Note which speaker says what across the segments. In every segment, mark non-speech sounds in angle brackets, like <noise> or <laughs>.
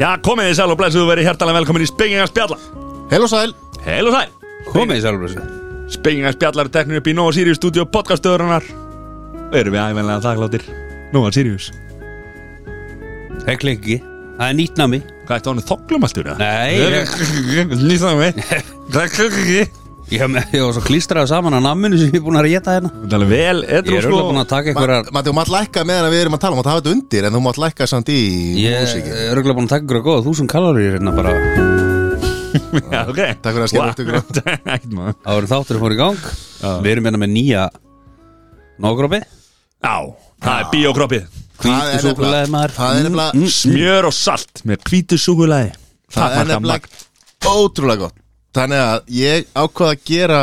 Speaker 1: Já, komið þið sæl og blessuðu verið hjertalega velkomin í Spengingar spjalla
Speaker 2: Heil og sæl
Speaker 1: Heil og sæl
Speaker 3: Komið í sjálfblössu
Speaker 1: Spengingar spjallar er teknir upp í Nova Sirius stúdíu podcastöðurinnar Og erum við ævenlega þakkláttir Nova Sirius
Speaker 3: Það klingi ekki Það er nýtt nami
Speaker 1: Hvað ertu ánum þoklum allt úr
Speaker 3: Nei,
Speaker 1: <laughs>
Speaker 3: ég,
Speaker 1: það? Lýsaðu
Speaker 3: <laughs>
Speaker 1: mig Það er klukki
Speaker 3: ég, ég var svo klístraði saman að naminu sem ég er búin að rétta hérna
Speaker 1: Það er vel,
Speaker 3: Ég
Speaker 1: edru
Speaker 3: er
Speaker 1: sko <laughs>
Speaker 3: örugglega búin að taka einhverjar
Speaker 2: Matti, þú mátt lækka meðan að við erum að tala Þú mátt hafa þetta undir En þú mátt lækka samt í
Speaker 3: Ég
Speaker 2: músíkin
Speaker 3: er örugglega búin að taka einhverjar góða þúsund kaloríur hérna bara
Speaker 1: Já, ok
Speaker 2: Takk fyrir að skella eftir ykkur á.
Speaker 1: <laughs> Ekkert maður
Speaker 3: Áður en þátturinn fór í gang Við erum hérna með nýja Nógrópi
Speaker 1: Já, það er bíokroppið
Speaker 2: Það er
Speaker 3: súkkulaði,
Speaker 2: nefnilega
Speaker 3: maður. Mm.
Speaker 2: Það er nefnilega
Speaker 1: Smjör og salt með hvítu súkulæði
Speaker 2: Það er nefnilega Ótrúlega gott Þannig að ég ákvað að gera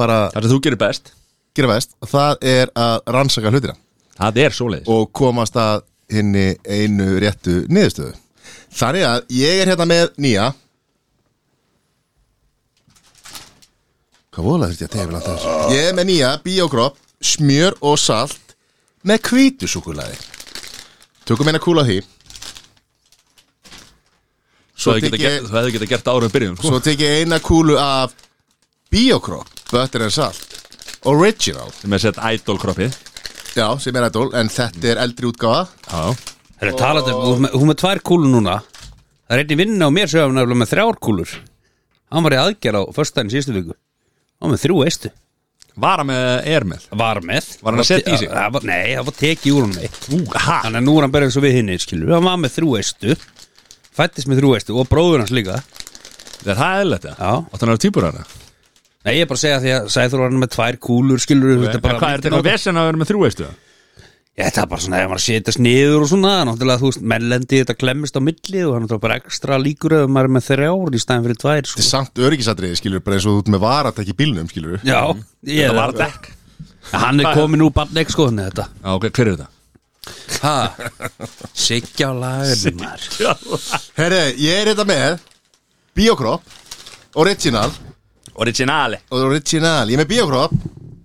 Speaker 2: Bara
Speaker 1: Það sem þú gerir best
Speaker 2: gera best og Það er að rannsaka hlutina
Speaker 1: Það er svoleiðis
Speaker 2: Og komast að henni einu réttu niðurstöðu Þannig að ég er hérna með nýja Hvað vola þurfti ég að tegja langt þess Ég er með nýja bíókropp, smjör og salt Með hvítusúkulæði Tökum eina kúla af því
Speaker 1: Svo
Speaker 2: Svo
Speaker 1: hefði
Speaker 2: tek
Speaker 1: geta,
Speaker 2: ég-
Speaker 1: hef geta gert árum byrjum sko.
Speaker 2: Svo tek ég eina kúlu af Bíokropp, butter and salt Original
Speaker 1: Sem er sett idolkroppið
Speaker 2: Já, sem er idol, en þetta er eldri útgáfa
Speaker 1: Já
Speaker 3: Það er talað um, hún er með- hún er með tvær kúlur núna Það er einnig vinna á mér sem er nefnilega með þrjár kúlur Hann var í aðgerð á föstudaginn síðustu viku Hann var með þrjú eistu
Speaker 1: Vara með er með
Speaker 3: Var með
Speaker 1: Var hann að setja í sig?
Speaker 3: Það var- Nei, það var tekið úr hann eitt
Speaker 1: Ú, ha
Speaker 3: Þannig að nú er hann bara eins og við hinn skilur Hann var með þrjú eistu Fættist með þrjú eistu og bróður hans líka
Speaker 1: Það er það eðlilegt það?
Speaker 3: Já.
Speaker 1: Og þannig að týpur hana
Speaker 3: Nei, ég er bara að segja því að Sæður var hann með tvær kúlur skilur
Speaker 1: En
Speaker 3: Þetta er bara
Speaker 1: hvað er þetta eitthvað vesen að vera með þrjú veistu það?
Speaker 3: Ég, þetta er bara svona, ef maður setjast niður og svona Náttúrulega, þú veist, mennlendi þetta klemmist á milli Og hann er þá bara ekstra líkur Ef maður er með þrjár í staðin fyrir tvær
Speaker 2: Þetta
Speaker 3: sko.
Speaker 2: er samt öryggisatriði, skilur, bara eins og þú ert með varatak í bílnum, skilur
Speaker 3: Já, ég
Speaker 1: Það Mhm. var dekk
Speaker 3: Hann er
Speaker 1: Hvað-
Speaker 3: komin úr barneik sko þannig þetta
Speaker 1: Já, ok, hver er þetta?
Speaker 3: Ha? Siggjá lagarinn maður
Speaker 2: Herre, ég er þetta með Biokrop, original
Speaker 1: Originali
Speaker 2: og Original, ég er með Biokrop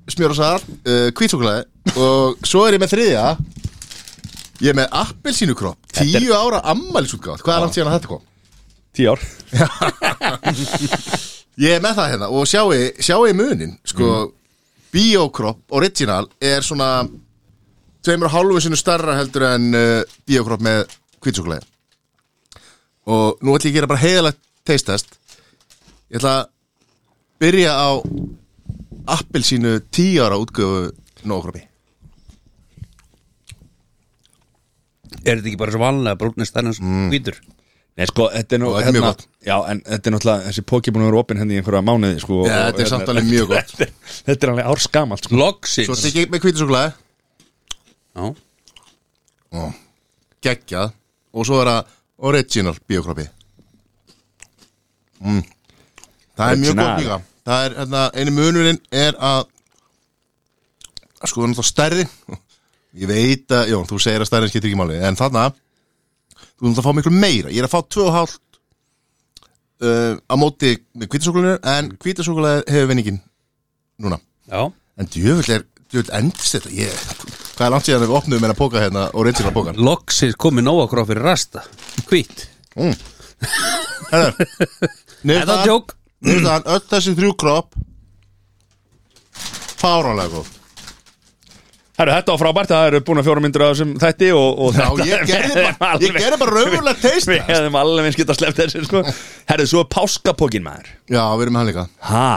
Speaker 2: smjör og sal, uh, kvítsúklaði og svo er ég með þriðja ég er með appelsínukrop tíu ára ammælisútgáð, hvað er langt síðan að þetta kom?
Speaker 1: Tíu ár
Speaker 2: Ég er með það hérna og sjáu, sjáu munin sko, Biokrop original er svona tveimur og hálfu sinu starra heldur en uh, Biokrop með kvítsúkulega og nú ætla ég að gera bara heiðalegt teistast ég ætla að byrja á appelsínu tíu ára útgöfu nógrópi
Speaker 3: Er þetta ekki bara svo vanlega brúnist þennans mm. hvítur?
Speaker 1: Nei, sko, þetta er nú hérna-
Speaker 2: Og þetta er mjög gott.
Speaker 1: Já, en þetta er náttúrulega Þessi póki búin að vera opinn henni í einhverja mánuði sko,
Speaker 2: Já,
Speaker 1: og-
Speaker 2: þetta er
Speaker 1: og-
Speaker 2: samt alveg mjög gott.
Speaker 1: Þetta er- <laughs> Þetta er alveg árskamalt sko.
Speaker 3: Loksins
Speaker 2: svo tek ég með kvítisúkulega
Speaker 3: Já.
Speaker 2: geggjað og svo er það original biokropi mm. það er mjög
Speaker 1: Original.
Speaker 2: gott líka það er hérna, einu munurinn er að að sko það er náttúrulega stærri ég veit að, jón, þú segir að stærri skiptir ekki máli en þarna, þú erum það að fá miklu meira ég er að fá 2,5 uh, á móti með kvítasúkulegur en kvítasúkulegur hefur vinningin núna
Speaker 3: Já
Speaker 2: en djöfull er, djöfull endist þetta ég, hvað er langt síðan að við opnum með að póka hérna, original pókan
Speaker 3: Loksins komið nóg okkur á fyrir rasta Hvít Er það
Speaker 2: Niðurstaðan
Speaker 3: djók?
Speaker 2: niðurstaðan, öll þessi þrjú kropp Fáránlega góð
Speaker 1: Herru, þetta var frábært Það eru búin að fjóra myndir af þessum þætti og, og
Speaker 2: Já,
Speaker 1: þetta-
Speaker 2: ég gerði
Speaker 1: við hefðum
Speaker 2: bara, ég
Speaker 1: alveg-
Speaker 2: gerði bara raunverulega
Speaker 1: <laughs> Við
Speaker 2: teist
Speaker 1: hefðum alveg minn skipt að slepp þessu sko. Herru, svo er páskapókin maður
Speaker 2: Já, við erum með hann líka
Speaker 1: Ha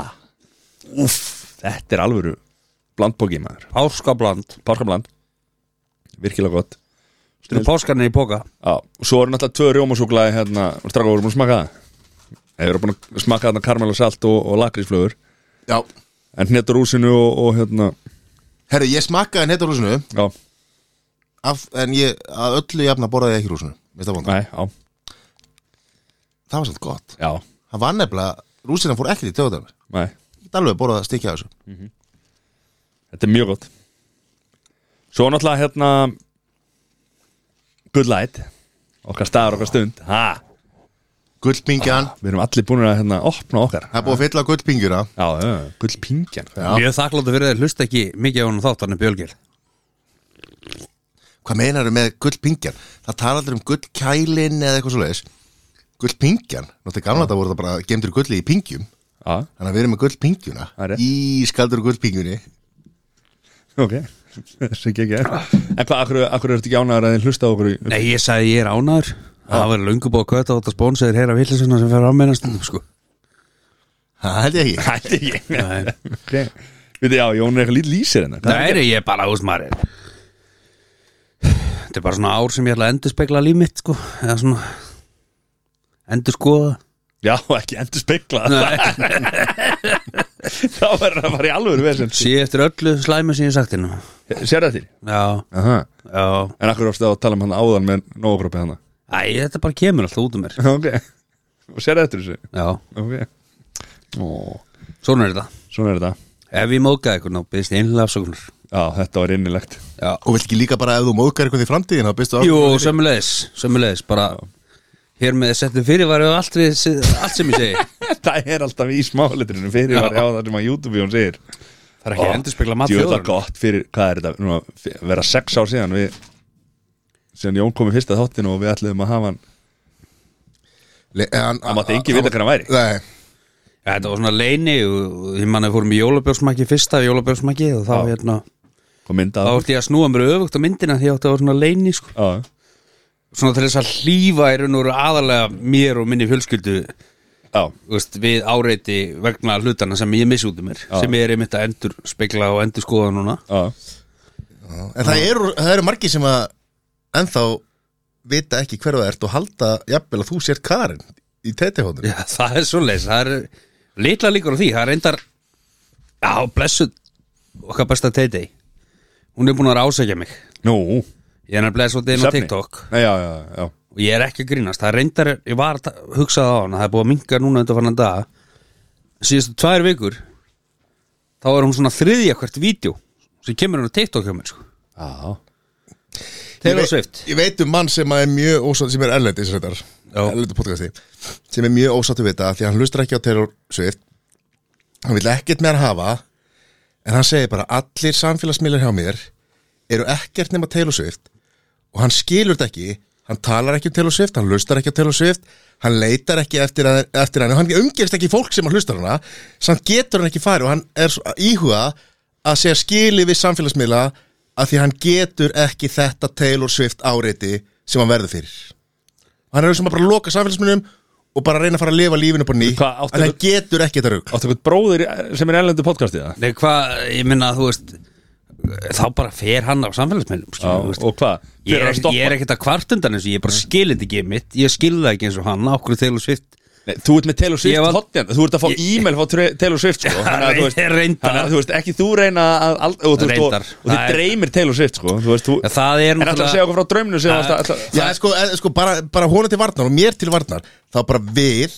Speaker 1: Úff, þetta er alvöru Blandpóki maður
Speaker 3: Páskabland
Speaker 1: Páskabland Virkilega gott
Speaker 3: Þetta er páskarnir í póka
Speaker 1: Já, og svo eru náttúrulega tvö rjómasúklaði hérna Og straka voru búin að smaka það Þeir eru búin að smaka þarna karmel og salt og, og lakrísflögur
Speaker 2: Já,
Speaker 1: En hnetur úsinu og, og hérna
Speaker 2: herri, ég smakkaði hann heitur rúsinu
Speaker 1: Já,
Speaker 2: af, En ég, að öllu jafna borðaði ég ekki rúsinu Veist það vonda?
Speaker 1: nei, já,
Speaker 2: Það var svolítið gott
Speaker 1: já,
Speaker 2: Það var nefnilega, rúsina fór ekkert í töðunar
Speaker 1: nei
Speaker 2: Ég get alveg borðað að stikja þessu
Speaker 1: Þetta er mjög gott Svo er náttúrulega hérna Good light Okkar staðar, okkar stund Ha
Speaker 2: gullpingjan
Speaker 1: Við erum allir búin að hérna, opna okkar
Speaker 2: Það er búið að fylla gullpingjuna
Speaker 1: Já, já, gullpingjan
Speaker 2: Já.
Speaker 3: Mjög þakkláttu fyrir þeir hlusta ekki mikið á hann þáttan en Bjölgir
Speaker 2: Hvað meinaru með gullpingjan? Það tala allir um gullkælin eða eitthvað svoleiðis Gullpingjan, náttúrulega gamla þetta voru það bara gemdur gulli í pingjum
Speaker 1: Já,
Speaker 2: Þannig að við erum með
Speaker 1: Það er
Speaker 2: gullpingjuna
Speaker 1: rétt.
Speaker 2: Í skaldur gullpingjunni
Speaker 1: ok <laughs> Þessi ekki ekki En hvað, akkur, akkur er þetta ekki ánæður að þið hlusta á okkur í
Speaker 3: Nei, ég sagði ég er ánæður Það var löngu búið að köta á þetta spónseður heyra villisuna sem fer á meina stundum sko
Speaker 2: Það held ég ekki
Speaker 1: Hætti ég
Speaker 3: Nei,
Speaker 1: Ok Við þið, já, Jón er eitthvað hérna. lítið lýsið hennar
Speaker 3: það er ég er bara úsmarir Þetta er bara svona ár sem ég ætla að endurspegla líf mitt sko eða svona endurskoða
Speaker 1: Já, ekki endur spekla <laughs> Þá verður það bara í alvöru vesend
Speaker 3: Sé eftir öllu slæmi sem ég hef sagt hérna
Speaker 1: Sér þetta þér?
Speaker 3: Já,
Speaker 1: Aha.
Speaker 3: já
Speaker 1: En akkur ástu að tala um hann áðan með nógrópi hann
Speaker 3: Æ, þetta bara kemur alltaf út um mér
Speaker 1: <laughs> Ok Og sér þetta þessu
Speaker 3: Já,
Speaker 1: Ok Ó,
Speaker 3: svona er þetta
Speaker 1: Svona er þetta
Speaker 3: Ef ég mókaði eitthvað, þá byrðist einlega afsökunar
Speaker 1: Já, þetta var innilegt <laughs>
Speaker 3: Já
Speaker 2: Og vilt ekki líka bara ef þú móðgar eitthvað í framtíðin þá byrstu á
Speaker 3: Jú, sömulegis, sömulegis, bara Hér með settum fyrirværi og allt, við, allt sem ég segi <laughs>
Speaker 1: Það er alltaf í smáletrinu fyrir var já það sem að YouTube hún segir
Speaker 3: Það er ekki að endurspegla mat
Speaker 1: Jú, það er
Speaker 3: þjóðar
Speaker 1: gott fyrir, hvað er þetta, núna, f- vera sex ár síðan við síðan Jón komið fyrsta þáttinu og við ætluðum að hafa hann
Speaker 2: Le- eh, en-
Speaker 1: Það mátti engin vita hvernig hann væri
Speaker 2: Nei,
Speaker 3: ja, Þetta var svona leini og og ég manna fórum í jólabjörnsmakki fyrsta jólabjörnsmakki og þá hérna
Speaker 1: og mynda
Speaker 3: Þá ætti ég að snúa mér öfugt á myndina því ég átti að vera svona leini sko.
Speaker 1: Já,
Speaker 3: Svona til þess að hlýfa í raun og veru aðalega mér og minni fjölskyldu
Speaker 1: já,
Speaker 3: þú veist, við áreiti vegna hlutana sem ég missi út um mér sem ég er einmitt að endur spekla og endur skoða núna
Speaker 1: já
Speaker 2: En það eru, það eru margir sem að ennþá vita ekki hver það ert og halda jafnvel að þú sér Karin í TT-hóðinu
Speaker 3: Já, það er svoleiðis, það er litla líkur á því, það er reyndar já, blessuð okkar besta Teiti hún er búin að rásækja mig
Speaker 1: Nú,
Speaker 3: ég er nefnilega svolítið inn á
Speaker 1: Svefni?
Speaker 3: TikTok
Speaker 1: Nei, já, já, já
Speaker 3: og ég er ekki að grínast, það er reyndar ég var að hugsa það á hana, það er búið að minka núna undanfarnan dag síðustu tvær vikur þá er hún svona þriðja hvert vídeo sem kemur hún á TikTok hjá mér sko.
Speaker 1: Já,
Speaker 3: Taylor
Speaker 2: Ég veit-
Speaker 3: Swift
Speaker 2: Ég veit um mann sem að er mjög ósátt sem er erlendis þetta erlendu podcasti sem er mjög ósáttu við þetta því að hann hlustar ekki á Taylor Swift hann vil ekkert með hann hafa en hann segir bara allir samfélagsmiðlar hjá mér eru ekkert nema Taylor Swift og hann skilur þetta ekki hann talar ekki um Taylor Swift, hann hlustar ekki á Taylor Swift hann leitar ekki eftir, að, eftir hann hann umgerist ekki fólk sem hann hlustar hana samt getur hann ekki farið og hann er svo- að íhuga að segja skili við samfélagsmiðla að því hann getur ekki þetta Taylor Swift áreiti sem hann verður fyrir og hann er sem að bara loka samfélagsmiðlum og bara reyna að fara að lifa lífinu bara ný
Speaker 1: Hvað, áttu-
Speaker 2: en hann getur ekki þetta rugg
Speaker 1: áttu eitthvað bróðir í- sem er erlendu podcastið það?
Speaker 3: Nei, hvað, ég minna að þú veist þá bara fer hann á samfélagsmiðlum
Speaker 1: Já,
Speaker 3: skilur, þú veist.
Speaker 1: og hvað?
Speaker 3: ég,
Speaker 1: Fyrir
Speaker 3: er,
Speaker 1: að stoppa
Speaker 3: ég er ekkert að kvartundan þessu, ég bara skil þetta ekki mitt ég skil það ekki eins og hann, okkur Taylor Swift
Speaker 1: Nei, þú ert með Taylor Swift
Speaker 3: Ég var-
Speaker 1: hotnjand Þú ert að fá e-mail frá Tre- Taylor Swift sko.
Speaker 3: Já,
Speaker 1: Þannig að þú veist-
Speaker 3: reyndar.
Speaker 1: þannig að þú veist ekki þú reyna að ald- og, þú veist,
Speaker 3: Reyndar.
Speaker 1: og, og
Speaker 3: Það
Speaker 1: þið
Speaker 3: er-
Speaker 1: dreymir Taylor Swift sko. Þú veist, þú,
Speaker 3: Ja, það er
Speaker 1: En ætla að
Speaker 3: náttúrulega-
Speaker 1: segja okkur frá drauminu sem
Speaker 3: Það-
Speaker 1: varst að- ætla-
Speaker 2: Já, en sko, en sko bara, bara hona til varnar og mér til varnar þá bara við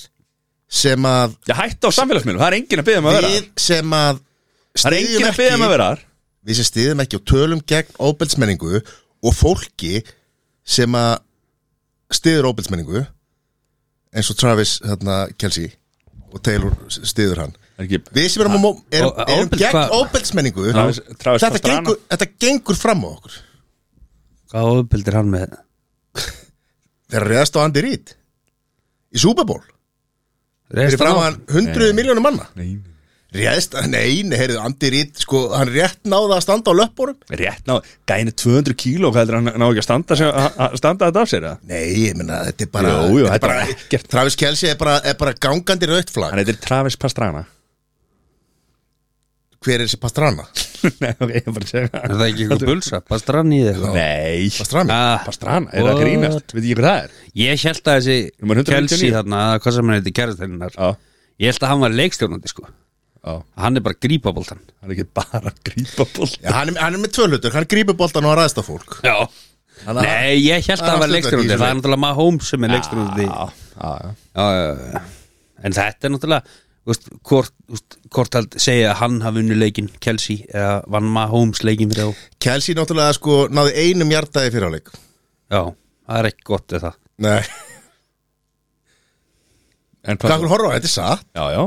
Speaker 2: sem að
Speaker 1: Já, hætt á samfélagsmiðlum, það er enginn að byggja um að vera
Speaker 2: við sem að
Speaker 1: Það er enginn
Speaker 2: styðjum
Speaker 1: að byggja um að vera þar.
Speaker 2: við sem stiðum ekki og tölum gegn óbælsmenningu og fólki sem að stiður óbælsmenningu eins og Travis hérna, Kelsey og Taylor stiður hann
Speaker 1: Það er ekki
Speaker 2: við sem erum, að, erum,
Speaker 3: Og-
Speaker 2: erum
Speaker 3: ofbeldi-
Speaker 2: gegn
Speaker 3: hvað-
Speaker 2: óbælsmenningu
Speaker 1: Travis- Travis
Speaker 2: þetta,
Speaker 1: Pastrana.
Speaker 2: gengur- þetta gengur fram á okkur
Speaker 3: hvað ofbeldir hann með
Speaker 2: þegar reyðast á Andy Reid í Super Bowl fyrir
Speaker 3: Reist
Speaker 2: fram
Speaker 3: hann á?
Speaker 2: hann hundruðu miljónum manna
Speaker 1: Nei,
Speaker 2: Réðst, nei, nei, heyrðu, Andi Rít, sko, hann rétt náði að standa á löpporum
Speaker 1: rétt ná, gæni 200 kíló Hvað heldur hann ná ekki að standa, sem, að, að standa þetta af sér eða?
Speaker 2: Nei, ég menna, þetta er bara,
Speaker 1: Jú, jú,
Speaker 2: þetta er
Speaker 1: þetta
Speaker 2: bara
Speaker 1: er ekkert.
Speaker 2: Travis Kelce er bara, er bara gangandi rautt flagg
Speaker 1: Hann heitir Travis Pastrana
Speaker 2: Hver er þessi Pastrana?
Speaker 1: Nei, ok, ég er bara að segja
Speaker 3: er það ekki einhver bulsa, bara strann í þig
Speaker 1: Nei,
Speaker 2: Pastrami?
Speaker 3: Ah,
Speaker 1: Pastrana, er það að
Speaker 3: What?
Speaker 1: grínast? Veit ég hvað það er?
Speaker 3: ég held að
Speaker 1: Númer 199.
Speaker 3: þessi Kelsey þarna, eða hvað sem hann heiti kærasteininnar
Speaker 1: Já,
Speaker 3: ég held að hann var leikstjórnandi sko
Speaker 1: já,
Speaker 3: hann er bara grípaboltan
Speaker 1: hann er ekki bara að grípa ból
Speaker 2: Já, hann, er, hann er með tvö hlutur, hann grípur boltan og hann ræðst á fólk
Speaker 3: já Nei, ég held að
Speaker 2: hann
Speaker 3: hann var
Speaker 2: var
Speaker 3: leikstjórnandi
Speaker 2: hlutverk í
Speaker 3: það er náttúrulega Mahomes sem er leikstjórnandi
Speaker 1: Já, já, já
Speaker 3: já, já, já. en þetta er náttúrulega þú veist, hvort, þú veist, hvort held segja að hann hafi unni leikinn Kelsey eða vann Mahomes leikinn fyrir þá
Speaker 2: Kelce náttúrulega, sko, náði einum hjartaði fyrir áleik
Speaker 1: <laughs>
Speaker 3: já, það er ekki gott eða það
Speaker 2: Nei
Speaker 1: En
Speaker 2: Hvað hann horfa á, þetta er satt
Speaker 1: Já, já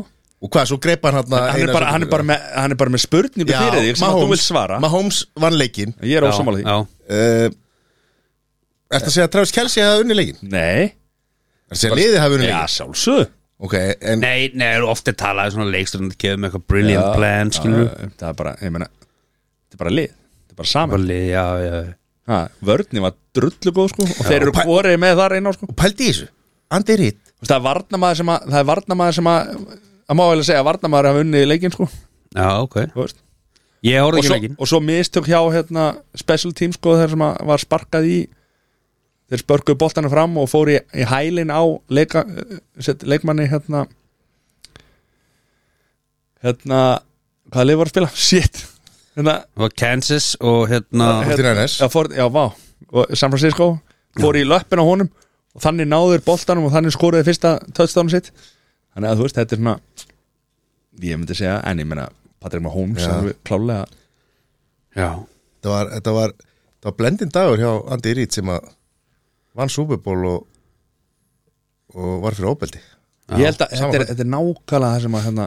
Speaker 2: Og hvað, svo greipa hann hann
Speaker 1: Hann er bara, hann er bara, með, hann er bara með spurningu fyrir þig sem að þú vilt svara
Speaker 2: Mahomes vann leikinn
Speaker 1: Ég er ósamála því
Speaker 3: já,
Speaker 2: uh, Ertu að segja að Travis Kelsey hafa unni leikinn?
Speaker 1: Nei,
Speaker 2: Ertu að segja að liðið hafa unni
Speaker 1: já,
Speaker 2: leikinn?
Speaker 1: sjálfsög
Speaker 2: Ok, en
Speaker 3: Nei, nei, eru ofta talaði um svona leikstur Það kefum eitthvað brilliant plan, skilur
Speaker 1: Það er bara, ég meina Þetta er bara lið, þetta er bara saman
Speaker 3: Bali, já, já,
Speaker 1: ha, Vörðni var drullu góð sko Og þeir eru
Speaker 2: pæ-
Speaker 1: hvorið með það reyna sko
Speaker 2: pældi í þessu Andy Reid
Speaker 1: Þú veist, Það er varnamaður sem að Það er varnamaður sem að Það má vel að segja að varnamaður hafa unnið leikinn sko þú
Speaker 3: já, ok
Speaker 1: veist.
Speaker 3: Ég horfði
Speaker 1: og,
Speaker 3: ekki
Speaker 1: svo,
Speaker 3: leikin
Speaker 1: og svo mistök hjá hérna, special team sko þegar sem að var sparkað í Þeir spörkuðu boltana fram og fóru í, í hælin á leika, eh, set, leikmanni hérna Hérna Hvaða leik var að spila? <laughs> Shit Hérna
Speaker 3: Það var Kansas og hérna
Speaker 2: Forty Niners.
Speaker 1: já, for, já, vá og San Francisco fór í löppin á honum og þannig náður boltanum og þannig skoruði fyrsta touchdown sitt þannig að þú veist, þetta er svona ég myndi segja, en ég meina Patrick Mahomes
Speaker 2: Já.
Speaker 1: er alveg klálega
Speaker 3: Já,
Speaker 2: Þetta var, þetta var, þetta var blendin dagur hjá Andy Reid sem að vann Super Bowl og, og var fyrir óbeldi
Speaker 1: ég held að
Speaker 2: sama
Speaker 1: þetta er,
Speaker 2: hvað.
Speaker 1: þetta er nákvæmlega það sem að hérna,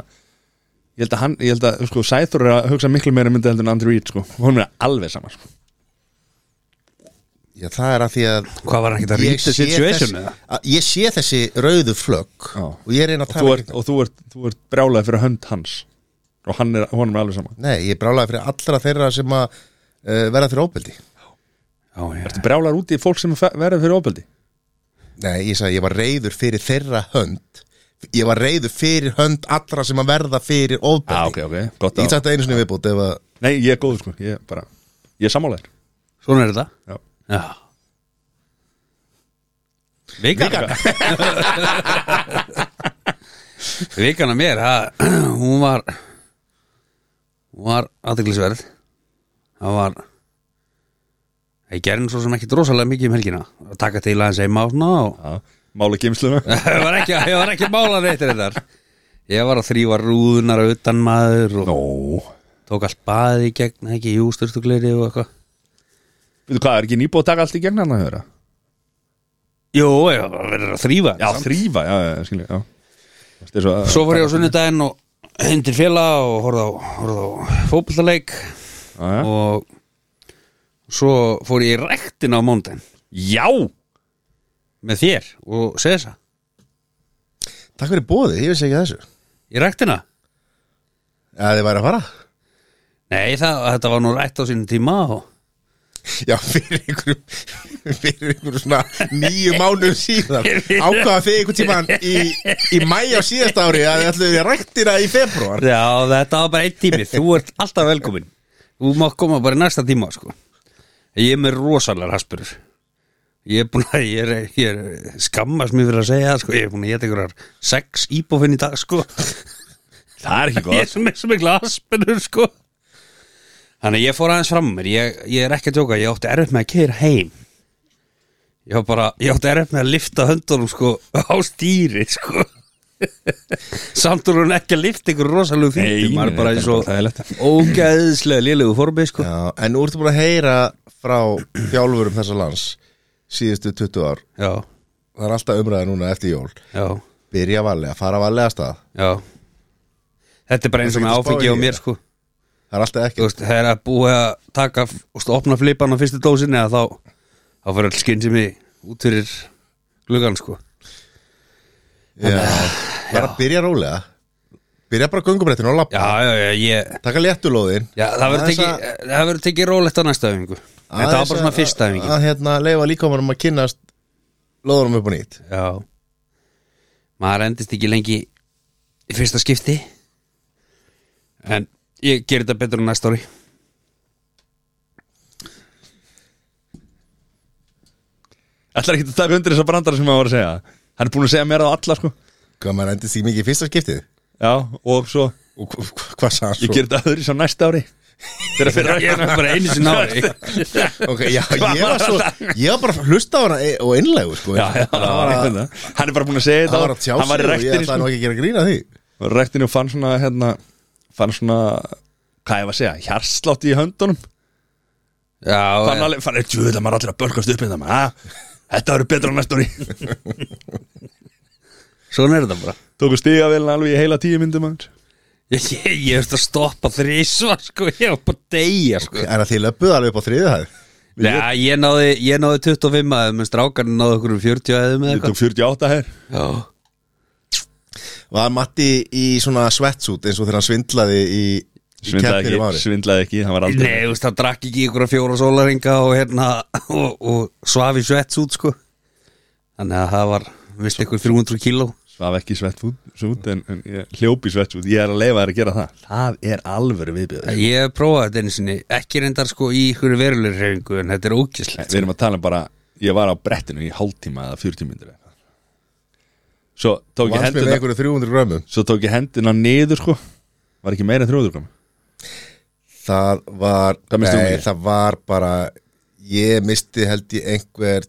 Speaker 1: ég held að hann, ég held að sko, Sæþur er að hugsa miklu meira myndi heldur en Andrew Reid sko, hún er alveg sama sko.
Speaker 2: Já, það er að því að
Speaker 3: hvað var hann ekki að
Speaker 2: ég
Speaker 3: rýta
Speaker 2: sé,
Speaker 3: situation
Speaker 2: þess,
Speaker 3: eða?
Speaker 2: að ég sé þessi rauðu flögg
Speaker 1: Já.
Speaker 2: og ég er einn að
Speaker 1: og, þú
Speaker 2: tala um-
Speaker 1: ert,
Speaker 2: ekki
Speaker 1: og þú ert, þú ert brjálega fyrir hönd hans og hann er, hún er alveg sama
Speaker 2: Nei, ég brálaði fyrir allra þeirra sem að uh, verða fyrir óbeldi
Speaker 3: Já, já,
Speaker 1: Ertu brjálar úti í fólk sem er fe- verður fyrir ofbeldi
Speaker 2: Nei, ég sagði, ég var reyður fyrir þeirra hönd Ég var reyður fyrir hönd allra sem að verða fyrir óbeldi
Speaker 1: ok, gott
Speaker 2: Ég get sagt það einu sinni í viðbútt ef að
Speaker 1: Nei, ég er góður sko, ég er bara Ég er sammálaður
Speaker 3: svona er þetta
Speaker 1: Já.
Speaker 3: Já <laughs> Vikana Vikana mér það, Hún var Hún var aðteglisverð Það var Ég gerði nú svo sem ekki drosalega mikið um helgina að taka til aðeins heima og svona og <laughs>
Speaker 1: Já. Mála geimsluna <laughs>
Speaker 3: ég var ekki, ég var ekki málan eittir þetta Ég var að þrýfa rúðunar utan maður og
Speaker 1: Nó
Speaker 3: tók allt baði í gegn ekki, jú, styrstugleiri og eitthvað
Speaker 1: Veitu hvað, er ekki nýbúið að taka allt í gegn hérna, hann að höra?
Speaker 3: Jú, ég var verið að þrýfa
Speaker 1: Já, þrýfa, já, já, skilji, já Þú veist, eins og-
Speaker 3: Svo fór ég á sunnudaginn og heim til félag og horfði á, horfði á fótballaleik
Speaker 1: Já, já.
Speaker 3: og svo fór ég í rektin á mándaginn
Speaker 1: Já,
Speaker 3: með þér og Sesa
Speaker 2: Takk fyrir bóðið, ég vissi ekki þessu
Speaker 3: í rektina?
Speaker 2: Að þið væri að fara
Speaker 3: Nei, það, þetta var nú rætt á sínum tíma og
Speaker 2: Já, fyrir einhverjum fyrir einhverjum svona nýju mánuðum síðan ákvaða þið einhvern tímann í, í mæ á síðasta ári að þið ætluðu að rættina í februar
Speaker 3: Já, þetta var bara einn tími, þú ert alltaf velkomin Þú mátt koma bara í næsta tíma sko. Ég er með rosalega raspurur Ég er búin að ég er, ég er skammast mér fyrir að segja það, sko. Ég er búin að geta einhverjar sex íbófinn í dag sko.
Speaker 1: það er ekki
Speaker 3: Ég er
Speaker 1: góð
Speaker 3: svo með svo mikla aspurur sko. Þannig að ég fór aðeins fram úr mér ég, ég er ekki að tjóka, ég átti erfitt með að keira heim Ég, var bara, ég átti erfitt með að lifta höndunum sko, <laughs> á stýri sko. Samt úr hún ekki að lifta ykkur rosalegu
Speaker 1: Nei,
Speaker 3: fítum maður
Speaker 1: nei,
Speaker 3: er bara
Speaker 1: þetta er
Speaker 3: eins og
Speaker 1: bara þægilegt.
Speaker 3: ógæðislega lélegu formi sko.
Speaker 2: Já, en nú ertu búin að heyra frá þjálfurum þessa lands síðustu 20 ár
Speaker 3: Já,
Speaker 2: það er alltaf umræða núna eftir jól
Speaker 3: já,
Speaker 2: byrja valega, fara valega af stað
Speaker 3: já Þetta er bara eins og
Speaker 2: Þetta
Speaker 3: með
Speaker 2: er ekki að spá
Speaker 3: áfengi
Speaker 2: í
Speaker 3: á mér
Speaker 2: þetta.
Speaker 3: sko.
Speaker 2: það er alltaf
Speaker 3: Þú
Speaker 2: ekki
Speaker 3: veist, Það er að búið að taka og opna flipan á fyrstu dósinni að þá þá fyrir alls skinn sem ég út fyrir gluggan sko.
Speaker 2: Já, bara byrja rólega byrja bara göngumrættinu og
Speaker 3: Já,
Speaker 2: lappa
Speaker 3: já, já, ég
Speaker 2: taka léttulóðin
Speaker 3: Já, það verður
Speaker 2: Aðeins
Speaker 3: tekið,
Speaker 2: að-
Speaker 3: það verður tekið rólegt á næsta öfingu Þetta var
Speaker 2: aðeins
Speaker 3: bara svona
Speaker 2: að-
Speaker 3: fyrsta öfingu
Speaker 2: að hérna leifa líkamanum að kynnast loðurum upp á nýtt
Speaker 3: Já Maður endist ekki lengi í fyrsta skipti En ég gerir þetta betur á næsta <laughs> ári
Speaker 1: Ætlar ekki að taka undir þessa brandara sem maður var að segja Hann er búin að segja mér það alla sko
Speaker 2: Hvað maður endist því mikið í fyrsta skiptið?
Speaker 1: Já, og svo,
Speaker 2: Og hva- hva- hvað sagði hann
Speaker 1: ég
Speaker 2: svo?
Speaker 1: ger þetta öðru svo næsta ári Þegar fyrir
Speaker 3: Ég er bara einu sinni á <laughs> ári
Speaker 2: Ok, <laughs>
Speaker 1: <laughs>
Speaker 2: já, ég var svo Ég var bara að hlusta á hana e- og innlegu sko.
Speaker 1: Já, já, það var einhvern veginn. hann er bara búin að segja
Speaker 2: Það
Speaker 1: þetta
Speaker 2: var að tjá
Speaker 1: Hann var sko. í
Speaker 2: sig og ég
Speaker 1: rektinni
Speaker 2: ætlaði nú ekki að gera grína því
Speaker 1: rektinu og fann svona hérna, fann svona hvað ég var að segja, hjarslátt í höndunum
Speaker 3: Já,
Speaker 1: fann alveg, fann, djúðlega hérna, maður allir að börkast upp í það maður, ha? þetta verður betra á næstóri
Speaker 3: Svo er þetta bara
Speaker 1: <laughs> Tóku stígavelin alveg í heila tíu myndum hans
Speaker 3: <laughs> Ég, ég, ég veist að stoppa þrísva sko, ég var bara að deyja sko
Speaker 2: En að þið löpuðu alveg upp á þriðið hæð
Speaker 3: Já, ég náði, ég náði 25 aðeim en strákarnir náði okkur um 40 aðeim eða
Speaker 1: Ég
Speaker 3: eitthvað
Speaker 1: tók 48 her
Speaker 3: Já,
Speaker 2: Var Matti í svona svetsút eins og þegar hann svindlaði í, í
Speaker 1: Svindlaði
Speaker 2: keppnir um
Speaker 1: ekki,
Speaker 2: ári
Speaker 1: svindlaði ekki, hann var
Speaker 3: Nei,
Speaker 1: aldrei
Speaker 3: þú veist, það drakk ekki ykkur að fjóra sólaringa og hérna <laughs> og, og svaf í svets út sko Þannig að það var, vist ykkur 300 kíló
Speaker 1: Svaf ekki svett út, en, en ég hljóp í svett út Ég er að leifa þér að gera það Það er alvöru viðbjöður
Speaker 3: Ég prófaði þetta einu sinni, ekki reyndar sko í ykkur verulegur reyfingu en þetta er ógislegt
Speaker 1: Við erum að tala um bara, ég var á brettinu í hálftíma eða 40 myndir Svo tók ég
Speaker 2: Vannst mér með
Speaker 1: hendina
Speaker 2: einhverju 300 grömmum
Speaker 1: Svo tók ég hendina niður sko Var ekki meira en 300 gram
Speaker 2: Það var,
Speaker 1: Hvað misstu þú
Speaker 2: nei,
Speaker 1: mikið?
Speaker 2: það var bara Ég misti held ég einhver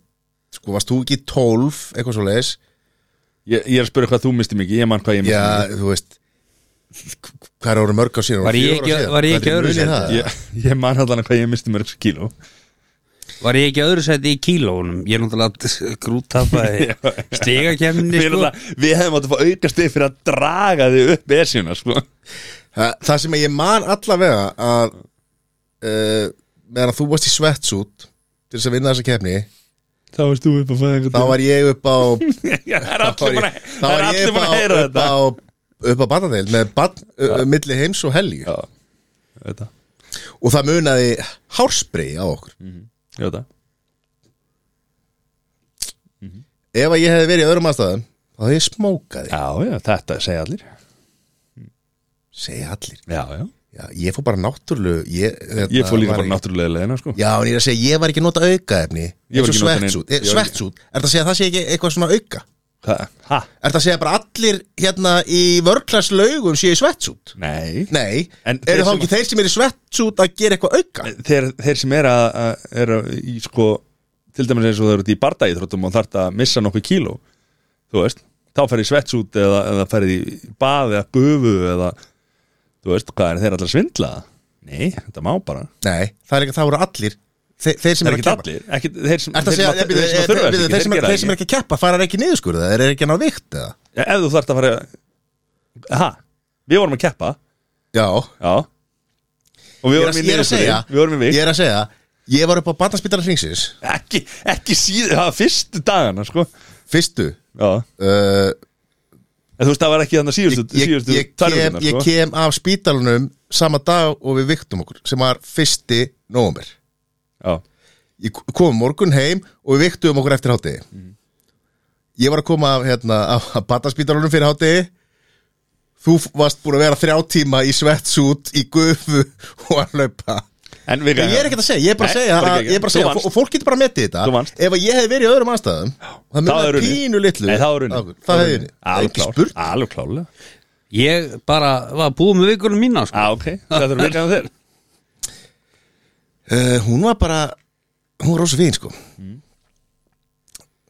Speaker 2: Sko, varst þú ekki 12 Eitthvað svo leiðis
Speaker 1: ég, ég er að spura hvað þú misti mikið, ég mann hvað ég misti
Speaker 2: Já, þú veist Hvað eru mörg á síðan?
Speaker 3: Var ég
Speaker 2: Fjögur ár
Speaker 3: ekki-
Speaker 2: síðan?
Speaker 3: var ég
Speaker 2: Hvað
Speaker 3: ekki
Speaker 2: er
Speaker 3: öðru
Speaker 2: munið
Speaker 3: sæti?
Speaker 2: það?
Speaker 1: mikið Ég, ég mann allan hvað ég misti mörg kíló <laughs>
Speaker 3: Var ég ekki öðru sæti í kílóunum? Ég er náttúrulega <laughs>
Speaker 1: <laughs>
Speaker 3: grúttapaði stigakemni
Speaker 1: Við,
Speaker 3: sko
Speaker 1: sko? við hefum átt að fá aukast þig fyrir að draga þig upp esjuna sko.
Speaker 2: Það, það sem ég man allavega að uh, meðan þú varst í svetsút til þess að vinna þessa kefni
Speaker 1: Þá veist þú upp að fæða
Speaker 2: þá
Speaker 1: <laughs>
Speaker 2: var ég upp á
Speaker 1: Það er
Speaker 2: þá
Speaker 1: allir
Speaker 2: var
Speaker 1: bara
Speaker 2: ég, þá
Speaker 1: það
Speaker 2: var
Speaker 1: er
Speaker 2: ég
Speaker 1: allir
Speaker 2: upp,
Speaker 1: bara
Speaker 2: á,
Speaker 1: að heyra
Speaker 2: upp
Speaker 1: þetta
Speaker 2: á upp á batadeil með bat, uh, milli heims og helgi
Speaker 1: Já, þetta
Speaker 2: og það munaði hárspray á okkur
Speaker 1: Já, þetta
Speaker 2: ef að ég hefði verið í öðrum aðstæðum þá hefði ég smókaði,
Speaker 1: Já, já, þetta segja allir
Speaker 2: segja allir
Speaker 1: Já, já
Speaker 2: já, ég fór bara náttúrulega ég, hérna, þetta
Speaker 1: Ég fór líka
Speaker 2: var
Speaker 1: bara
Speaker 2: ekki-
Speaker 1: náttúrulega leðina sko
Speaker 2: já, en ég er að segja, ég var ekki að nota aukaefni
Speaker 1: Ég var ekki að
Speaker 2: eins og
Speaker 1: nota nein- ég
Speaker 2: svetsút
Speaker 1: var ekki-
Speaker 2: svetsút, er það að segja að það sé ekki eitthvað svona auka
Speaker 1: Hva? Ha?
Speaker 2: Er það að segja bara allir hérna í vörklass laugum séu í svetsút?
Speaker 1: Nei
Speaker 2: Nei,
Speaker 1: En
Speaker 2: eru
Speaker 1: þeir
Speaker 2: þá
Speaker 1: sem-
Speaker 2: ekki þeir sem eru í svetsút að gera eitthvað auka?
Speaker 1: þeir, þeir sem er að, að er að, í, sko, til dæmis eins og þeir eru út í bardaíþróttum og þarft að missa nokkuð kíló þú veist, þá ferði í svets út eða, eða ferði í bað eða gufu eða, þú veist, hvað er þeir allir að svindla? Nei, þetta má bara
Speaker 2: Nei, það er ekki það voru allir Þe, Þeir sem
Speaker 1: Það er
Speaker 2: eru að
Speaker 1: ekki
Speaker 2: keppa
Speaker 1: allir, ekki, þeir sem,
Speaker 2: Er það að
Speaker 1: þeir
Speaker 2: segja,
Speaker 1: sem,
Speaker 2: ég byrju,
Speaker 1: þeir sem að
Speaker 2: þeir-
Speaker 1: þurfa
Speaker 2: byrju,
Speaker 1: þess
Speaker 2: þeir sem
Speaker 1: ekki,
Speaker 2: eru-
Speaker 1: eh, þeir
Speaker 2: þeir sem
Speaker 1: gera
Speaker 2: eru
Speaker 1: ekki
Speaker 2: ekki að keppa fara ekki niðurskurða, þeir eru ekki að ná vikt eða?
Speaker 1: Ef þú þarft að fara Ha, við vorum að keppa
Speaker 2: Já,
Speaker 1: Já Og við vorum í
Speaker 2: ég er að, ég er að
Speaker 1: niðurskurði,
Speaker 2: segja
Speaker 1: Við vorum í vik
Speaker 2: Ég er að segja, ég var upp á bandarspítara hringsins
Speaker 1: Ekki, ekki síðu, það var fyrstu dagana, sko
Speaker 2: Fyrstu
Speaker 1: Já
Speaker 2: uh,
Speaker 1: En þú veist, það var ekki þannig
Speaker 2: ég,
Speaker 1: síðustu,
Speaker 2: ég,
Speaker 1: síðustu
Speaker 2: ég, kem,
Speaker 1: tvær
Speaker 2: ég
Speaker 1: vikurnar, sko.
Speaker 2: kem af spítalunum sama dag og við viktum okkur sem var fyrsti nómur
Speaker 1: sko.
Speaker 2: ég kom um morgun heim og við viktum okkur eftir hátegi
Speaker 1: Mhm.
Speaker 2: ég var að koma af, hérna, af bataspítalunum fyrir hátegi þú f- varst búin að vera þrjá tíma í svetsút, í gufu og að laupa
Speaker 1: Já. En við
Speaker 2: ég er ekkert að segja, ég er bara að
Speaker 1: Nei,
Speaker 2: segja,
Speaker 1: bara
Speaker 2: að,
Speaker 1: geggjað.
Speaker 2: ég er bara að
Speaker 1: Þú
Speaker 2: segja
Speaker 1: vannst.
Speaker 2: og fólk getur bara að meti þetta
Speaker 1: Þú vannst.
Speaker 2: ef að ég hefði verið í öðrum aðstæðum það
Speaker 1: Það er
Speaker 2: mjög
Speaker 1: unnið.
Speaker 2: pínu litlu
Speaker 1: Nei, það var unni
Speaker 2: það hefði unnið. ekki spurt
Speaker 1: Alveg klálega
Speaker 3: Ég bara var búið með vikunum mína sko
Speaker 1: Já, Ah, ok Það þarf að virka á þér
Speaker 2: uh, hún var bara, hún var rosa fín sko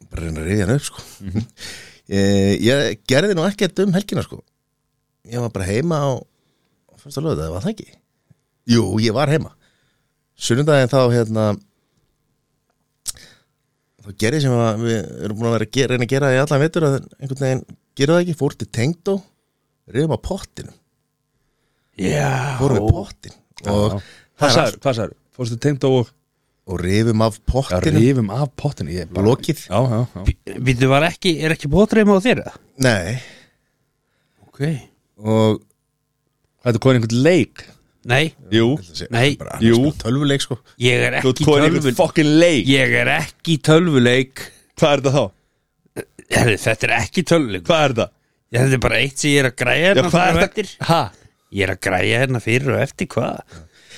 Speaker 2: bara reyna að reyða hann upp sko <laughs> mm ég gerði nú ekkert um helgina sko ég var bara heima á fyrsta löðu, það var það ekki jú, ég var heima sunnudaginn þá hérna þá gerði sem að við erum búin að vera að gera, reyna að gera í allan vetur að einhvern veginn gera það ekki, fór til tengdó reyðum á pottinum,
Speaker 1: Já
Speaker 2: fórum við pottin og,
Speaker 1: Hvað sagður? Hvað sagður? Fórstu tengt á og
Speaker 2: og reyfum af pottinum
Speaker 1: rifum af pottinu Ég bara
Speaker 2: lokið
Speaker 1: Já, já, já
Speaker 3: Býttu var ekki, er ekki bótreima á þér? eða?
Speaker 2: Nei
Speaker 3: Ok
Speaker 2: og
Speaker 1: Hvað er komin í einhvern leik?
Speaker 3: Nei,
Speaker 1: Jú
Speaker 3: Nei.
Speaker 2: bara,
Speaker 1: Jú.
Speaker 2: Jú Tölvuleik sko
Speaker 3: ég er
Speaker 1: Þú
Speaker 3: ekki
Speaker 1: ert komin í einhvern
Speaker 3: tölvuleik
Speaker 1: fokkin leik
Speaker 3: Ég er ekki í tölvuleik
Speaker 1: Hvað er þetta þá?
Speaker 3: Herri, Þetta er ekki tölvuleik
Speaker 1: Hvað er þetta?
Speaker 3: Ég, Þetta er bara eitt sem ég er að græja
Speaker 1: Já,
Speaker 3: hérna
Speaker 1: hvað
Speaker 3: fyrir
Speaker 1: er
Speaker 3: og
Speaker 1: þetta?
Speaker 3: eftir
Speaker 1: Ha?
Speaker 3: Ég er að græja hérna fyrir og eftir hvað?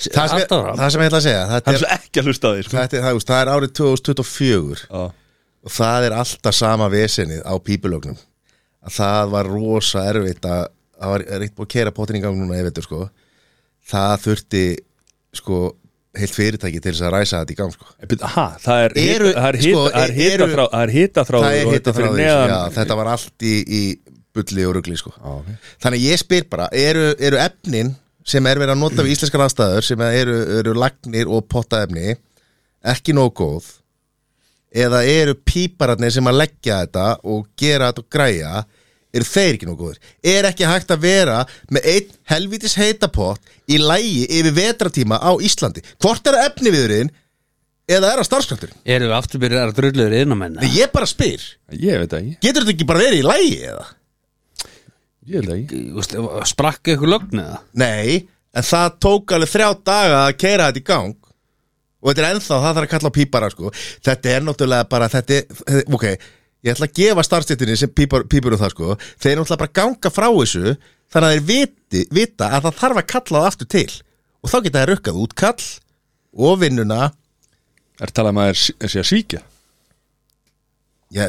Speaker 2: það sem, ég,
Speaker 3: Alltaf ára
Speaker 2: það sem ég ætla að segja þetta
Speaker 1: Hann er
Speaker 2: er,
Speaker 1: svo ekki að hlusta á því, sko
Speaker 2: þetta er, það, þú veist, það er árið 2024
Speaker 1: Já
Speaker 2: og það er alltaf sama vesenið á pípulögnum að það var rosa erfitt að það var reynt búið að kera potin í gang núna ég veit þú sko það þurfti sko heilt fyrirtæki til þess að ræsa þetta í gang sko
Speaker 1: En byrju, Ha, það er
Speaker 2: Eru-
Speaker 1: hita- það er
Speaker 2: sko,
Speaker 1: hita- það er
Speaker 2: eru-
Speaker 1: hitaþrá- það er hitaþráður
Speaker 2: það er
Speaker 1: og
Speaker 2: hitta
Speaker 1: þetta
Speaker 2: frá
Speaker 1: fyrir
Speaker 2: því
Speaker 1: neðan-
Speaker 2: já, þetta var allt í, í bulli og rugli sko.
Speaker 1: ok.
Speaker 2: þannig að ég spyr bara eru, eru efnin sem er verið að nota við íslenskar aðstæður sem að eru, eru lagnir og pottaefni ekki nóg góð eða eru pípararnir sem að leggja þetta og gera þetta og græja eru þeir ekki nóg góðir er ekki hægt að vera með einn helvitis heitapott í lægi yfir vetratíma á Íslandi hvort er að efni viðurinn eða er að starfskrafturinn
Speaker 3: Eru við aftur byrjar að drulluður innamenn
Speaker 2: Nei, ég bara spyr,
Speaker 1: Ég veit það ekki,
Speaker 2: getur þetta ekki bara verið í lægi eða?
Speaker 1: ég veit það ekki
Speaker 3: Sprakk eitthvað lögn eða?
Speaker 2: Nei, en það tók alveg þrjá daga að keira þetta í gang og þetta er ennþá, það þarf að kalla á pípara sko. þetta er náttúrulega bara þetta er, ok, ég ætla að gefa starfstættinni sem pípar, pípur um það sko þeir náttúrulega bara ganga frá þessu þannig að þeir viti, vita að það þarf að kalla það aftur til og þá geta þeir rukkað út kall og vinnuna
Speaker 1: Er talað um að það sé að svíkja
Speaker 2: já,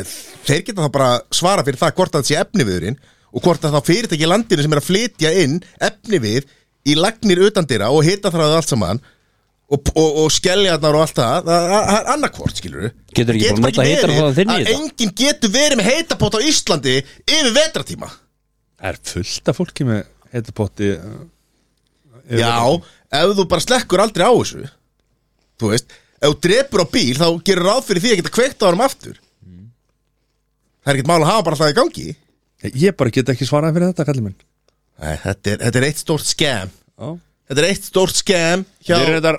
Speaker 2: þeir geta þá bara svara fyrir það hvort að þetta sé efniviðurinn og hvort að þá fyrirtæki í landinu sem er að flytja inn efnivið í lagnir utandira og hita þráðu allt saman og, og, og skelljarnar og allt það það það- það er annarkvort, skilur við
Speaker 3: Getur ekki bara notað heitarpótann þinn í
Speaker 2: að
Speaker 3: þetta?
Speaker 2: enginn getur verið með heitapót á Íslandi yfir vetratíma
Speaker 1: Er fullt af fólki með heitapotti
Speaker 2: Já, ef þú bara slekkur aldrei á þessu Þú veist, ef þú drepur á bíl þá gerir ráð fyrir því að geta kveikt á honum aftur Það er ekkert mál að hafa bara alltaf í gangi
Speaker 1: Ég bara get ekki svarað fyrir þetta, kallið minn
Speaker 2: Nei, þetta er, þetta er eitt stórt skem
Speaker 1: Já
Speaker 2: Þetta er eitt stórt skem hjá...
Speaker 1: Ég er þetta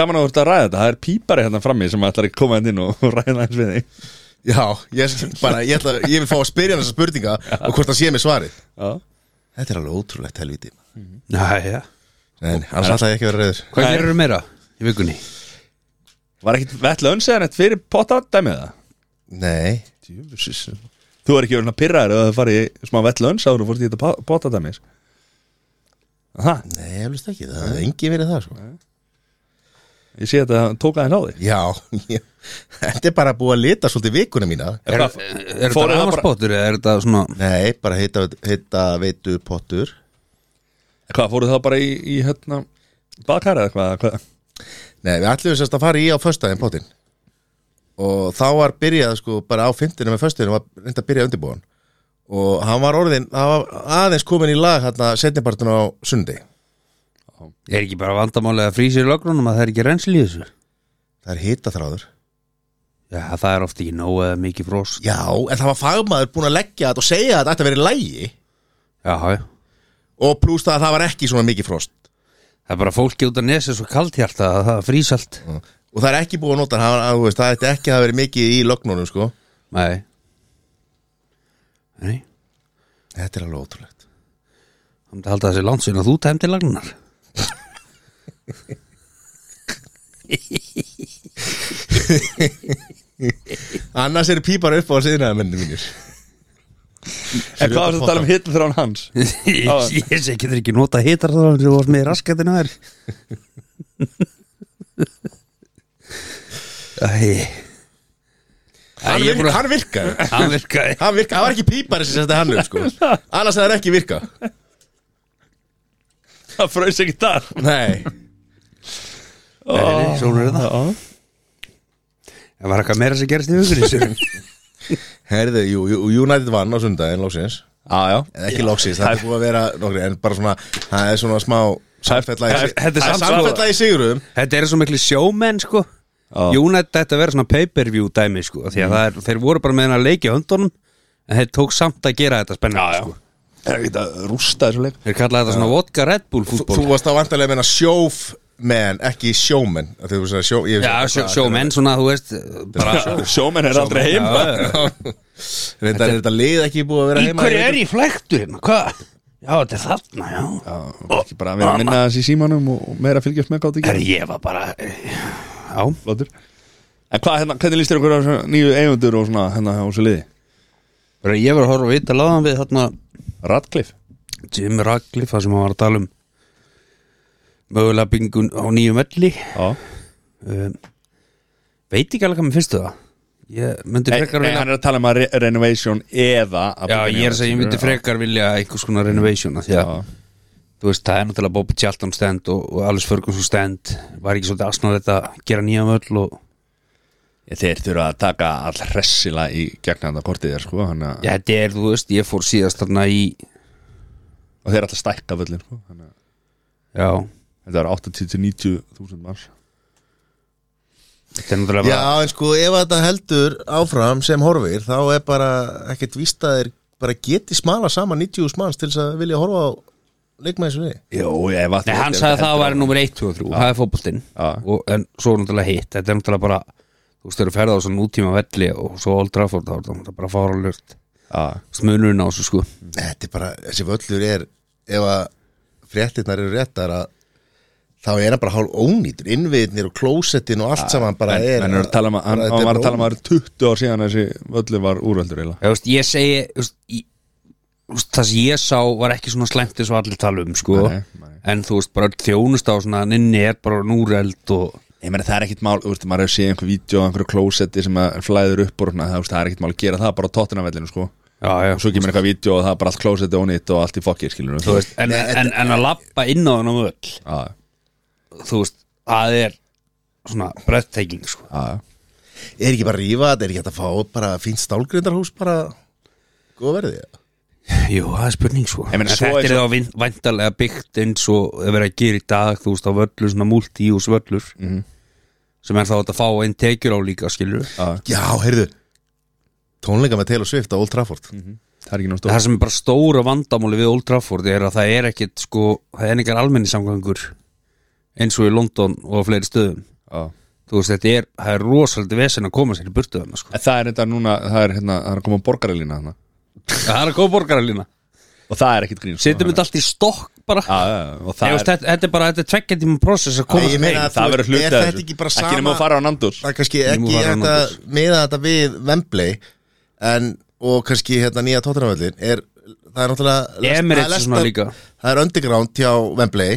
Speaker 1: gaman að þú ert að ræða þetta Það er pípari hérna frammi sem ætlar að koma hérna inn og <laughs> ræða eins við þig
Speaker 2: Já, ég, bara, ég, ætla, ég vil fá að spyrja hann þessa spurninga og hvort það sé mér svarið
Speaker 1: Já
Speaker 2: Þetta er alveg ótrúlegt helviti
Speaker 3: Næja
Speaker 2: En hann satt að ég ekki að vera reyður
Speaker 3: Hvað gerir meira í vikunni?
Speaker 1: Var ekkit vetla önseðan eitt fyrir pottadæmið það?
Speaker 2: Nei,
Speaker 1: Jöfusis Þú er ekki verið að pirraður að það fari í smá vetla öns áður og fórst í þetta pottadæmið Aha,
Speaker 2: nei, ég veist ekki Það er engi verið það sko.
Speaker 1: ég sé þetta tók aðeins á þig
Speaker 2: Já, <laughs> ég, þetta er bara búið að lita svolítið vikuna mína
Speaker 1: Er,
Speaker 3: Er, er
Speaker 1: Fóruð
Speaker 3: þetta
Speaker 1: það bara-
Speaker 3: rafmarspottur eða er þetta svona
Speaker 2: Nei, bara heita, heita veitu pottur
Speaker 1: Hvað, fóruð það bara í, í hérna Bakar eða hvað, hvað?
Speaker 2: Nei, við ætlum sérst að fara í á föstudaginn pottin Og þá var byrjað sko bara á fyndinu með föstudaginn var reynd að byrja undirbúan Og hann var orðin, hann var aðeins komin í lag hérna setnibartun á sundi
Speaker 3: Er ekki bara vandamálega að frísa í lögnunum að það er ekki rensli í þessu?
Speaker 2: Það er hita þráður
Speaker 3: Já, það er oft ekki nóg eða mikið frós Já,
Speaker 2: Já, en það var fagmaður búin að leggja þetta og segja að þetta ætti að vera í lægi
Speaker 3: já
Speaker 2: Og plúst það að það var ekki svona mikið frost
Speaker 3: Það er bara fólki út af nesið svo kalt hjarta að það frýs allt
Speaker 2: Og það er ekki búið að nota, það, var- þú veist, það ætti ekki að vera mikið í lögnunum sko
Speaker 3: Nei Nei
Speaker 2: Þetta er alveg ótrúlegt
Speaker 3: Það myndi halda þessi landsinn að þú tæmdi lagnar
Speaker 2: Annars eru pípar upp á síðnaði menni mínir
Speaker 1: En hvað var þetta að tala um hitl þrán hans?
Speaker 3: <laughs> Ég ég sé getur ekki nota hitar það sem þú varst með í raskatina <laughs> þær Æ Æ,
Speaker 2: Hann,
Speaker 3: ég er
Speaker 2: vir,
Speaker 3: búin að
Speaker 2: hann virkaði
Speaker 3: Hann virkaði
Speaker 2: Hann virkaði, það var ekki pípari sem setti hann upp
Speaker 3: <laughs>
Speaker 2: sko Annars það er ekki virka
Speaker 1: <laughs> Það fraus ekki þar
Speaker 2: Nei
Speaker 3: Nei, Svona er það Það var eitthvað meira sem gerist í <laughs> hugur þessu
Speaker 2: Herðu, jú, jú, United vann á sundaginn loksins
Speaker 1: Já, já
Speaker 2: En ekki loksins, það er búið að vera nokkri En bara svona, það er svona smá Samfella í,
Speaker 1: Það er-
Speaker 3: þetta er samt sko-
Speaker 2: samfella í sigurum
Speaker 3: Þetta eru svo miklu sjómenn sko
Speaker 1: Já.
Speaker 3: Júnætt þetta verið svona pay-per-view dæmi sko Því að það er, þeir voru bara með hennar leik í höndunum En þeir tók samt að gera þetta spennandi sko
Speaker 1: Það er ekki að rústa þessu leik
Speaker 3: Þeir kallaði þetta svona vodka Red Bull sko.
Speaker 2: Þú,
Speaker 3: fútból
Speaker 2: þú varst á vantarlega að meina sjófmenn Ekki sjómenn Af því þú sagði sjó, ég-
Speaker 3: Já, sjó, sjómenn svona, þú veist <laughs> bara,
Speaker 1: Sjómenn er aldrei heim
Speaker 2: <laughs> Reyndar er þetta lið ekki búið að vera
Speaker 3: Í
Speaker 2: heima
Speaker 3: hverju er ég flæktur hérna, hvað? Já, þetta er þarna, já,
Speaker 1: Ekki bara að vera að minna þessi í símanum og og meira að fylgjast með gátt
Speaker 3: Herri,
Speaker 1: ekki
Speaker 3: ég var bara eh, Já,
Speaker 1: Lótur En hvað, hérna, hvernig líst þér okkur á þessu nýju eigundur og svona hérna á þessu liði?
Speaker 3: bara ég var að horfa á vita láðan við þarna
Speaker 1: Radcliffe
Speaker 3: Jim Radcliffe, það sem hann var að tala um mögulega bingun á nýjum velli
Speaker 1: Já
Speaker 3: um, veit ekki alveg hvað mér finnst um það ég myndi
Speaker 1: Nei,
Speaker 3: frekar
Speaker 1: nei,
Speaker 3: vilja
Speaker 1: hann er að tala um að re renovation eða að
Speaker 3: já,
Speaker 1: byggja
Speaker 3: ég er að
Speaker 1: nýja.
Speaker 3: segja, ég myndi frekar vilja einhvers konar renovation af því að, þú veist, það er náttúrulega Bobby Charlton stand og, og Alice Ferguson stand var ekki svolítið asnalegt að gera nýja völl og
Speaker 1: Ég, Þeir þurfa að taka all hressila í gegnanda kortið þér sko hana,
Speaker 3: já, þetta er, þú veist, ég fór síðast þarna í
Speaker 1: og þeir er alltaf stækka völlin sko hana,
Speaker 3: já,
Speaker 1: Þetta er 80-90.000 manns
Speaker 3: þetta er náttúrulega
Speaker 2: Já, en sko, ef þetta heldur áfram sem horfir þá er bara ekkert víst að þeir bara geti smala saman 90 smanns til þess að vilja horfa á leikmaði sem við
Speaker 1: Jó, ef að
Speaker 3: Nei, hann sagði að það væri nummer 1, 2 og 3 Það er fótboltinn
Speaker 1: Já.
Speaker 3: Og- En svo er náttúrulega hitt Þetta er náttúrulega bara Þú veist, þau eru ferða á svona nútíma velli Og svo Old Trafford þá er Það er bara fáralögt
Speaker 1: Já,
Speaker 3: Smunurinn á þessu sko
Speaker 2: Þetta er bara, þessi völlur er ef að fréttirnar eru réttar að þá er hann bara hálf ónýtur innviðnir og klósettin og allt saman bara
Speaker 1: en,
Speaker 2: er
Speaker 1: en er að tala um að, hann, hann
Speaker 2: bara þetta
Speaker 1: var
Speaker 2: er
Speaker 1: að tala um
Speaker 2: bara
Speaker 1: að það er 20 ár síðan þessi völlu var úrveldur eiginlega
Speaker 3: Ég, veist, ég segi þú veist, í- þú veist, Það sem ég sá var ekki svona slæmt eins og allir tala um sko
Speaker 1: Nei, nei.
Speaker 3: En þú veist, bara þjónust á svona Ninni er bara núreld og
Speaker 1: Ég meina það er ekkit mál, þú veist, maður hefur séð einhver vídeo af einhverju klósetti sem að flæður upp úr hana, það, þú veist, það er ekkit mál að gera það bara á tottinavellinu sko og
Speaker 3: Já, já
Speaker 1: svo kemur eitthvað vídeo og það er bara allt klósetti ónýtt og allt í fokkir skilur
Speaker 3: Þú veist, en, en, en að lappa inn á þennan völl
Speaker 1: Já,
Speaker 3: Þú veist, það er svona breathtaking sko
Speaker 1: já, já.
Speaker 2: Er ekki bara að rífa þetta, er ekki hægt að fá bara fínt stálgrindarhús bara góð verði
Speaker 3: Jú, það er spurning sko
Speaker 1: Ég meina,
Speaker 3: En
Speaker 1: svo er
Speaker 3: Þetta er þá vantarlega byggt eins og er verið að gera í dag þú veist á völlur, svona multi-use völlur
Speaker 1: Mhm.
Speaker 3: sem er þá hægt að fá einn tekjur á líka skilur
Speaker 2: Já, heyrðu tónleika með Taylor Swift á Old Trafford
Speaker 1: það er ekki náttúrulega
Speaker 3: Það sem er bara stóra vandamáli við Old Trafford er að það er ekkit sko það er ekkert almenningssamgangur eins og í London og á fleiri stöðum þú veist þetta er, það er rosaldi vesen að koma sér í burtu þarna sko
Speaker 1: Það er þetta núna, það er hérna, það er að koma borgarelina hana
Speaker 3: Það er að koma borgaralína
Speaker 1: og það er ekkit grín sko.
Speaker 3: Setjum þetta allt í stokk bara
Speaker 1: Já, já, já, og
Speaker 3: Nei,
Speaker 1: það
Speaker 3: veist,
Speaker 1: er
Speaker 3: Þetta þetta er bara, þetta er tveggja tíma process að koma
Speaker 2: Nei, ég
Speaker 3: sér
Speaker 2: meina
Speaker 3: heim
Speaker 2: að
Speaker 1: Það
Speaker 2: þú-
Speaker 1: verður hluti
Speaker 2: er
Speaker 1: af
Speaker 2: þetta
Speaker 1: þessu.
Speaker 2: ekki bara
Speaker 1: Ekki nema
Speaker 2: sama-
Speaker 1: að fara á Nandos
Speaker 2: Það er kannski
Speaker 3: Nemo
Speaker 2: ekki
Speaker 3: var
Speaker 2: hægt
Speaker 3: annað
Speaker 2: að miða þetta við Vembley en, og kannski hérna nýja tóttunarvöldin er, það er náttúrulega lest-
Speaker 3: Emirates
Speaker 2: það er
Speaker 3: svona
Speaker 2: lestar-
Speaker 3: líka.
Speaker 2: Það er underground hjá Vembley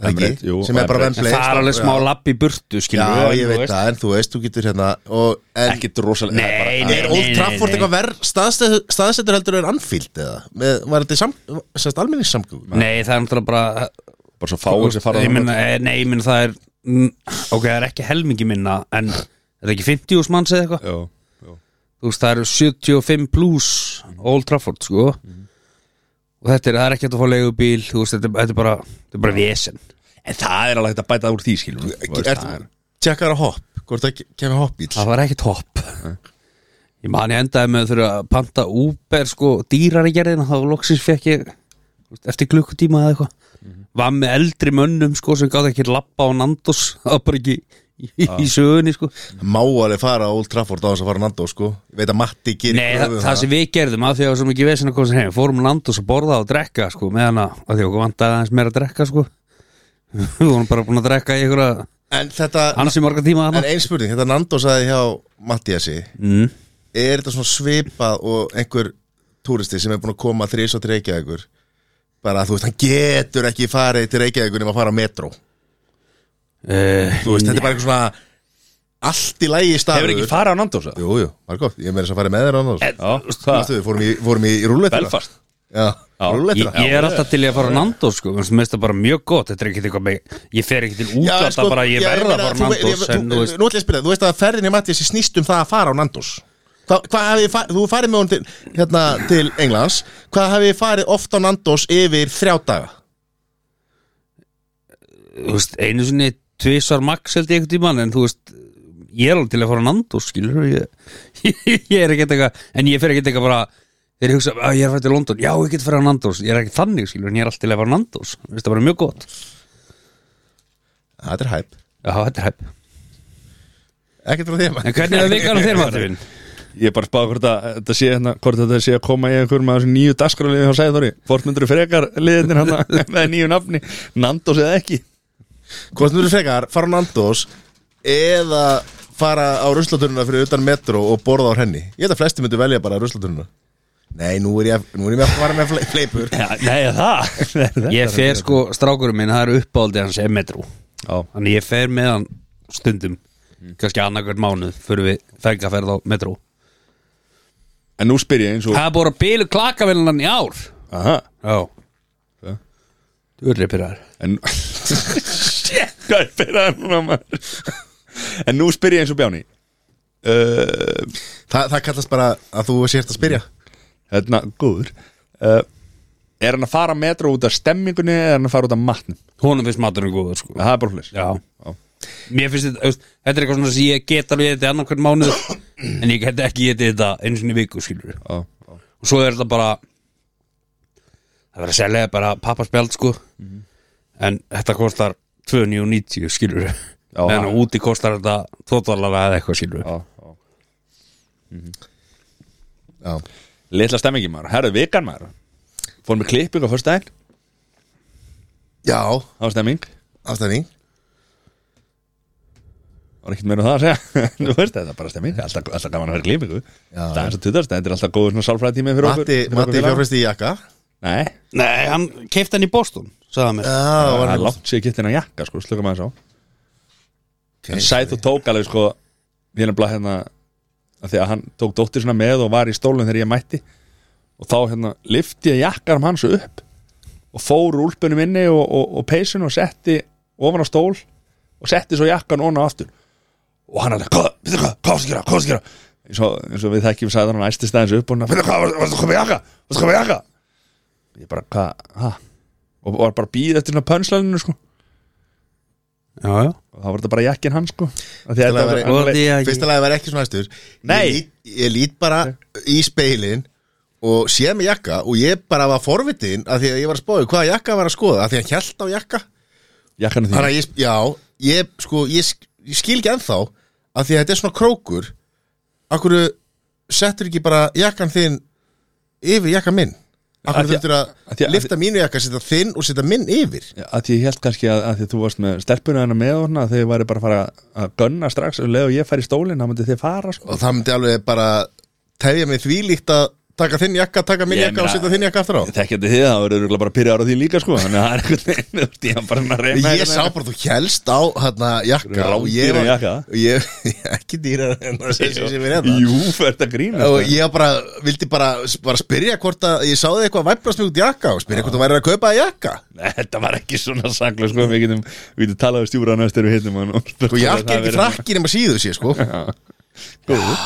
Speaker 2: ekki,
Speaker 1: Emirates, jú,
Speaker 2: sem er bara
Speaker 1: Emirates.
Speaker 2: Vembley
Speaker 3: Það er alveg smá lapp í burtu
Speaker 2: Já,
Speaker 3: skilur
Speaker 2: ég veit það, en þú veist, þú getur hérna og, en,
Speaker 1: ekkit rosalega það er bara-
Speaker 3: Nei, nei,
Speaker 2: Er Old Trafford eitthvað verð staðsettur, staðsettur heldur en Anfield eða? Með, var þetta í sam, sérst alminningssamgöng?
Speaker 3: Nei, það er náttúrulega bara
Speaker 1: bara svo fáið sem fara á
Speaker 3: Ég
Speaker 1: Nandos
Speaker 3: meina, eh, Nei, ég meina það er mm, Ok, það er ekki helmingi minna En er það ekki 50 ús manns eða eitthvað
Speaker 1: Já,
Speaker 3: Þú veist, það eru 75 plus Old Trafford, sko
Speaker 2: Mhm.
Speaker 3: Og þetta er, það er ekki hægt að fá leigubíl Þú veist, þetta, er- þetta er bara Þetta er bara vesen
Speaker 1: En það er alveg hægt að bæta úr því skilur
Speaker 2: Er- Tjekkar á hopp, hvort það kemur hoppbíl
Speaker 3: Það var ekki topp Ég man ég endaði með að þurfa að panta Uber sko, dýrar í gerðin þá loksins fekk ég þú veist, eftir klukkutíma eða eitthvað var með eldri mönnum sko sem gáði ekki lappa á Nandos það var bara ekki í,
Speaker 2: Ah.
Speaker 3: í sögunni sko
Speaker 2: Má alveg fara á Old Trafford á þess að fara Nando sko Ég veit að Matti gerir
Speaker 3: Nei,
Speaker 2: kröfu
Speaker 3: það,
Speaker 2: um
Speaker 3: það sem við gerðum að því að við sem ekki vesina komst heim fórum á Nandos að borða og drekka sko meðan að, að því okkur vantaði aðeins meira að drekka sko <laughs> við vorum bara búin að drekka í einhverja
Speaker 2: En þetta,
Speaker 3: annars í marga tíma
Speaker 2: en
Speaker 3: þarna
Speaker 2: ein spurning, þetta Nando sagði hjá Mattiasi
Speaker 3: mm.
Speaker 2: Er þetta svona svipað og einhver túristi sem er búin að koma þrís og til Reykjavíkur Bara að þú veist, hann getur ekki farið til Reykjavíkur nema að fara á metro
Speaker 3: uh,
Speaker 2: Þú veist, þetta er bara eitthvað svona Allt í lægi staður
Speaker 1: Hefur ekki farið á Nandos eða?
Speaker 2: Jú, jú, Margot, ég meira þess að fara með þér annars
Speaker 3: Eh,
Speaker 1: Já, það
Speaker 2: Vistu, við fórum í, fórum í rúlletra
Speaker 1: Belfast
Speaker 2: Já, hérna.
Speaker 3: Ég,
Speaker 2: rúlletra
Speaker 3: ég er alltaf til í að fara á Nandos sko, mér finnst það bara mjög gott þetta er ekkert eitthvað með, ég fer ekkert til útlanda
Speaker 2: sko,
Speaker 3: bara, sko, ég verða bara á Nandos en, þú
Speaker 2: Nú
Speaker 3: veist,
Speaker 2: ætlum ég að spila, þú veist að ferðin í Mattias snýst um það að fara á Nandos Hva, Hvað hafið farið, þú farið með hún til, hérna, til Englands Hvað hafið þið farið oft á Nandos yfir þrjá daga?
Speaker 3: þú veist, einu sinni tvisar max held ég eitthvað tímann en þú veist, ég er alveg til að fara á Nandos skilur ég, <laughs> ég er ekkert eitthvað en ég fer ekkert eitthvað bara þegar ég hugsa, að ég er fætt í London, já ég get fara á Nandos ég er ekki þannig skilur, en ég er alltaf til að fara á Nandos Mér finnst það bara mjög gott,
Speaker 2: Það er hæp
Speaker 3: já þetta er hæpp
Speaker 2: Ekkert frá þér
Speaker 3: en hvernig er það vikan á þér maður þinn?
Speaker 1: Ég er bara að spá hvort að þetta sé hérna hvort þetta sé að koma í einhverjum af þessum nýju dagskráliði hjá Sæðþóri Hvort myndur frekar liðinir hann <laughs> með nýju nafni Nandos eða ekki
Speaker 2: <laughs> Hvort mjög frekar, fara á Nandos eða fara á ruslaturuna fyrir utan metro og borða á henni Ég held að flesti myndu velja bara ruslaturuna Nei, nú er ég, nú er ég með að fara með fle- fleipur
Speaker 1: ja, Nei, það
Speaker 3: ég fer sko, strákurum minn, það er uppáldi hans Emmetrú
Speaker 1: Já,
Speaker 3: Þannig ég fer með hann stundum kannski annarkvært mánuð fyrir við fergaferð á metró
Speaker 1: en nú spyr ég eins og
Speaker 3: Það er búin að bílu klakavélunan í ár
Speaker 1: Aha,
Speaker 3: Já
Speaker 1: Já.
Speaker 3: Þú er reypiraður
Speaker 1: en <laughs> Shit, hvað er fyrir það núna maður En nú spyr ég eins og Bjáni uh,
Speaker 2: Þa, það kallast bara að þú sért að spyrja
Speaker 1: Hérna, góður uh, Er hann að fara metro út af stemmingunni eða er hann að fara út af matnum?
Speaker 3: Honum finnst maturinn góður sko
Speaker 1: Það er bara hlulis
Speaker 3: Já Mér finnst þetta, þú veist, þetta er eitthvað svona sem ég get alveg þetta annarkvært mánuð En ég get ekki getið þetta einu sinni í viku skilur
Speaker 1: Já, já.
Speaker 3: og svo er þetta bara það verður að selja bara pappaspjald sko
Speaker 1: Mhm.
Speaker 3: en þetta kostar 2.90 skilur við
Speaker 1: Já.
Speaker 3: meðan að úti kostar þetta 2 dollara eða eitthvað skilur við
Speaker 1: já, já.
Speaker 2: Já,
Speaker 1: Litla stemmingi maður, herðu vikan maður Fórum við klipping á fyrsta daginn,
Speaker 2: já
Speaker 1: það var stemming
Speaker 2: afstæðning
Speaker 1: Það var ekkert meira um það að segja <laughs> Þú veist þetta, er bara stemming, alltaf, alltaf gaman að vera klippingu Það er eins og tutast, þetta er alltaf góður svona sálfræðtími fyrir okkur
Speaker 2: Matti,
Speaker 1: fyrir okkur
Speaker 2: Matti
Speaker 1: félaga.
Speaker 2: fjárfæsti í jakka
Speaker 1: Nei,
Speaker 3: Nei, hann keipti hann í Boston sagði hann mér
Speaker 2: Já,
Speaker 1: það
Speaker 2: var
Speaker 1: er
Speaker 2: hann
Speaker 1: langt sér gettin að jakka sko, slöka maður sá okay, Sæt og tók alveg sko Við erum blað hérna að Því að hann tók dóttir svona með og var í stólun þegar ég mætti Og þá hérna lifti ég jakkarum hans upp Og fór úlpunum inni og, og, og peysun og setti ofan á stól Og setti svo jakkan ofan á aftur Og hann alveg, hvað, veitir hvað, hvað varstu að gera, hvað varstu að gera eins og, eins og við þekkjum sæðan hann æstist aðeins upp og hann, veitir hvað, varstu- varstu að koma í jakka, varstu að koma í jakka Ég bara, hvað, hæ Og var bara býð eftir svona pönslaninu sko
Speaker 3: Já, já
Speaker 1: og þá var þetta bara jakkin hans sko Af því að þetta var
Speaker 2: væri-
Speaker 3: Og því að
Speaker 2: Fyrsta lagi var ekki svona hæstur
Speaker 1: Nei.
Speaker 2: ég lít, ég lít bara í speilin og sé með jakka og ég bara var forvitin að því að ég var að spáði hvaða jakka hann var að skoða að því að hann hjælt á jakka
Speaker 1: jakkanu
Speaker 2: Þannig
Speaker 1: þín
Speaker 2: að ég, já, ég, sko, ég, sk- ég skil ekki ennþá að því að þetta er svona krókur Akkur settur ekki bara jakkan þinn yfir jakka minn
Speaker 1: Af
Speaker 2: Akkur
Speaker 1: því að-
Speaker 2: þurftur að,
Speaker 1: af því að-
Speaker 2: lifta mínu jakka, setja þinn og setja minn yfir
Speaker 1: að því ég held kannski að, að því þú varst með stelpuna hennar með og svona að þið væri bara að fara að gönna strax og leið og ég fær í stólinn þá myndi þið fara sko
Speaker 2: Og það myndi alveg bara tefja mig þvílíkt að taka þinn jakka, taka minn
Speaker 1: Ég
Speaker 2: jakka og
Speaker 1: meina-
Speaker 2: setja þinn jakka aftur á
Speaker 1: þekkjandi þið þá verður örugglega bara að pyrja ára því líka sko þannig að það er einhvern veginn þú veist, ég er bara svona að reyna
Speaker 2: Ég sá bara þú hélst á hérna jakka og ég
Speaker 1: Rándýra
Speaker 2: var,
Speaker 1: jakka.
Speaker 2: og ég, <laughs> ekki dýra en það sem sem sem er
Speaker 1: hérna.
Speaker 2: eða
Speaker 1: Jú, þetta grínast sko.
Speaker 2: og
Speaker 1: það.
Speaker 2: ég var bara, vildi bara, bara spyrja hvort að ég sáði eitthvað væplast mjög út í jakka og spyrja hvort þú væri að kaupa að jakka
Speaker 1: Nei, Þetta var ekki svona sakla sko við getum, við getum talað um stjúra næst þegar við hittum hann og
Speaker 2: og jakka er ekki frakki nema síðu sé sko
Speaker 3: ég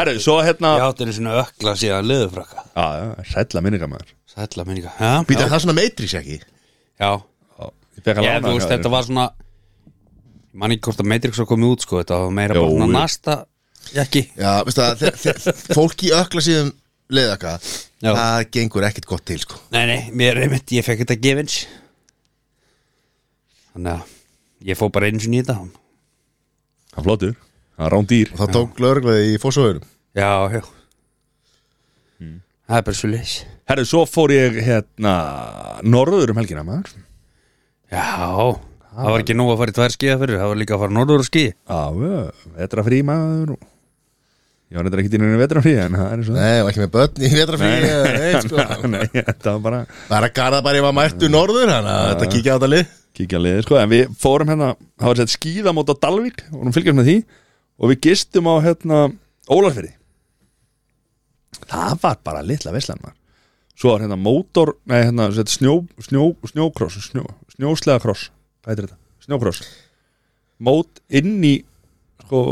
Speaker 1: Herru, svo hérna
Speaker 3: Ég
Speaker 1: Já,
Speaker 3: átti einu svona ökla síðan leðurfrakka
Speaker 1: já, sætla minningamæður
Speaker 3: Sætla minninga Já,
Speaker 2: býta það er svona meitris ekki
Speaker 3: já Já, þú veist, þetta var svona Ég man ekki hvort að Matrix var komið út, sko Þetta var meira
Speaker 1: Jó,
Speaker 3: bara svona
Speaker 1: jú.
Speaker 3: nasta Jakki
Speaker 2: já, veistu það, þe- þe- fólk í ökla síðum leiðaka,
Speaker 3: Já.
Speaker 2: það gengur ekkit gott til sko
Speaker 3: Nei, nei, mér er einmitt, ég fekk þetta gefinns Þannig að Ég fó bara einu sinni í þetta
Speaker 1: Hann flottur, hann rándýr
Speaker 2: og þá tók lögreglaði í fósóðurum
Speaker 3: Já, já Það er bara svo leys
Speaker 1: Herru, svo fór ég hérna norður um helgina maður
Speaker 3: Já, það var ekki nóg að fara í tvær skiða fyrir Það var líka að fara norður að skiði
Speaker 1: Já, vetrafrí maður og- Ég var neitt ekki tíðinu vetrafrí en það er eins og það
Speaker 2: nei, og ekki með börn í vetrafríi eða neitt, sko.
Speaker 1: <laughs> nei, þetta var bara
Speaker 2: bara garða bara ef að mættu norður þannig að þetta kíkja á þetta lið
Speaker 1: kíkja liðið sko en við fórum hérna, það var sett skíðamót á Dalvík og hún fylgjast með því og við gistum á hérna Ólafyrði það var bara litla veslan maður svo var hérna mótor, nei hérna sett, snjó, snjó, snjókross snjó, snjóslega kross, hvað heitir þetta? snjókross, mót inn í sko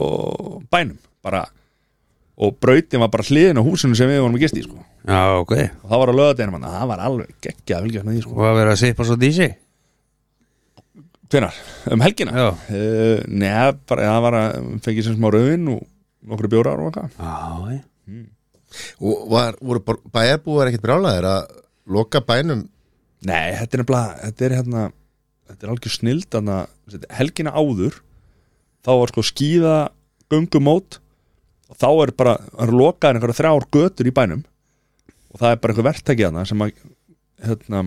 Speaker 1: bænum bara og brautin var bara hliðin á húsinu sem við vorum að gist í sko og
Speaker 3: Já, ok
Speaker 1: það var að löða þeirnum hann, það var alveg geggja að fylgjast með því sko
Speaker 3: Og að vera að seipa svo dísi
Speaker 1: Hvenar? Um helgina?
Speaker 3: Já.
Speaker 1: Uh, Nei, bara það var að fengið sem smá rauðin og nokkru bjórar og eitthvað
Speaker 3: Já, já
Speaker 2: og var, voru bor- bæjarbúar ekkit brjálaðir að loka bænum
Speaker 1: Nei, þetta er nefnilega, þetta er hérna þetta er algjör snild, þannig að helgina áður, þá var sko skíða göngumót og þá er bara, það eru lokaðir einhverja þrjár götur í bænum og það er bara einhver verktæki þarna sem að hérna,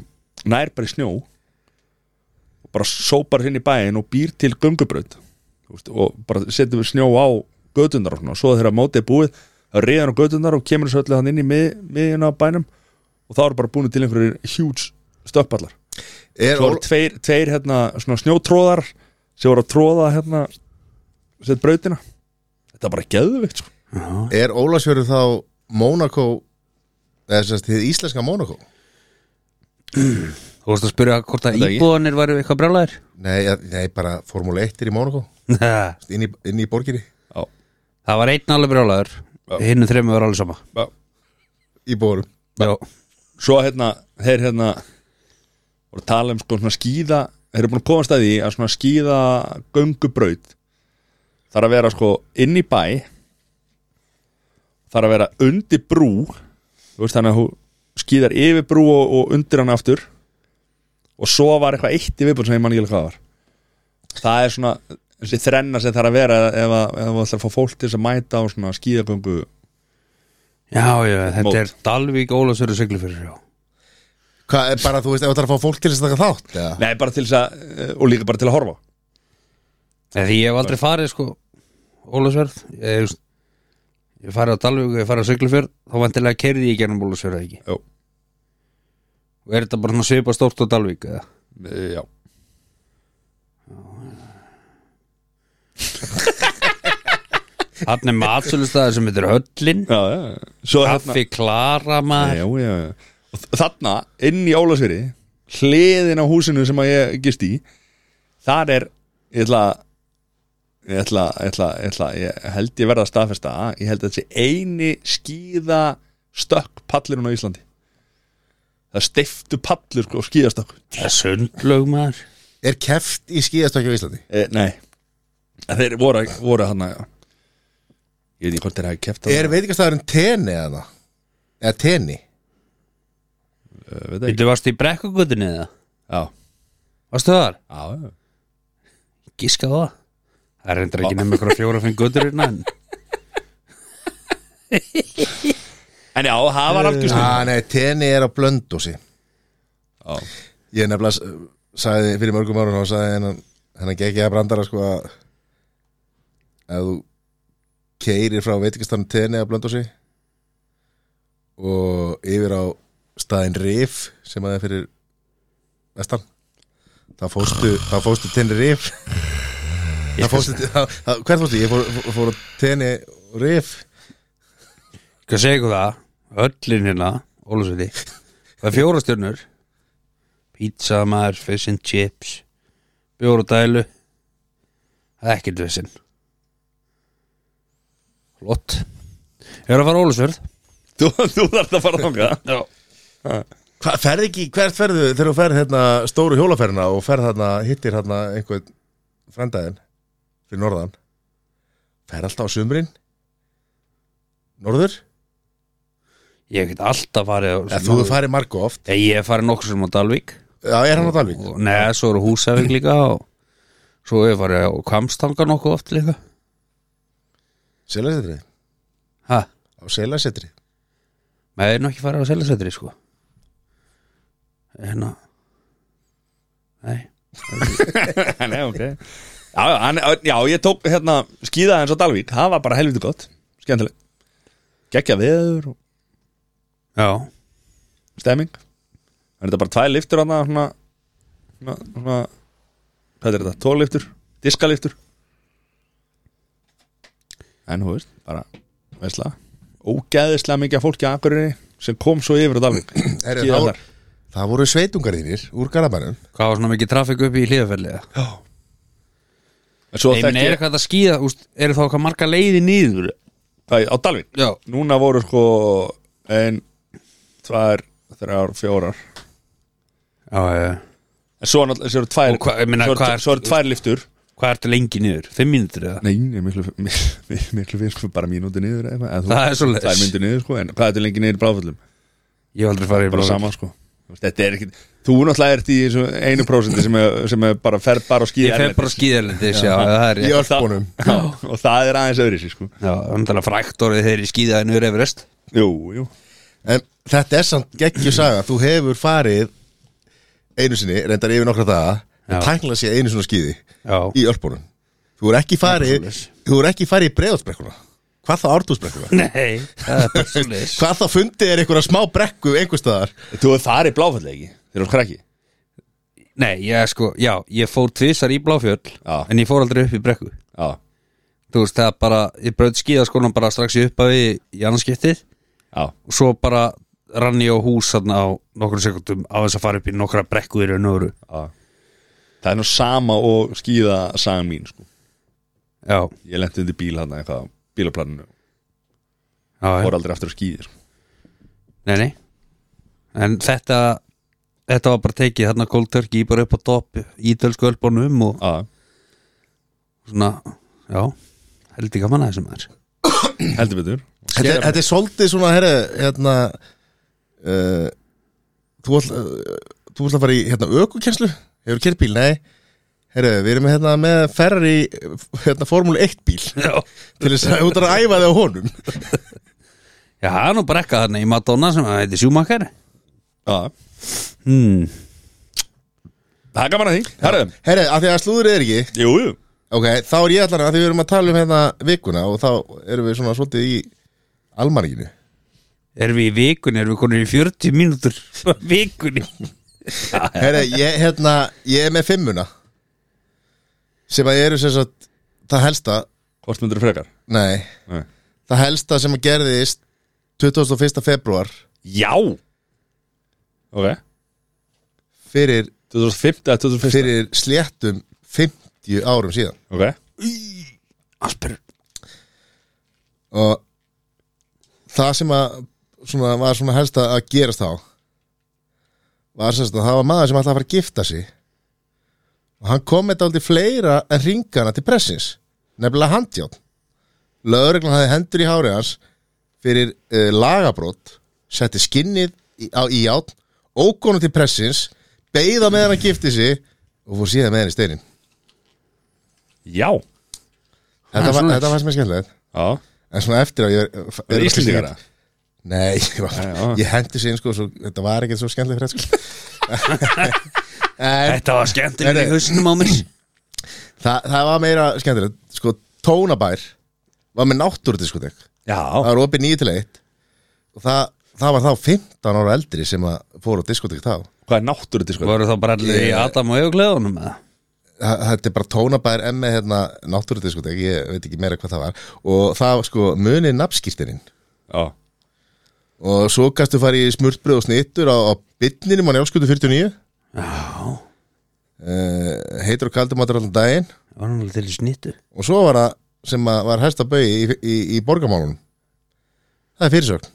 Speaker 1: nær bara í snjó og bara sópar hinn í bæin og býr til göngubraut þú veist, og bara setjum við snjó á götundar og svona, svo þegar mótið er búið það er reyðan á götundar og kemur þessu öllu hann inn í mið, miðjuna á bænum og þá eru bara búinu til einhverjir huge stöppallar
Speaker 2: er,
Speaker 1: svo
Speaker 2: Ól-
Speaker 1: eru tveir, tveir hérna, svona snjótróðar sem voru að tróða hérna, sett brautina þetta er bara geðvikt sko.
Speaker 2: er Ólafsfjörður þá Mónakó eða sérst þið íslenska Mónakó
Speaker 3: Þú vorst að spyrja hvort að
Speaker 1: Þetta ekki.
Speaker 3: íbúðanir varu eitthvað brjálæðir
Speaker 2: nei, ja, nei, bara Formule 1 er í Mónakó inn, í- inn í borginni,
Speaker 3: <laughs> Það var einn alveg brjálæður Hinnu þremmu var alveg sama
Speaker 2: í bórum
Speaker 3: Já,
Speaker 1: svo hérna, þeir hérna voru að tala um sko, svona skíða þeir eru búin að komast að því að svona skíða göngubraut þarf að vera sko inn í bæ þarf að vera undir brú Þú veist þannig að hún skýðar yfir brú og, og undir hann aftur og svo var eitthvað eitt í viðbúin sem ég man ekki alveg hvað var það er svona þessi þrenna sem þarf að vera ef að, ef að ætlar að fá fólk til þess að mæta á svona skýðagöngu
Speaker 3: Já, já, þetta
Speaker 1: Mót.
Speaker 3: er Dalvík Ólafsöru Siglufjörður já.
Speaker 2: Hvað, er bara, þú veist, ef það er að fá fólk til þess að taka þátt ja.
Speaker 1: Nei, bara til þess að, eh, og líka bara til að horfa
Speaker 3: Nei, Því ég hef aldrei farið sko Ólafsverð Ég hef ég hef farið á Dalvík og ég hef farið á Siglufjörð þá vantilega kerði ég gernum Ólafsverð ekki
Speaker 1: Jó.
Speaker 3: Og er þetta bara svona svipa stórt á Dalvík eða?
Speaker 1: Eh, Já
Speaker 3: Hann er matsölustæður sem heitir Höllin
Speaker 1: Já, já, svo er þarna-
Speaker 3: Kaffi Klara maður
Speaker 1: Já, já, já Og þ- þarna, inn í Ólasveri hliðin á húsinu sem að ég gist í þar er ég ætla að- ég ætla, ég ætla, ég ætla ég held ég verða að staðfesta það. ég held að þessi eini skýða stökk pallurinn á Íslandi það er steiftu pallur sko, og skýðastökk
Speaker 3: Það er sundlaug maður
Speaker 2: Er keft í skíðastökju á Íslandi?
Speaker 1: e, Nei, En þeir voru, voru hann að ég veit ekki hvort þeir hafi keft
Speaker 2: Er veitingastæðurinn teni eða? Eða teni?
Speaker 1: veit ekki
Speaker 3: Þetta varst í brekkugötunni eða?
Speaker 1: Já,
Speaker 3: Varstu þar?
Speaker 1: já, já
Speaker 3: Gíska á það Það er reyndar ekki nefnir ykkur fjóra fimm götur innan en
Speaker 1: En já, það var algjör
Speaker 2: Já, Ah, nei, teni er á blöndósi
Speaker 1: Já.
Speaker 2: Ég nefnilega s- sagði fyrir mörgum árun og sagði hennan hennan gekk ég að brandara sko að að þú keirir frá veitingastæðurinn teni á blöndósi og yfir á staðin Rif sem að það er fyrir vestan þá fóstu, þá fóstu tenni Rif þá fóstu þá- þá- hvert fóstu? Ég fór, fór- fór á tenni Rif
Speaker 3: Hvað segir ykkur það? Höllin hérna, Ólusviti Það er fjóra stjörnur Pizza maður, fish and chips Bjóru dælu Það er ekkert vissin Flott Ég er að fara Ólusvörð
Speaker 1: Þú, þú þarft að fara þangað <laughs>
Speaker 3: Já
Speaker 2: Hva, ferð ekki, hvert ferðu þegar þú ferð hérna stóru hjólaferðina og ferð hérna, hittir hérna einhvern frændaðin fyrir norðan ferð alltaf á sumrin norður
Speaker 3: Ég get alltaf farið á
Speaker 2: eða þú hefur farið margu oft
Speaker 3: Nei, Ég hef farið nokkur sem á Dalvík
Speaker 2: já, er hann á Dalvík
Speaker 3: og, Nei, svo eru Húsavík líka og svo hef ég farið á Kamstanga nokkuð oft líka
Speaker 2: selasetrið
Speaker 3: Hæ?
Speaker 2: á selasetrið
Speaker 3: Maður er nú ekki farið á Selasetri sko Hérna Nei
Speaker 1: Nei, ok Já, já, hann, já ég tók hérna skíðaði eins og Dalvík, það var bara helviti gott skemmtileg, geggja veður og
Speaker 3: Já,
Speaker 1: stemming það er þetta bara tvær liftur hann svona, svona, svona hvað er þetta, tóliftur, diskaliftur en hú veist, bara veistla, ógeðislega mikið af fólki að akkurinni sem kom svo yfir á Dalvík
Speaker 2: <clears throat> Herru,
Speaker 1: Skíða
Speaker 2: þá-
Speaker 1: þar.
Speaker 2: það voru sveitungar þínir úr Garabænum
Speaker 3: hvað var svona mikið trafik upp í hlýðafelli Nei,
Speaker 1: En svo
Speaker 3: menn
Speaker 1: þekki
Speaker 3: er
Speaker 1: ég,
Speaker 3: eitthvað að skýða úst, eru þá eitthvað marga leiði nýður
Speaker 1: Æ, á Dalvík
Speaker 3: Já,
Speaker 1: Núna voru sko ein, tvær, þrjár, fjórar
Speaker 3: já, já
Speaker 1: En svo, er náttúrulega- svo eru tvær
Speaker 3: Og hvað- ég meina,
Speaker 1: svo, eru-
Speaker 3: hvað er-
Speaker 1: svo eru tvær liftur
Speaker 3: Hvað ertu lengi nýður? Fimm mínútur eða?
Speaker 1: Nei, ég er miklu, miklu, miklu fyrir sko, bara mínúti niður eða, eða,
Speaker 3: Það er svoleiðis.
Speaker 1: Tvær myndir niður sko, en hvað er þetta lengi niður í bláföllum?
Speaker 3: Ég hef aldrei farið í
Speaker 1: Bara
Speaker 3: Bláfell.
Speaker 1: sama sko Þú veist, Þetta er ekki, þú náttúrulega ert í þessu einu prósenti sem, er, sem er bara fer bara og skýða
Speaker 3: Ég fer bara skýðarlendis, já, það er
Speaker 2: í
Speaker 3: ég
Speaker 2: Ölpunum
Speaker 1: <laughs> Og það er aðeins öðri sér sko
Speaker 3: Já, umtala frækt orðið þeir í skýðaðinu Everest
Speaker 1: Jú, jú
Speaker 2: en þetta er samt geggju saga þú hefur farið einu sinni reyndar yfir nokkra daga en
Speaker 3: Já.
Speaker 2: tæknilega sé einu svona skýði
Speaker 3: Já,
Speaker 2: í Ölpunum Þú er ekki farið Þú er ekki farið í
Speaker 1: sko.
Speaker 2: breiðalsbrekkuna Hvað þá ártúsbrekkuna?
Speaker 3: <laughs> nei, það er bara svoleiðis
Speaker 2: Hvað þá fundið er einhverja smá brekku einhverstaðar?
Speaker 1: Þú er þar í bláföll ekki, þeir eru skræki
Speaker 3: Nei, ég sko, já, ég fór tvisar í Bláfjöll
Speaker 1: Já.
Speaker 3: En ég fór aldrei upp í brekku
Speaker 1: Já,
Speaker 3: Þú veist, það bara, ég braut skýðaskóna bara strax í upphafi í annarskiptið
Speaker 1: já,
Speaker 3: og svo bara rann ég á hús þarna á nokkrum sekundum á þess að fara upp í nokkra brekkuðir en öðru
Speaker 1: já Það er nú sama og skýða sagan mín sko
Speaker 3: já,
Speaker 1: ég lendi undir bíl hann eitthvað á bílaplaninu
Speaker 3: já, já.
Speaker 1: fór aldrei aftur að skýði sko.
Speaker 3: Nei, nei. en þetta þetta var bara tekið þarna kóltörki bara upp á topp í tölsku ölbónum og
Speaker 1: ah.
Speaker 3: svona, já heldig gaman að þessum er
Speaker 1: heldur betur
Speaker 2: Þetta, þetta er svolítið svona herri, hérna, uh, þú ætla uh, þú ætla að fara í hérna ökukenslu hefur kerið bíl, nei Heru, við erum hérna með Ferrari hérna, Formule 1 bíl
Speaker 3: Já,
Speaker 2: til þess að <laughs> út að æfa þig á honum
Speaker 3: Já, það er nú brekka þarna í Madonna sem að heiti Sjúmakar
Speaker 1: Já,
Speaker 3: hmm.
Speaker 1: það er gaman að því, herðum
Speaker 2: Herru, af því að slúður er ekki
Speaker 1: Jú, jú,
Speaker 2: Ok, þá er ég allan að því við erum að tala um hérna vikuna og þá erum við svona svolítið í almarínu
Speaker 3: Erum við í vikunni, erum við konur í 40 mínútur <laughs> Vikunni
Speaker 2: Herre, ég, hérna, ég er með fimmuna sem að eru sem sagt það helsta,
Speaker 1: hvort myndur frekar
Speaker 2: nei
Speaker 1: Nei.
Speaker 2: það helsta sem að gerðist 21. februar
Speaker 1: Já Ok,
Speaker 2: fyrir,
Speaker 1: 2005 eða 2001
Speaker 2: fyrir sléttum 50 árum síðan
Speaker 1: Ok,
Speaker 3: Asper
Speaker 2: og það sem að svona, var svona helst að gerast þá var sérst að það var maður sem ætlaði að fara að gifta sig og hann kom með aldrei fleira en ringana til pressins nefnilega handjátt lögreglan hafði hendur í hárið hans fyrir uh, lagabrót setti skinnið í, á í játn ókonu til pressins beigða með hann að gifti sig og fór síðan með hann í steinin
Speaker 1: já
Speaker 3: Ha,
Speaker 2: þetta, var-
Speaker 3: svona.
Speaker 2: þetta var sem er skemmtilegt
Speaker 1: Já,
Speaker 2: en svona eftir að ég er,
Speaker 1: það er Íslendingar það
Speaker 2: Nei, ég, var,
Speaker 1: Nei, já.
Speaker 2: ég hendi sér inn sko, svo, þetta var ekkert svo skemmtileg frétt sko. en,
Speaker 3: Þetta var skemmtilega
Speaker 2: Nei,
Speaker 3: í
Speaker 2: nei.
Speaker 3: hausnum á mér
Speaker 2: það, það var meira skemmtilegt sko, Tónabær var með náttúrudiskotek
Speaker 1: Já,
Speaker 2: það var opið nýju til eitt og það, það var þá 15 ára eldri sem að fór á diskotek þá
Speaker 1: hvað er náttúrið sko?
Speaker 3: Voru þá bara allir í
Speaker 2: Ég-
Speaker 3: Adam og Eugleðunum eða?
Speaker 2: Þa- þetta er bara tónabær en með hérna, náttúrudiskotek, ég veit ekki meira hvað það var og það sko munið nafnskýrtininn
Speaker 1: Já,
Speaker 2: og svo kannstu fara í smurtbröð og snittur á, á bytninum á njálskutu 49
Speaker 3: Já,
Speaker 2: uh, heitur og kaldur matur allan daginn
Speaker 3: það var hann alveg til í snittu
Speaker 2: og svo var það sem að var hæsta bau í, í, í borgamálunum það er fyrirsögn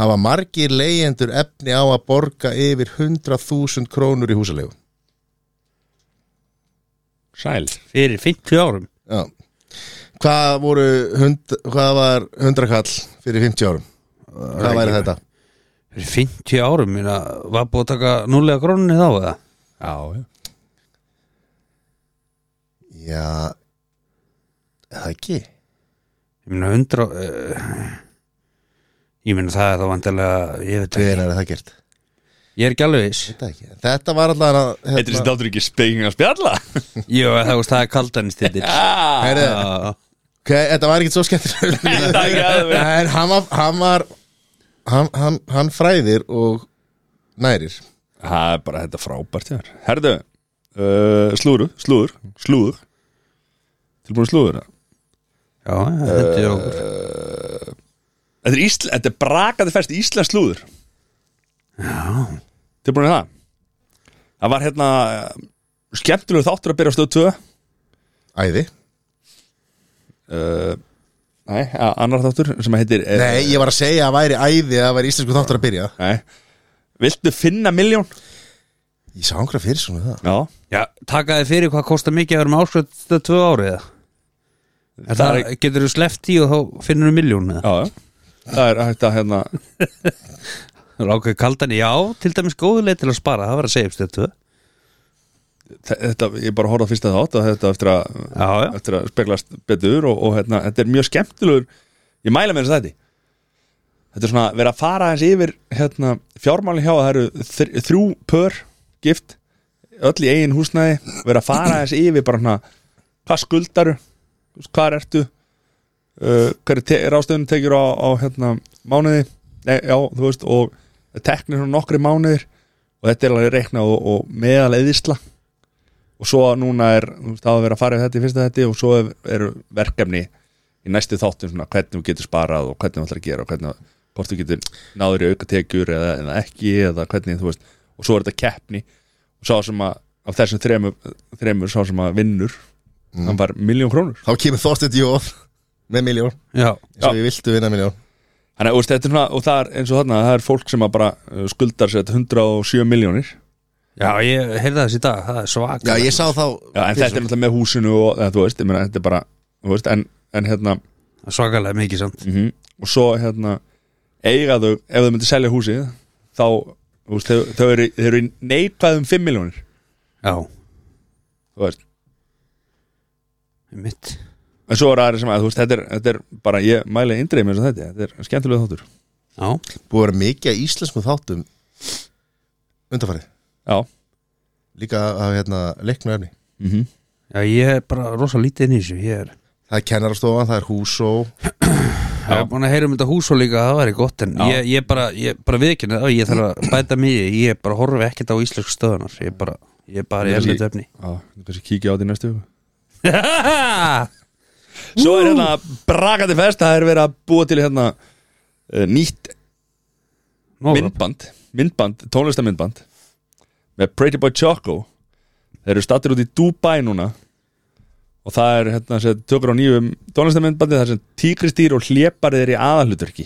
Speaker 2: hafa margir leyendur efni á að borga yfir 100.000 krónur í húsalegu
Speaker 1: sæl
Speaker 3: Fyrir 50 árum
Speaker 2: Já. hvað voru hund, hvað var 100 kall fyrir 50 árum hvað væri þetta
Speaker 3: Fyrir 50 árum, minna, var búið að taka núlega krónunni þá eða?
Speaker 1: Já, já
Speaker 2: já það ekki
Speaker 3: Ég meina 100 uh, Ég meina það er þá vantilega Ég veit ekki,
Speaker 2: hvenær er það gert
Speaker 3: ég er ekki alveg viss
Speaker 2: Þetta ekki. þetta var hérna- alltaf
Speaker 1: Þetta er sem dátur ekki speking að spjalla
Speaker 3: Jú, það, veist, það er kaldanistittir
Speaker 1: Já,
Speaker 2: Heyrðu, okay, þetta var ekkert svo <laughs> skemmtilega
Speaker 1: <laughs> þetta er gæðveg
Speaker 2: En hann var, hann, var hann, hann, hann fræðir og nærir
Speaker 1: Það er bara þetta frábært hér Herðu, uh, slúru, slúður, slúður Tilbúin slúður eða?
Speaker 3: Já, þetta er okkur
Speaker 1: Þetta er, Ísl, þetta er brakandi fest Íslands slúður
Speaker 3: Já,
Speaker 1: Tilbúin í það Það var hérna eh, skemmtilegur þáttur að byrja á stöð 2
Speaker 2: Æði
Speaker 1: uh, Nei, a- annar þáttur sem heitir eh,
Speaker 2: Nei, ég var að segja að væri æði að það væri íslensku þáttur að byrja
Speaker 1: nei Viltu finna miljón?
Speaker 2: Ég sá einhverja fyrir svona það
Speaker 1: Já
Speaker 3: Já taka þið fyrir hvað kostar mikið að vera með áskriftstöð tvö árið eða? Er
Speaker 1: Það
Speaker 3: Það
Speaker 1: er-
Speaker 3: getur þú sleppt í og þá finnur þú milljón eða?
Speaker 1: Já, já Það er hægt að hérna
Speaker 3: Það er ákveð kaldan, já, til dæmis góðu leið til að spara, það var að segja upp stöð tvö
Speaker 1: þe- þetta, ég bara horfði á fyrsta þátt og þetta eftir að,
Speaker 3: Já, já.
Speaker 1: eftir að speglast betur og, og hérna, þetta er mjög skemmtilegur ég mæla með þess að þetta þetta er svona verið að fara aðeins yfir hérna, fjármáli hjá að það eru þr, þrjú pör gift öll í eigin húsnæði, verið að fara aðeins yfir bara svona, hvað skuldaru hvað ertu uh, hver er te rástöðunum tekjur á, á hérna, mánuði Nei, já, þú veist, og teknir svona nokkri mánuðir og þetta er alveg reiknað og, og meðal eðisla og svo núna er þú veist, það að vera að fara í þetta í fyrsta þetta og svo er- eru verkefni í næstu þáttum svona hvernig þú getur sparað og hvernig þú ætlar að gera og hvernig hvort þú getur náður í auka tekjur eða, eða ekki eða hvernig þú veist og svo er þetta keppni og sá sem að af þessum þremur, þremur sá sem að vinnur hann var miljón krónur
Speaker 2: Þá kemur Þorsteinn Jóð með miljón
Speaker 3: Já,
Speaker 2: eins og
Speaker 1: Já.
Speaker 2: ég viltu vinna miljón
Speaker 1: Þannig, að, þú veist, þetta er svona, og það er eins og þarna það er fólk sem að bara uh, skuldar sér 107 miljónir
Speaker 3: já, ég heyrði þess í dag, það er svaka
Speaker 2: Já, ég sá þá
Speaker 1: Já, en þetta er náttúrulega með húsinu og eða, þú veist, ég meina, þetta er bara, þú veist, en, en hérna
Speaker 3: Svakalega mikið samt
Speaker 1: -hmm. og svo Mhm. hérna eiga þau, ef þau myndir selja húsið þá, þú veist, þau, þau eru, þau eru í neikvæðum 5 miljónir
Speaker 3: Já,
Speaker 1: þú veist,
Speaker 3: mitt
Speaker 1: en svo eru aðri sem að, þú veist, þetta er, þetta er bara, ég mæli indreið með þess að þetta, þetta er skemmtilega þáttur
Speaker 3: Já,
Speaker 2: Búið að vera mikið að íslensku þáttum undanfarið
Speaker 1: Já,
Speaker 2: Líka af hérna leiknu efni
Speaker 1: mhm
Speaker 3: já ég er bara rosa lítið inn í þessu Ég er,
Speaker 2: Það er kennarastofan, það er húsó
Speaker 3: ég er búin að heyra um þetta hús og líka að það væri gott En
Speaker 1: Já.
Speaker 3: ég, ég bara, ég bara viðkynna það Ég þarf að bæta mig í, Ég bara horfi ekkert á íslensku stöðunar Ég bara, ég bara er
Speaker 1: Ég-
Speaker 3: þetta efni
Speaker 1: Já, kannski kíkja á því næstu viku.
Speaker 3: <laughs> Já,
Speaker 1: Svo er hérna brakandi fest Það er verið að búa til hérna eh, Nýtt myndband Myndband, tónlistamyndband Með Pretty Boy Choco Þeir eru stattir út í Dubai núna Og það er hérna sem tökur á nýjum tónlistamyndbandi þar sem tíkristýr og hléparið er í aðalhuturki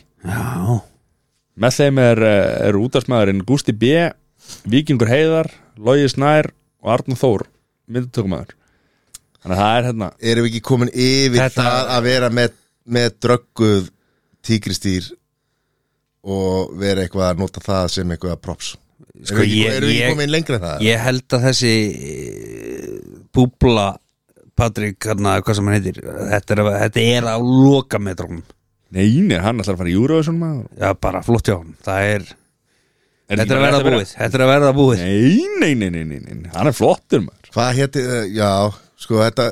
Speaker 1: Með þeim er, eh, er útarsmaðurinn Gústi B, Víkingur Heiðar Logi Snær og Arnur Þór myndatökumæður Þannig að það er hérna
Speaker 2: Erum við ekki komin yfir
Speaker 3: Þetta-
Speaker 2: það að vera með, með drögguð tígristýr og vera eitthvað að nota það sem eitthvað props
Speaker 3: Sko,
Speaker 2: Erum við ekki,
Speaker 3: ég-
Speaker 2: erum við ekki
Speaker 3: ég-
Speaker 2: komin lengra en það?
Speaker 3: Ég held að þessi eh, búbla Patrik, hérna, hvað sem hann heitir Þetta er, að- þetta er á lokametrum
Speaker 1: Nei, nei, hann ætlar að fara í Eurovision maður
Speaker 3: Já, bara flott hjá hann Það er,
Speaker 1: Er
Speaker 3: þetta
Speaker 1: ekki
Speaker 3: er að
Speaker 1: bara
Speaker 3: verða búið Þetta er að verða búið
Speaker 1: Nei, nei, nei, nei, nei, nei, hann er flottur maður
Speaker 2: Hvað héti, eh, já, sko þetta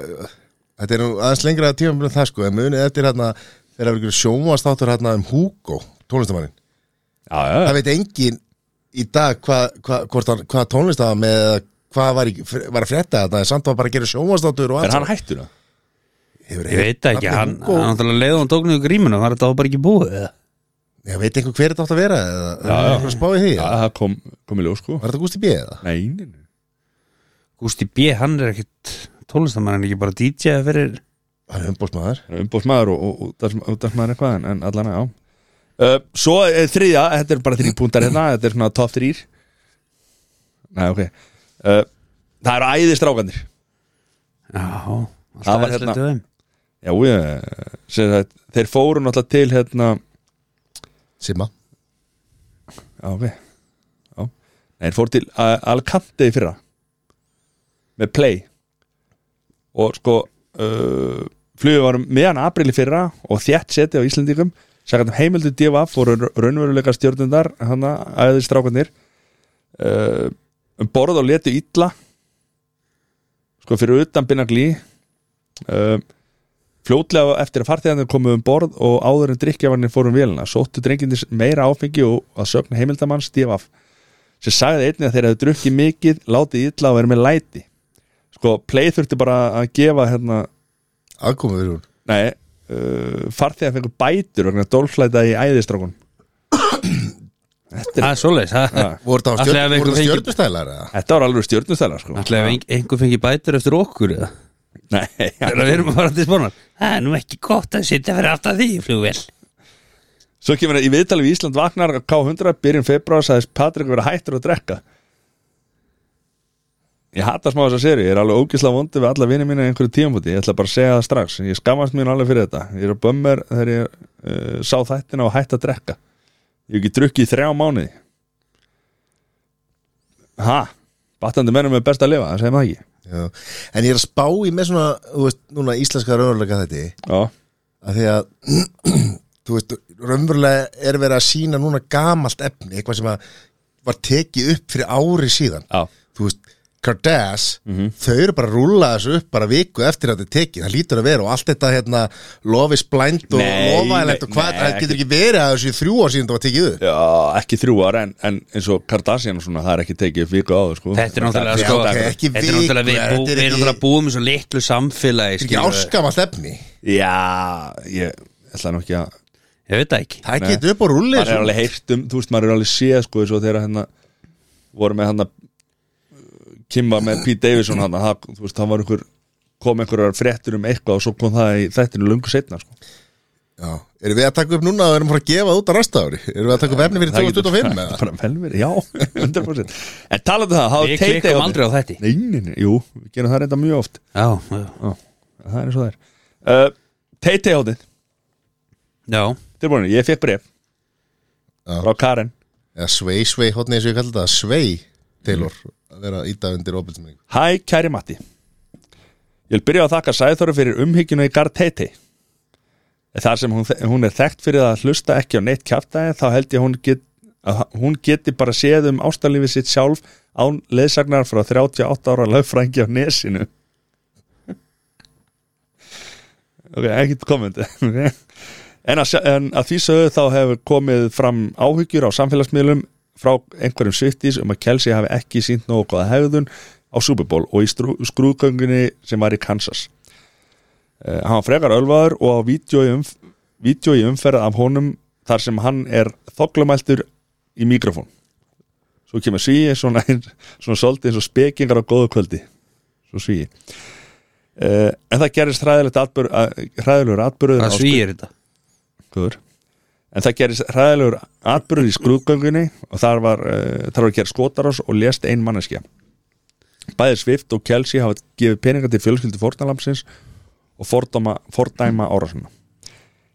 Speaker 2: Þetta er nú aðeins lengra tíma en það sko, en munið eftir hérna þegar það verður sjónvastáttur hérna um Hugo tónlistamannin,
Speaker 1: Já, já, já,
Speaker 2: það veit engin í dag hvað hva, hva, hva tónlistafa með eða hvað var, í, var að frétta þetta, en samt var bara að gera sjónvastáttur og
Speaker 1: er hann hættur það?
Speaker 2: Hefur-
Speaker 3: Ég veit það ekki,
Speaker 2: nafnið
Speaker 3: hann,
Speaker 2: Hugo-
Speaker 3: hann náttúrulega leið og hann tók niður grímuna var þetta þá bara ekki búið eða?
Speaker 2: Ég veit einhver hver þetta átt að vera eða, já, já. að spá í því
Speaker 1: Já,
Speaker 2: eða?
Speaker 1: það kom, kom í ljós sko
Speaker 2: Var þetta Gústi B eða?
Speaker 1: Nei, nei, nei
Speaker 3: Gústi B, hann er ekkit tónlistamann hann er ekki bara DJ eða fyrir
Speaker 2: Hann er umbóðsmaður
Speaker 1: Hann er umbóðsmaður og, og, og útdagsmaður eitthvað en, en allan, já uh, Svo er þriðja, þetta er bara þrý púntar hérna Þetta er svona top þrýr Nei, ok uh, Það eru æðistrákanir
Speaker 3: Já, alltaf
Speaker 1: Það var
Speaker 3: æðislegt
Speaker 1: hérna-
Speaker 3: hjá þeim.
Speaker 1: Já, ég, sem sagt, þeir fóru náttúrulega til hérna
Speaker 2: Simma
Speaker 1: Já, ok Já. Nei, þeir fór til uh, Alcante í fyrra með Play og sko uh, flugum varum meðan april í fyrra og þjætt seti á Íslandingum sagði heimildu divaf og raunveruleika stjórnundar hann aðeins strákanir uh, um borð og letu illa sko fyrir utan Binnaglí uh, fljótlega eftir að farþegarnir komu um borð og áður en drikkjafarnir fórum vélina sóttu drenginni meira áfengi og að sögna heimildamann Stífaf sem sagði einnig að þeir hefðu drukkið mikið látið illa og verið með læti sko, play þurfti bara að gefa hérna,
Speaker 2: Aðkomið fyrir hún
Speaker 1: nei, uh, farþegar fengur bætur vegna dólflæta í æðistrákun
Speaker 3: Það er svoleiðis, það
Speaker 1: ja,
Speaker 2: Voru það á
Speaker 3: Ætli
Speaker 2: stjörn-
Speaker 3: hafi einhver
Speaker 2: voru það
Speaker 3: fengið-
Speaker 2: stjörnustælar eða?
Speaker 1: þetta var alveg stjórnustælar sko.
Speaker 3: Ætlaði að einhver fengi bætur eftir okkur eða
Speaker 1: nei, já.
Speaker 3: Þegar við erum að fara til spánar Það er nú ekki gott að sitja fyrir aftan því flugvel
Speaker 1: Svo kemur það í viðtali við Ísland vaknar K100 byrjun februar sagðist Patrik vera hættur að drekka Ég hata smá þessa seri, ég er alveg ógislega vondi við alla vinið mínu einhverju tímafúti, ég ætla bara að segja það strax ég skammast mín alveg fyrir þetta, ég er að bömmer þegar ég uh, sá þættina og hætt að drekka ég hef ekki drukkið í þrjá mánuði Ha, battandi mennum er best að lifa, það segir maður ekki
Speaker 2: Já. En ég er að spá í með svona þú veist, núna íslenska raunveruleika þetta
Speaker 1: Já,
Speaker 2: að því að <clears throat> þú veist, raunverulega er verið að sína núna gamalt efni, eitthvað sem að var tekið upp fyrir ári síðan
Speaker 1: já,
Speaker 2: þú veist, Kardas
Speaker 1: Mhm.
Speaker 2: þau eru bara að rúlla þessu upp bara viku eftir að þetta er tekið, það lítur að vera og allt þetta hérna, Love is blind og
Speaker 1: Nei,
Speaker 2: lofaðilegt og
Speaker 1: nei,
Speaker 2: hvað,
Speaker 1: nei,
Speaker 2: það getur ekki verið að þessu í þrjú ár síðan það var tekið upp
Speaker 1: já ekki þrjú ára en, en eins og Kardashian og svona, það er ekki tekið vika áður sko.
Speaker 3: Þetta er náttúrulega
Speaker 2: Já,
Speaker 3: sko
Speaker 2: ok, ekki
Speaker 3: Þetta er náttúrulega við bú-
Speaker 2: vikur, þetta er
Speaker 3: við erum
Speaker 2: ekki-
Speaker 3: náttúrulega búum í svo litlu samfélagi
Speaker 2: þetta er
Speaker 3: skilurðu.
Speaker 2: ekki áskamalt efni
Speaker 1: Já, ég ætla nú ekki að
Speaker 3: Ég veit það ekki
Speaker 2: það getur upp og
Speaker 1: maður
Speaker 2: rúlla
Speaker 1: er
Speaker 2: þessu
Speaker 1: alveg heyrt um, þú veist, maður er alveg séð sko eins og þegar hérna voru með hann Kimba með Pete Davidson hann þú veist, hann var einhver kom einhverjar fréttur um eitthvað og svo kom það í þættinu lungu setna sko.
Speaker 2: Já. erum við að taka upp núna og erum að fara að gefa það út á næsta ári erum við að taka upp efni fyrir
Speaker 1: Það getur- <laughs>
Speaker 2: 2025
Speaker 1: það er
Speaker 2: eða?
Speaker 1: bara vel verið, já, <laughs> 100% en talaðu það, hafa
Speaker 3: Við klikum aldrei á þetta
Speaker 1: Nei, nei, nei, jú, við gerum það reynda mjög oft
Speaker 3: Já, já,
Speaker 1: já, það er eins og það er uh, Teitei hátinn,
Speaker 3: já
Speaker 1: tilbúinu, ég fekk bref frá Karen
Speaker 2: eða svei svei hotni eins og ég kallar þetta svei Taylor að vera að íta undir opilsmyng
Speaker 1: Hæ, kæri Matti Ég vil byrja á að þakka Sæþóru fyrir umhyggjuna í Garth Heiti Þar sem hún, hún er þekkt fyrir að hlusta ekki á neitt kjaftaði þá held ég hún get, að hún geti bara séð um ástarlífið sitt sjálf án leðsagnar frá 38 ára lögfrængi á nesinu <laughs> Ok, ekkert komment <laughs> ok. en, að, sjá- en að því sögðu þá hefur komið fram áhyggjur á samfélagsmiðlum frá einhverjum svittis um að Kelsey hafi ekki sínt nógu góða hegðun á Super Bowl og í strú, skrúðgöngunni sem var í Kansas uh, Hann var frekar ölvaður og á vídeo í, umf vídeo í umferð af honum þar sem hann er þoklumæltur í mikrofón Svo kemur svíi svona, <laughs> svona svolítið eins og spekingar á góðu kvöldi Svo svíi Uh, en það gerist hræðilegt atbyrð, hræðilegur atbyrður
Speaker 3: Það svýir þetta
Speaker 1: Guður. En það gerist hræðilegur atbyrður í skrúðgöngunni og þar var, uh, þar var að gera skotarás og lést ein manneskja. Bæði Svift og Kelsey hafa gefið peninga til fjölskyldi fórnalamsins og fordóma, fordæma árásuna.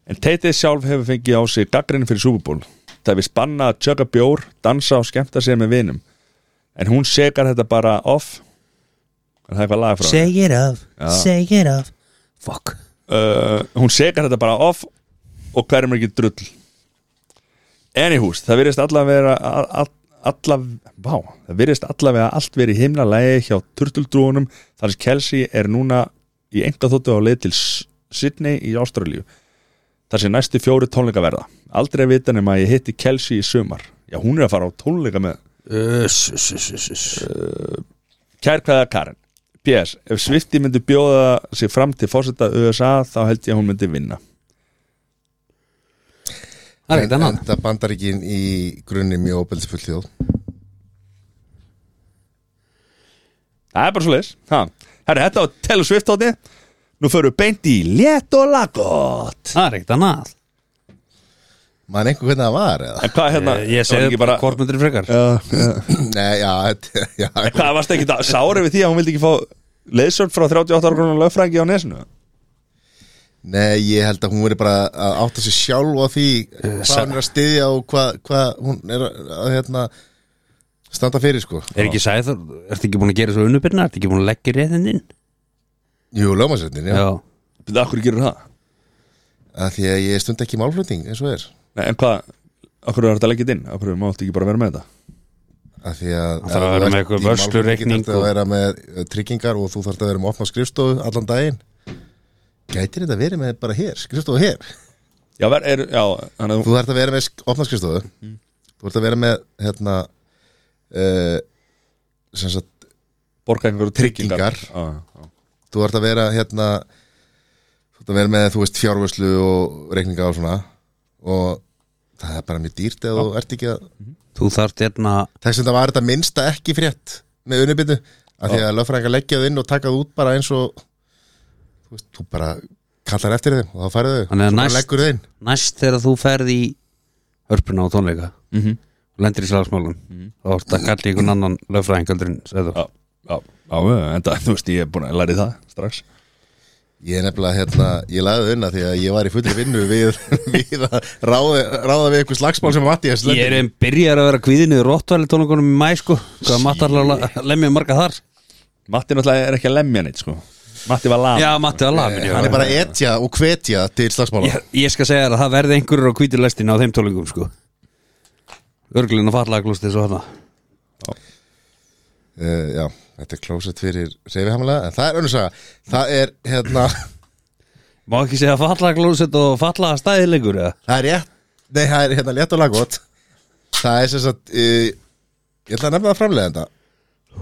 Speaker 1: En Teitið sjálf hefur fengið á sig dagrinni fyrir Superból. Það hefur spannað að tjöka bjór, dansa og skemmta sér með vinum. En hún segar þetta bara off. Er það eitthvað laga frá? henni?
Speaker 3: it off, say it off Fuck
Speaker 1: uh, hún sekar þetta bara off og hverjum er ekki drull Anyhús, það virðist allavega allavega, vá það virðist allavega allt verið himna lægi hjá turtuldrúunum þar sem Kelsey er núna í enga þóttu á leið til S- Sydney í Ástralíu þar sem næstu fjóri tónleika verða aldrei að vita nema að ég hitti Kelsey í sumar já, hún er að fara á tónleika með
Speaker 3: Uss, uss, uss, uss, uss.
Speaker 1: Kærkvæða Karen PS, ef Svifti myndi bjóða sig fram til fórseta USA þá held ég að hún myndi vinna
Speaker 3: Það er ekkert annað
Speaker 2: það bandar ekki í grunni mjög opilsfull þjóð
Speaker 1: Það er bara svo leis Herra, þetta var Taylor Swift átni Nú förum við beint í létt og laggott
Speaker 3: Það er ekkert annað
Speaker 2: maður einhver hvernig það var eða
Speaker 1: En hvað hérna
Speaker 3: Eh, Ég, ég
Speaker 1: var
Speaker 3: segi
Speaker 1: ekki bara,
Speaker 3: hvort myndir frekar
Speaker 2: <clears throat> Nei, já, þetta- <laughs> já
Speaker 1: En hvað varst ekki það sári við því að hún vildi ekki fá leiðsörn frá 38 ára grunar lögfrængi á nesinu
Speaker 2: Nei, ég held að hún veri bara að átta sér sjálf á því
Speaker 3: Eh,
Speaker 2: hvað hún er að styðja og hvað, hvað hún er að, að hérna, standa fyrir sko
Speaker 3: Er ekki sæð þar, ertu ekki búin að gera svo unnubyrna Ertu ekki búin að leggja reyðin inn
Speaker 2: Jú, lögmasrættin, já,
Speaker 3: Já,
Speaker 1: Býttu, akkur gerur það?
Speaker 2: Af Því að ég stund ekki málflutning eins og er
Speaker 1: Nei, en hvað, akkur er þetta leggjit inn? Akkur máttu ekki bara vera með þetta?
Speaker 2: Af Því að
Speaker 3: Það þarf að vera með eitthvað vörslureikning
Speaker 2: Það þarf
Speaker 3: og-
Speaker 2: að vera með eh, tryggingar og þú þarf að vera með opna skrifstofu allan daginn Gætir þetta verið með bara hér, skrifstofu hér
Speaker 1: Já, ver, er, já, hann að þú
Speaker 2: Þú þarf að vera með sk- opna skrifstofu
Speaker 3: Mm.
Speaker 2: Þú þarf að vera með hérna, uh, sem sagt
Speaker 1: borgar einhverju tryggingar
Speaker 2: Tryggingar.
Speaker 1: Já, já.
Speaker 2: þú ert að vera hérna þú ert að vera með þú veist fjárvörslu og reikninga og svona og það er bara mjög dýrt eða þú ert ekki að
Speaker 3: þú þarft hérna
Speaker 2: þess að það var þetta minnsta ekki frétt með unnibyndu, af því að lögfræðingar leggja þau inn og taka þú út bara eins og þú veist, þú bara kallar eftir þeim og þá færðu þau,
Speaker 3: Þannig að
Speaker 2: Svo bara
Speaker 3: næst-
Speaker 2: leggur þau inn
Speaker 3: Næst þegar þú ferð í hörpuna á tónleika mm
Speaker 1: Mm-hmm.
Speaker 3: -hmm. Lendir í slagsmálum Þá ertu að kalla í einhvern annan lögfræðingöldurinn Sæður
Speaker 1: já, já, já, já, en það, þú veist, ég er búin að læri það strax
Speaker 2: Ég er nefnilega, hérna, ég lagði þau inn af því að ég var í fulli vinnu við, <laughs> við að ráða, ráða við einhver slagsmál sem Mattias
Speaker 3: Ég er einn byrjar að vera kvíðinu í rottvæli tónleikunum í mæ sko Hvað Matti alveg að lemja marga þar
Speaker 1: Matti náttúrulega er ekki að lemja neitt, sko Matti var lam
Speaker 3: Já, Matti alveg
Speaker 2: Eh, Hann er bara að etja og hvetja til slagsmála
Speaker 3: ég, ég skal segja þér að það verði einhverjur á hvítu lestina á þeim tólingum sko Örglun og fallaglosti svo hana
Speaker 2: uh, já, þetta er klósett fyrir reyfihamlega, en það er önnur saga það er, hérna, <coughs>
Speaker 3: Má ekki segja fallagloset og fallaga stæðilegur eða?
Speaker 2: það er rétt nei, það er hérna létt og laggótt það er sem sagt uh, ég ætla að nefna það framlega þetta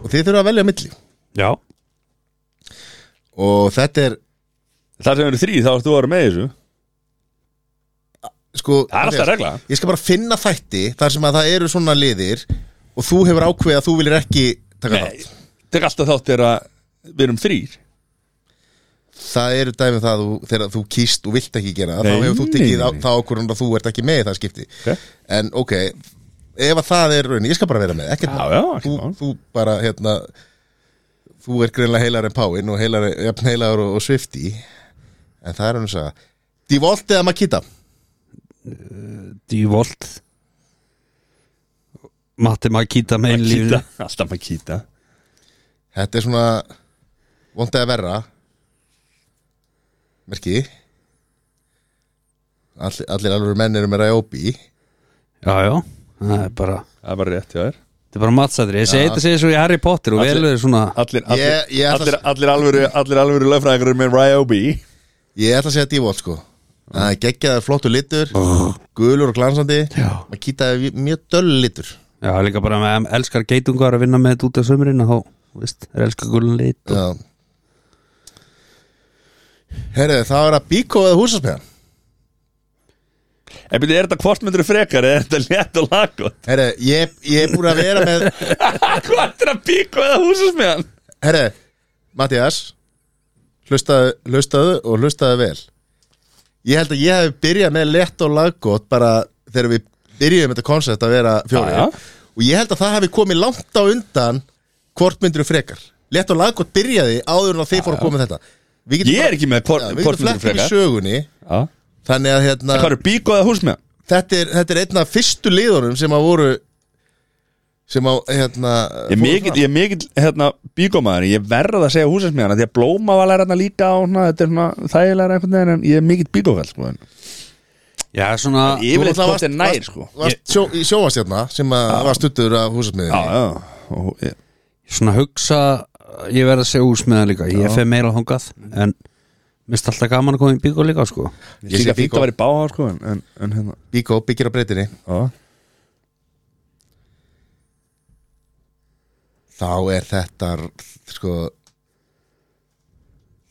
Speaker 2: og þið þurfa að velja á milli
Speaker 3: Já
Speaker 2: og þetta er,
Speaker 1: Það sem eru þrý, þá ert þú að vera með í þessu
Speaker 2: sko
Speaker 1: Það er alltaf regla
Speaker 2: ég skal bara finna þætti þar sem að það eru svona liðir og þú hefur ákveðið að þú vilir ekki taka
Speaker 1: Nei,
Speaker 2: þátt
Speaker 1: tek alltaf þátt er að við erum þrýr
Speaker 2: það eru dæmið það að þú, þegar þú kýst og vilt ekki gera það,
Speaker 1: Nei,
Speaker 2: þá hefur þú
Speaker 1: nei, nei,
Speaker 2: tekið á- þá ákvörðun að þú ert ekki með í það skipti
Speaker 1: Ok.
Speaker 2: en ok, ef að það er raunin, ég skal bara vera með, ekkert
Speaker 1: Já, já,
Speaker 2: mál.
Speaker 1: ekkert
Speaker 2: þú,
Speaker 1: mál.
Speaker 2: þú bara, hérna þú er greinlega heilar en Páin og heilar, jafn heilar og, og Swifty en það er hann að sagða Divolt eða Makita
Speaker 3: Dívolt Matti Makita með einu lífi
Speaker 1: Makita, alltaf Makita
Speaker 2: Þetta er svona Vondið að verra Merki All, Allir alveg menn eru með Rajóbi
Speaker 3: Já, já, það er bara
Speaker 1: Það er bara rétt hjá þér
Speaker 3: Þetta er bara matsætri, ég segi þetta segir svo í Harry Potter og
Speaker 1: Allir-
Speaker 3: vel er svona
Speaker 1: Allir, allir,
Speaker 2: Ég- ég ætla-
Speaker 1: allir, allir alvöru, allir alvöru lögfræðingur eru með Ryobi
Speaker 2: Ég ætla að segja Dívolt sko Það er geggjaður flottur litur Gulur og glansandi
Speaker 3: Já.
Speaker 2: Maður kýtaði mjög döll litur
Speaker 3: Já, líka bara með em- elskar geitungar að vinna með þetta út af sömurinn og þá, veist, er elskar gulun lit
Speaker 2: Já Herðu, það var að bíkó eða húsasmiðan
Speaker 1: En byrju, er þetta hvort myndur frekar eða er þetta létt og laggott?
Speaker 2: Herðu, ég, ég er búin að vera með
Speaker 1: Hvort er að bíku eða húsusmiðan?
Speaker 2: Herre, Mattias hlustaðu, hlustaðu og hlustaðu vel Ég held að ég hef byrjað með lett og laggót bara þegar við byrjuðum þetta koncept að vera fjóri
Speaker 1: Já, já.
Speaker 2: og ég held að það hefði komið langt á undan hvort myndir frekar Lett og laggót byrjaði áður en að þið fóru að koma með þetta Við
Speaker 1: Ég er
Speaker 2: bara-
Speaker 1: ekki með
Speaker 2: Já,
Speaker 1: hvort
Speaker 2: Við getum
Speaker 1: myndur
Speaker 2: flett með
Speaker 1: frekar
Speaker 2: sögunni
Speaker 1: Já.
Speaker 2: Þannig að hérna,
Speaker 1: Hvað eru bíku eða húsmiðan?
Speaker 2: þetta, er, þetta er einn af fyrstu liðunum sem að voru sem að hérna,
Speaker 1: Ég er
Speaker 2: fóru
Speaker 1: mikill,
Speaker 2: fram.
Speaker 1: ég er mikill hérna, bíkomaður, ég verð að segja húsinsmiðana því að blóma var lærarna líka á hana, þetta er svona þægilega einhvern veginn en ég er mikill bíkofell sko, en
Speaker 3: Já, svona
Speaker 1: yfirleitt
Speaker 2: náttúrulega
Speaker 1: hvort er
Speaker 2: varst-
Speaker 1: nær sko Já,
Speaker 2: varst sjó, í sjónvastjarna sem að var stuttur af húsasmiðinni
Speaker 1: já, og, ég,
Speaker 3: svona hugsa ég verð að segja úrsmiða líka ég fer meira þangað en mist alltaf gaman að koma í byggur líka sko.
Speaker 1: ég sé
Speaker 2: sé
Speaker 1: að fínt
Speaker 2: Bíkó.
Speaker 1: að vera í báhá sko en, en, en hérna,
Speaker 2: Bíkó byggir á breytinni
Speaker 1: já,
Speaker 2: þá er þetta sko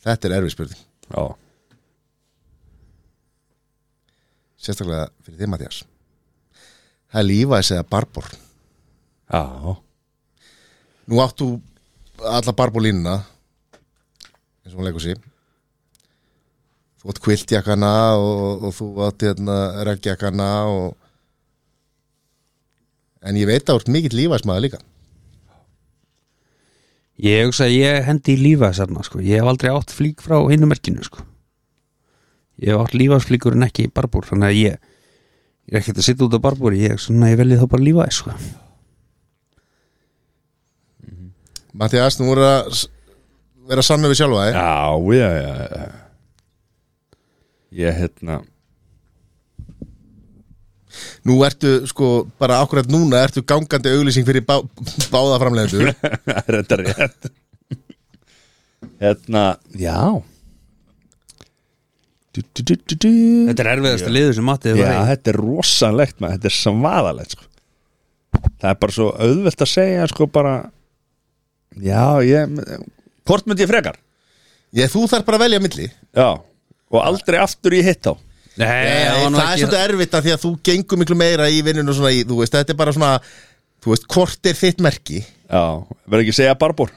Speaker 2: þetta er erfið spurning
Speaker 1: já
Speaker 2: sérstaklega fyrir þið Mattias það er lífæs eða barbor
Speaker 1: Já,
Speaker 2: nú áttu alla barborlínuna eins og hún leikur sér þú átt kviltjakana og, og þú átt hérna regnjakana og en ég veit að þú ert mikill lífæsmaður líka
Speaker 3: ég hugsa að ég hendi í lífa sérna sko. ég hef aldrei átt flík frá einu merkinu sko. ég hef átt lífasflíkur en ekki í barbúr þannig að ég ég er ekkert að sitja út á barbúr ég, svona, ég velji þá bara lífa sko.
Speaker 2: Mattias, nú voru að s- vera sannu við sjálfa eh? þig
Speaker 1: já, já, já, já. Ég hérna <laughs>
Speaker 2: Nú ertu sko bara akkurat núna ertu gangandi auglýsing fyrir bá, báða framlegendur
Speaker 3: <laughs>
Speaker 1: Það er þetta rétt Hérna, já du, du, du, du, du.
Speaker 3: þetta er erfiðasta liður sem Matti hefur
Speaker 1: Já,
Speaker 3: farið í.
Speaker 1: þetta er rosalegt maður, þetta er svaðalegt sko. Það er bara svo auðvelt að segja sko bara Já, ég Hvort myndi ég frekar?
Speaker 2: Ég þú þarf bara að velja milli
Speaker 1: Já, og aldrei aftur ég hitt á
Speaker 3: Nei, það var
Speaker 2: Nei,
Speaker 3: nú
Speaker 2: Það er
Speaker 3: ekki-
Speaker 2: svolítið erfitt að því að þú gengur miklu meira í vinnun og svona í, þú veist, þetta er bara svona þú veist, hvort er þitt merki
Speaker 1: Já, verður ekki að segja barbúr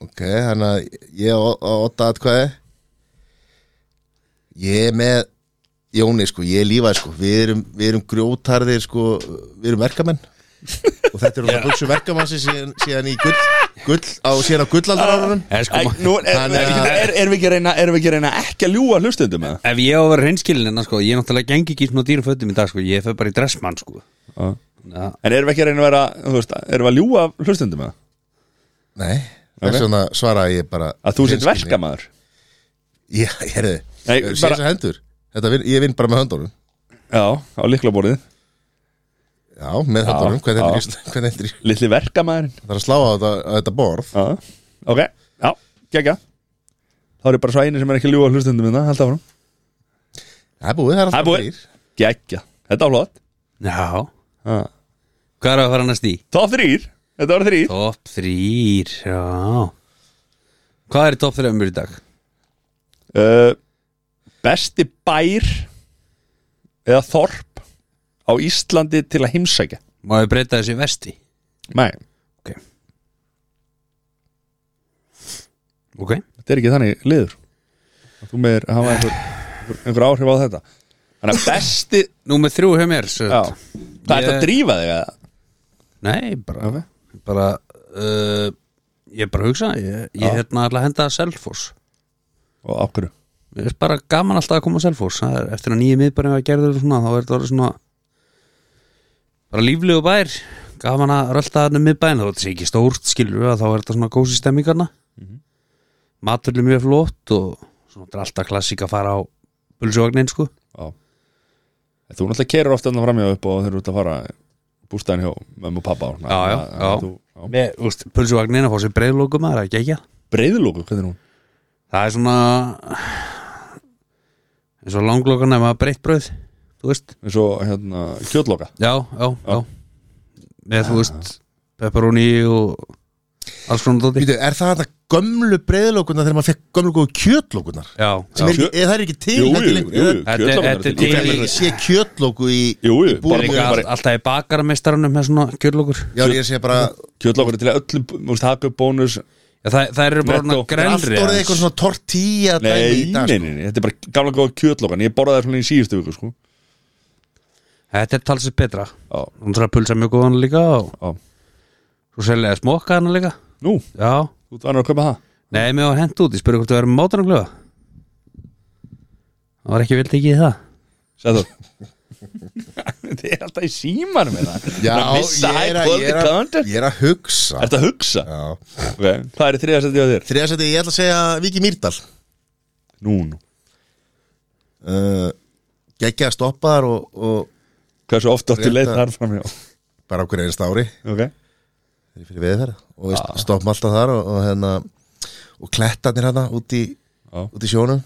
Speaker 2: Ok, þannig að ég á- á otta atkvæði Ég er með Jóni, sko, ég er lífað, sko Við erum, við erum grjótarðir, sko Við erum verkamenn og þetta
Speaker 1: <laughs>
Speaker 2: eru yeah. hugsu verkamansi síðan, síðan í gull, gull á, síðan á gullaldarárunum
Speaker 3: Eh, sko,
Speaker 1: Æ,
Speaker 3: ma-
Speaker 1: nú, <laughs> er, er,
Speaker 2: Þannig að-
Speaker 1: er, er, við ekki að reyna, er við ekki að reyna ekki að ljúga hlustundum með
Speaker 3: ef ég á að vera hreinskilin en sko, ég náttúrulega gengi ekki í svona dýrum fötum í dag sko. ég fer bara í dressmann sko.
Speaker 1: það?
Speaker 3: Já.
Speaker 1: En erum við ekki að reyna að vera, þú veist, erum við að ljúga hlustundum með það?
Speaker 2: Nei, þess vegna svaraði ég bara
Speaker 1: Að þú sett
Speaker 2: hreinskilni.
Speaker 1: verkamaður
Speaker 2: Já, hérðu,
Speaker 1: Nei,
Speaker 2: sér
Speaker 1: bara-
Speaker 2: þess að hendur Þetta vinn, ég vinn bara með höndunum
Speaker 1: Já, á liklaborðið
Speaker 2: Já, með höndunum, hvernig
Speaker 1: já.
Speaker 2: heldur ég- <laughs> hvernig heldur ég-
Speaker 1: Litli verkamaðurinn
Speaker 2: Það er að slá á þetta, á þetta borð
Speaker 1: Já, ok, já, gegja Þá er ég bara svo einu sem er ekki að ljúga hlustundum með það, held áfram
Speaker 2: Það er
Speaker 1: Það
Speaker 2: búið, það er
Speaker 1: er
Speaker 2: alltaf
Speaker 1: búið.
Speaker 2: þrír.
Speaker 1: Gegja, þetta var flott
Speaker 3: Já.
Speaker 1: Já.
Speaker 3: Hvað er að fara næst í?
Speaker 1: Top 3, þetta var 3
Speaker 3: Top 3, já Hvað er í top 3 umur í dag?
Speaker 1: uh, Besti bær eða þorp á Íslandi til að heimsækja
Speaker 3: Má ég breyta þessi vesti?
Speaker 1: Nei,
Speaker 3: Ok Ok
Speaker 1: þetta er ekki þannig liður Að Þú meður hafa einhver, einhver, einhver áhrif á þetta Þannig að besti
Speaker 3: Númer 3 hjá mér sem
Speaker 1: já,
Speaker 3: sagt.
Speaker 1: Það er þetta að drífa þig að
Speaker 3: Nei, bara,
Speaker 1: Ok.
Speaker 3: bara uh, Ég er bara að hugsa Ég, ég hérna ætla að henda að Selfoss
Speaker 1: Og af hverju
Speaker 3: Mér er bara gaman alltaf að koma að Selfoss Það er Eftir að nýja miðbærin að gerður svona Þá er þetta orðið svona bara líflegu bær gaman að rölda þarna um miðbæn þá þetta sé ekki stórt skilur að þá er þetta svona gósi stemmingarna mm maturlu mjög flott og svona þetta er alltaf klassík að fara á pulsuvagnin sko
Speaker 1: En Þú náttúrulega kerir ofta andan framjá upp og þeir eru út að fara bústæðin hjá mömmu og pappa og svona.
Speaker 3: Já, já,
Speaker 1: Þannig
Speaker 3: já.
Speaker 1: að þú- já.
Speaker 3: með úst, pulsuvagnin að fá sér breiðlókum það er ekki ekki
Speaker 1: Breiðlóku, hvernig er hún?
Speaker 3: það er svona eins og langlokan ef maður breytt brauð þú veist
Speaker 1: Eins og hérna, kjötloka
Speaker 3: já, já, já, með þú veist pepperoni og alls konar dóti
Speaker 2: Býtu, er það þetta gömlu breiðlókunar þegar maður fekk gömlu góðu kjötlókunar
Speaker 3: já,
Speaker 2: sem er ekki, eða það er ekki til
Speaker 1: Jú,
Speaker 2: ekki
Speaker 1: jú,
Speaker 2: lengur
Speaker 1: jú,
Speaker 2: eða-
Speaker 3: Þetta er-
Speaker 1: kjötlokan
Speaker 3: þetta er
Speaker 1: til.
Speaker 2: Ég hef ekki sé kjötlóku í
Speaker 1: Jú, jú,
Speaker 2: búðum
Speaker 1: bara
Speaker 3: Líka
Speaker 1: líka
Speaker 3: all, alltaf í bakarmeistaranum með svona kjörlokur
Speaker 2: Já, ég sé bara,
Speaker 1: Kjötlokur er til að öllum, þú veist, haka upp bónus
Speaker 3: Já, það, það eru bara
Speaker 1: Netto.
Speaker 3: svona
Speaker 2: er allt
Speaker 3: grænri
Speaker 2: orðið eitthvað svona tortilla dæmi
Speaker 1: Nei,
Speaker 2: í dag, sko.
Speaker 1: nei, nei, nei, þetta er bara gamla góða kjötlokan Ég borðaði það svona í síðustu viku, sko
Speaker 3: Þetta er talsið betra
Speaker 1: Já,
Speaker 3: Hún þarf að pulsa mjög góðan líka og
Speaker 1: já
Speaker 3: svo selja að smokka hana líka
Speaker 1: Nú,
Speaker 3: Já,
Speaker 1: þú ert vanur að kaupa það
Speaker 3: nei, mér var hent út Ég spurði hvort þú verður með mátan að glöða um Það var ekki vel tekið í það
Speaker 1: Sæðu <laughs> Þið er alltaf í símanum með það
Speaker 2: Já,
Speaker 1: Það missa
Speaker 2: ég er
Speaker 1: high
Speaker 2: að- ég
Speaker 1: quality
Speaker 2: er að-
Speaker 1: content
Speaker 2: ég er að hugsa
Speaker 1: Ertu að hugsa?
Speaker 2: Já.
Speaker 1: Ok, hvað er í þriða setið á þér?
Speaker 2: Þriðasæti, ég ætla að segja Viki Mýrdal
Speaker 1: Nú, nú
Speaker 2: uh, Gekkja að stoppa þar og, og
Speaker 1: Hversu oft áttu leið
Speaker 2: Rétta-
Speaker 1: þar framjá?
Speaker 2: bara okkur einst ári
Speaker 1: Ok <laughs>
Speaker 2: þegar ég fyrir veið þar og við stoppum alltaf þar og, og, hérna, og klettarnir hérna út í,
Speaker 1: Já.
Speaker 2: út í sjónum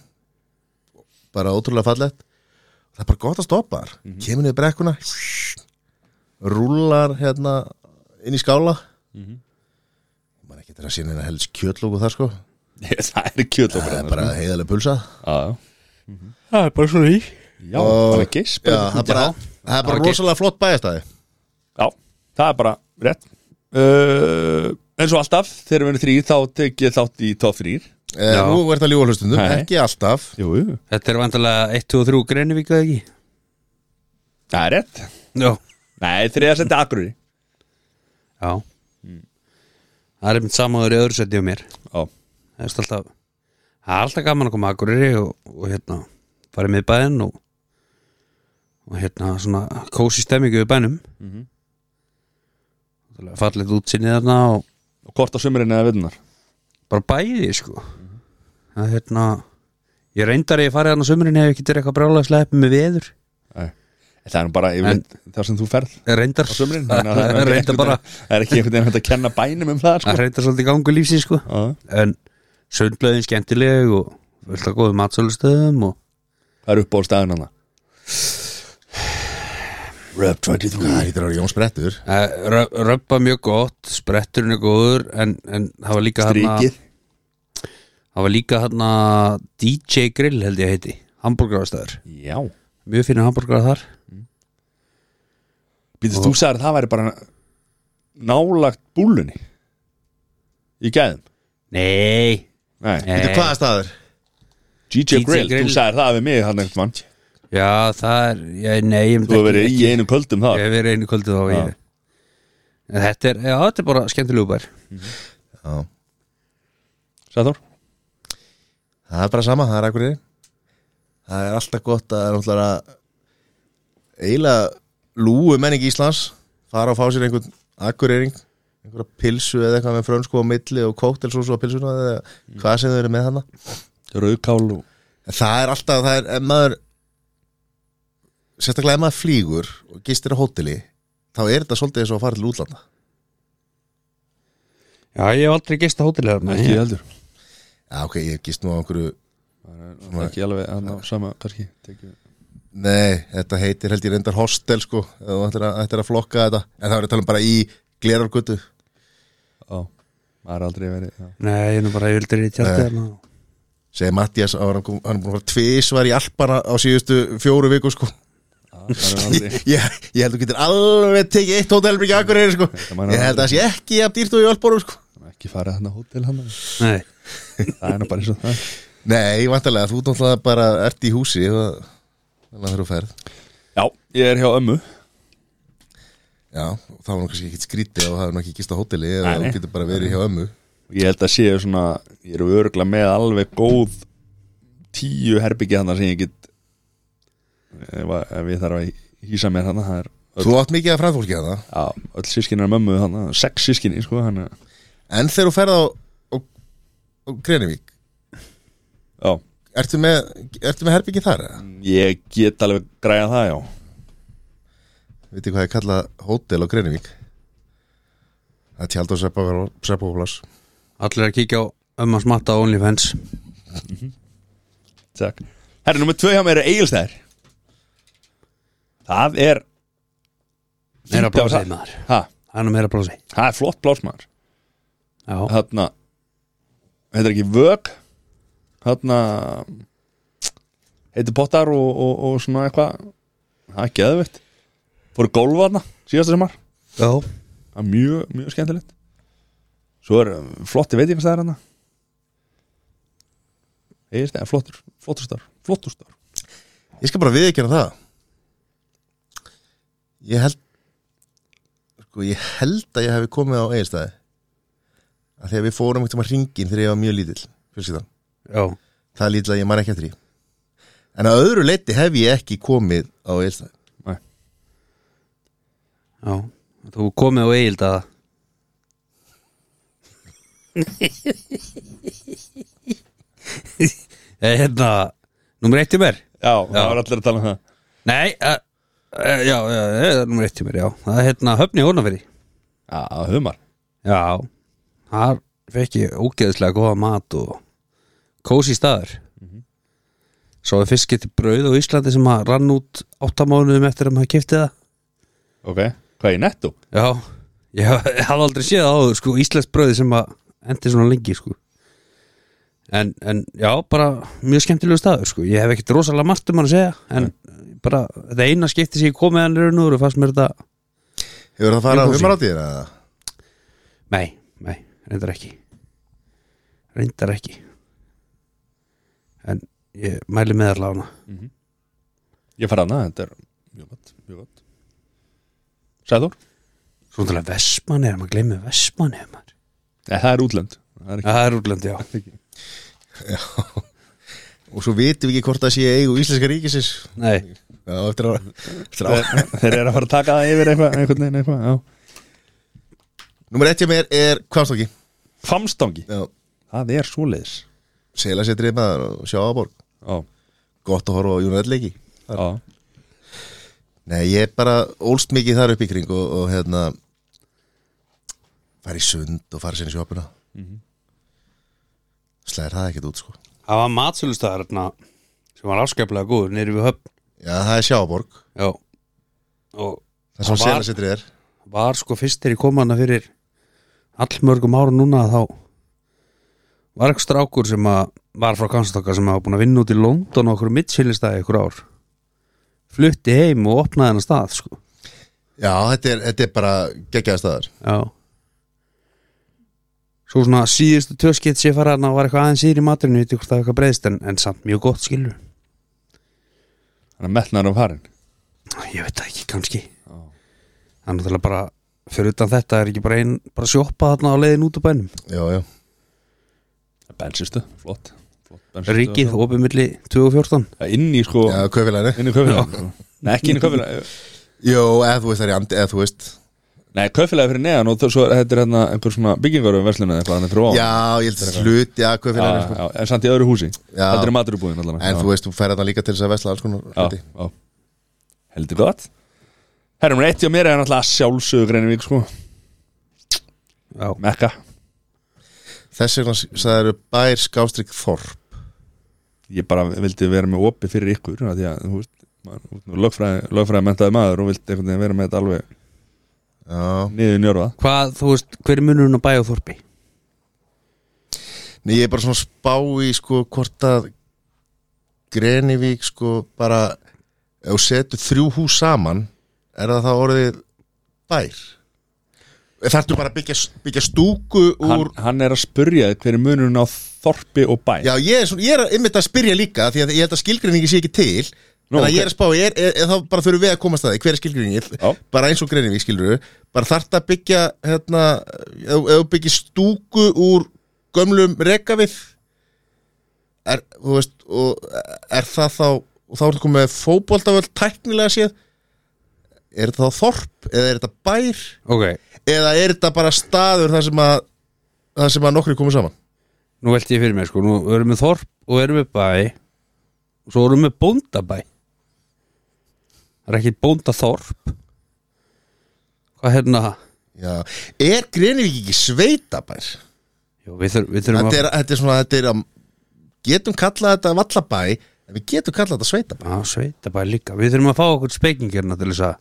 Speaker 2: bara ótrúlega fallegt það er bara gott að stoppa þar kemur niður brekkuna rúlar hérna inn í skála mm -hmm. maður ekki þetta að sína hérna helst kjötlóku þar sko
Speaker 1: Það er kjötlokur
Speaker 2: það er
Speaker 1: þarna,
Speaker 2: bara heiðalega pulsa
Speaker 1: sko. Já, já
Speaker 3: Það er bara svona í
Speaker 1: Já, bara gisp
Speaker 2: já, það er bara,
Speaker 3: Já.
Speaker 2: það er bara
Speaker 3: Bara
Speaker 2: rosalega flott bæjastæði
Speaker 1: Já, það er bara rétt uh, Eins og alltaf, þegar við erum þrýr þá tek ég þátt í top 3
Speaker 2: Eh,
Speaker 3: Já.
Speaker 2: nú er þetta ljúa hlustundum,
Speaker 1: Nei.
Speaker 2: ekki alltaf
Speaker 1: Jú, jú.
Speaker 3: Þetta er vandalega 1, 2 og 3 greinivík eða ekki
Speaker 1: það er rétt
Speaker 3: Já,
Speaker 1: Nei, þriða setið akkurri
Speaker 3: já Mm. Það er einmitt samaður í öðru setið á mér
Speaker 1: Já,
Speaker 3: það er alltaf það er alltaf gaman að koma að Akureyri og, og hérna fara í miðbæðin og, og hérna svona kósi stemmingu við bænum mm -hmm. fallið útsinnið þarna og
Speaker 1: og hvort á sömurinn eða vinnar
Speaker 3: bara bæði sko það er hérna ég reyndar að ég farið þarna á sömurinn ef ég getur eitthvað brálega sleppi með veður
Speaker 1: Nei. Það er nú bara yfirleitt þar sem þú ferð
Speaker 3: Ég reyndar,
Speaker 1: á sömurinn
Speaker 3: <laughs> það er reyndar bara
Speaker 1: Það er ekki einhvern veginn hægt að kenna bænum um það
Speaker 3: það
Speaker 1: sko.
Speaker 3: er reyndar svolítið gangu lífsi sko
Speaker 1: Já.
Speaker 3: en sundlöðin skemmtileg og fullt að góðu matsölustöðum og
Speaker 1: Það er upp á staðun hana
Speaker 2: Röp 23
Speaker 3: hérna-
Speaker 2: Það hýttir að vera Jón Sprettur
Speaker 3: Uh, Röppa mjög gott, spretturinn er góður en, en það var líka þarna-
Speaker 1: Strikið
Speaker 3: það var líka hérna DJ Grill held ég heiti hambúrgarastæður,
Speaker 1: Já
Speaker 3: mjög fyrir hambúrgarar þar
Speaker 1: Býtist þú sagði að það væri bara nálagt búlunni Í gæðum
Speaker 3: Nei,
Speaker 1: Nei,
Speaker 2: Þetta er hvaða staður?
Speaker 1: DJ, Grill,
Speaker 3: Grill.
Speaker 1: þú sagði það við mig hann einhvern mann
Speaker 3: já það er ég, nei, ég myndi
Speaker 1: Þú hefur
Speaker 3: ekki-
Speaker 1: verið í einum kvöldum
Speaker 3: ég
Speaker 1: þar
Speaker 3: hef verið einu kvöldu þá
Speaker 1: Já.
Speaker 3: ég. en þetta er, já, þetta er bara skemmtilegu bær
Speaker 2: Já.
Speaker 1: Sæður?
Speaker 2: Það er bara sama, það er akkur Það er alltaf gott að það er náttúrulega eiginlega lúu menning Íslands fara og fá sér einhvern akkureyring einhverja pilsu eða eitthvað með frönsku á milli og kóktelsósu á pilsuna eða hvað sem þau eru með hana
Speaker 1: Rauðkál og
Speaker 2: en það er alltaf, það er ef maður sérstaklega ef maður flýgur og gistir á hóteli þá er þetta svolítið eins og að fara til útlanda
Speaker 3: já, ég hef aldrei gist á hótelega
Speaker 1: Ekki heldur
Speaker 2: Já, ok, ég gist nú á einhverju
Speaker 1: Það er ekki alveg hann á sama kannski tekið-
Speaker 2: Nei, þetta heitir held ég reyndar hostel sko, ef þú ættir að, ættir að flokka þetta en það var að tala um bara í glerargötu
Speaker 1: Já, maður er aldrei verið já.
Speaker 3: nei, ég er nú bara, ég vildi reyði tjaldi þarna
Speaker 2: segi Mattias, hann hann kom- hann er búin að fara tvisvar í alpana á síðustu fjóru viku sko
Speaker 1: Maður er aldrei
Speaker 2: <laughs> ég, ég held þú getur alveg tekið eitt hótelbyrgi akkurinn sko,
Speaker 1: meina-
Speaker 2: ég held að það sé ekki að dýrt og í alborum sko
Speaker 1: ekki farið hann á hótel hann
Speaker 3: nei,
Speaker 1: Það er nú bara eins og það
Speaker 2: Nei, vantarlega, þú náttúrulega bara ert í húsi og þannig að þú ferð
Speaker 1: Já, ég er hjá ömmu
Speaker 2: Já, þá var nú kannski ekkit skrítið og það er nú ekki gist á hóteli eða
Speaker 1: Nei, nei.
Speaker 2: þú getur bara verið hjá ömmu
Speaker 1: Ég held að séu svona Ég eru örgla með alveg góð Tíu herbyggja þannig sem ég get Ef, að- ef ég þarf að hýsa mér þannig Það er
Speaker 2: Þú átt mikið hérna. að fræðfólki að það
Speaker 1: Já, öll sískinni er mömmu þannig, sex sískinni, sko, hann að-
Speaker 2: En þegar þú ferð á, á, á Grenivík
Speaker 1: Já,
Speaker 2: Ertu með, ertu með herbyggi þar? eða?
Speaker 1: ég get alveg græða það, já
Speaker 2: Vitið hvað ég kalla hótel á Grenivík? Það er tjald og seppoflas
Speaker 3: Allir að kíkja á ömma smatta á OnlyFans
Speaker 1: Takk Herri, nummer tvö hjá mér er Egilstæðir Það er Fínt
Speaker 3: Meira
Speaker 1: að
Speaker 3: blási
Speaker 1: það-
Speaker 3: maður
Speaker 1: ha,
Speaker 3: Hann er meira blási
Speaker 1: Það er flott blásmaður
Speaker 3: Já,
Speaker 1: Þarna Heitir ekki Vög Þarna Heitir Pottar og, og, og svona eitthvað Það er geðvett Fóru gólfa þarna síðasta sumar
Speaker 3: já
Speaker 1: Það er mjög, mjög skemmtilegt Svo er um, flotti veitingastæðir hana Egilstæðir, flottur Flottustar, flottustar
Speaker 2: Ég skal bara viðekjana það Ég held Sko, ég held að ég hefði komið á eiginstæði að Þegar við fórum einhvern tíma hringin þegar ég var mjög lítill Fjölskyldan
Speaker 3: Já,
Speaker 2: Það er lítill að ég man ekki eftir því En að öðru leiti hef ég ekki komið á eiginstæði
Speaker 1: Nei.
Speaker 3: já Þú komið á eigild að <laughs> Eh, Hérna Númer eitt í mér
Speaker 1: Já, það var allir að tala um það
Speaker 3: Nei, uh, uh, já, já, það er nummer eitt í mér, já Það er hérna höfni í Hórnafyrði
Speaker 1: Já, humar
Speaker 3: Já, þar fekk ég ógeðslega góða mat og kósi staður
Speaker 1: Mhm.
Speaker 3: Svo við fyrst getið brauð á Íslandi sem að rann út áttamánuðum eftir að maður kipti það
Speaker 1: Ok, hvað er í netto?
Speaker 3: Já, ég <laughs> hafði aldrei séð það áður sko, Íslands brauði sem að endi svona lengi sko En, en já, bara mjög skemmtilegu staður sko. Ég hef ekkert rosalega margt um hann að segja En bara, þetta eina skipti sem ég kom með hann raun og veru fannst mér þetta
Speaker 2: Hefur það farið á
Speaker 3: Hringhúsi.
Speaker 2: humaráttíðina eða?
Speaker 3: Nei, nei, reyndar ekki Reyndar ekki En ég mæli með allavega
Speaker 1: Ég fara hana, þetta er mjög gott, mjög gott Sæður?
Speaker 3: Svo náttúrulega Vestmanni, maður gleymi Vestmanni maður.
Speaker 1: Nei, það er útlönd Það er ekki
Speaker 3: Ja, Það er útlandi, já
Speaker 2: Og svo vitum við ekki hvort það sé í eigu íslenska ríkisins
Speaker 3: Nei,
Speaker 2: Já, eftir að, eftir að
Speaker 1: Þeir, þeir eru að fara að taka það yfir eitthvað einhvern veginn eitthvað, já
Speaker 2: Númer ett hjá mér er Kvamstokki
Speaker 1: Famstangi,
Speaker 2: Já,
Speaker 1: það er svoleiðis
Speaker 2: seila sér maður og sjá á borg
Speaker 1: Já,
Speaker 2: Gott að horfa á Júnaðleiki
Speaker 1: já,
Speaker 2: Nei, ég er bara ólst mikið þar upp í kring og, og hérna fara í sund og fara sinni sjópuna mm Slæðir það ekkert út sko
Speaker 3: það var matsölustæðar hérna, sem var afskaplega góður nýri við höfn
Speaker 2: Já, það er sjáborg,
Speaker 3: Já Og
Speaker 2: það sem
Speaker 3: Það var-
Speaker 2: seila er
Speaker 3: var sko fyrst þegar ég kom hana fyrir allmörgum ára núna þá var eitthvað strákur sem að var frá Kansastokka sem hafa búin að vinna út í London og okkur mittsýlistæði ykkur ár flutti heim og opnaði hennar stað sko.
Speaker 2: Já, þetta er, þetta er bara geggjaða staðar
Speaker 3: já svo svona síðustu töskitt sér fara hann var eitthvað aðeins síður í maturinn ég veit ekki hvort það er eitthvað breyðst en, en samt mjög gott skilur
Speaker 1: hann er metnar um farin
Speaker 3: ég veit það ekki kannski það er náttúrulega bara fyrir utan þetta er ekki bara einn bara sjoppa þarna á leiðin út úr bænum
Speaker 2: Já, já
Speaker 1: Bensistu, flott, flott bensinstöð.
Speaker 3: Ríkið, opið milli 2014
Speaker 1: Já, Inn í sko,
Speaker 2: Já, kaupfélaginu
Speaker 1: inn í köfilega Nei, ekki inn í köfilega
Speaker 2: Jó, eða þú veist það er í andi, eða þú veist
Speaker 1: Nei, köfilega fyrir neðan og þó- svo er þetta er hérna einhver svona byggingar um verslunum eitthvað, þannig fyrir ofan
Speaker 2: Já, ég held að hluti að
Speaker 1: já,
Speaker 2: kaupfélaginu sko.
Speaker 1: já, en samt í öðru húsi
Speaker 2: Já.
Speaker 1: Þetta er maturubúðin allavega
Speaker 2: En
Speaker 1: Já.
Speaker 2: þú veist, þú ferð þarna líka til þess að vesla alls konar
Speaker 1: Já,
Speaker 2: hluti
Speaker 1: já. heldur gott Herrum reitt hjá mér er náttúrulega sjálfsögur Greinivík sko,
Speaker 3: já,
Speaker 1: mekka
Speaker 2: Þess vegna sagður bær skástrík þorp
Speaker 1: Ég bara vildi vera með opið fyrir ykkur af því að þú veist maður- þú ert nú lögfræði, lögfræði mentaði maður og vildi einhvern veginn vera með þetta alveg
Speaker 2: Já,
Speaker 1: niður njörfa
Speaker 3: hvað, þú veist, hver er munurinn á bæ og þorpi?
Speaker 2: Nei, ég er bara svona að spá í sko hvort að Grenivík sko bara ef þú setur þrjú hús saman er það þá orðið bær Þarftu bara að byggja, byggja stúku úr
Speaker 1: hann, hann er að spurja þig hver er munurinn á þorpi og bæ
Speaker 2: Já, ég er, svona, ég er einmitt að spyrja líka því að ég held að skilgreiningi sé ekki til
Speaker 1: Nú,
Speaker 2: Þannig að
Speaker 1: ok.
Speaker 2: ég er að spá, ég er, er, er, þá bara þurfum við að komast að því Hver er skilgreiningi?
Speaker 1: Já.
Speaker 2: Bara eins og Grenivík skilur við Bara þarftu að byggja hérna, ef ef þú byggir stúku úr gömlum rekavið er, þú veist, og er það þá og þá er það komið fótboltavöld tæknilega séð er þetta þá þorp eða er þetta bær
Speaker 3: Ok,
Speaker 2: eða er þetta bara staður þar sem að þar sem að nokkri komið saman
Speaker 3: nú velti ég fyrir mér sko Nú erum við þorp og erum við bæ og Svo erum við bóndabæ Það er ekki bóndaþorp Hvað hérna
Speaker 2: Já. er Grenivík ekki sveitabær
Speaker 3: Jó, við, þur, við þurfum
Speaker 2: þetta er, þetta er svona þetta er að getum kallað þetta vallabæ en við getum kallað þetta sveitabæ
Speaker 3: Já, sveitabæ líka Við þurfum að fá okkur spekingirna til þess að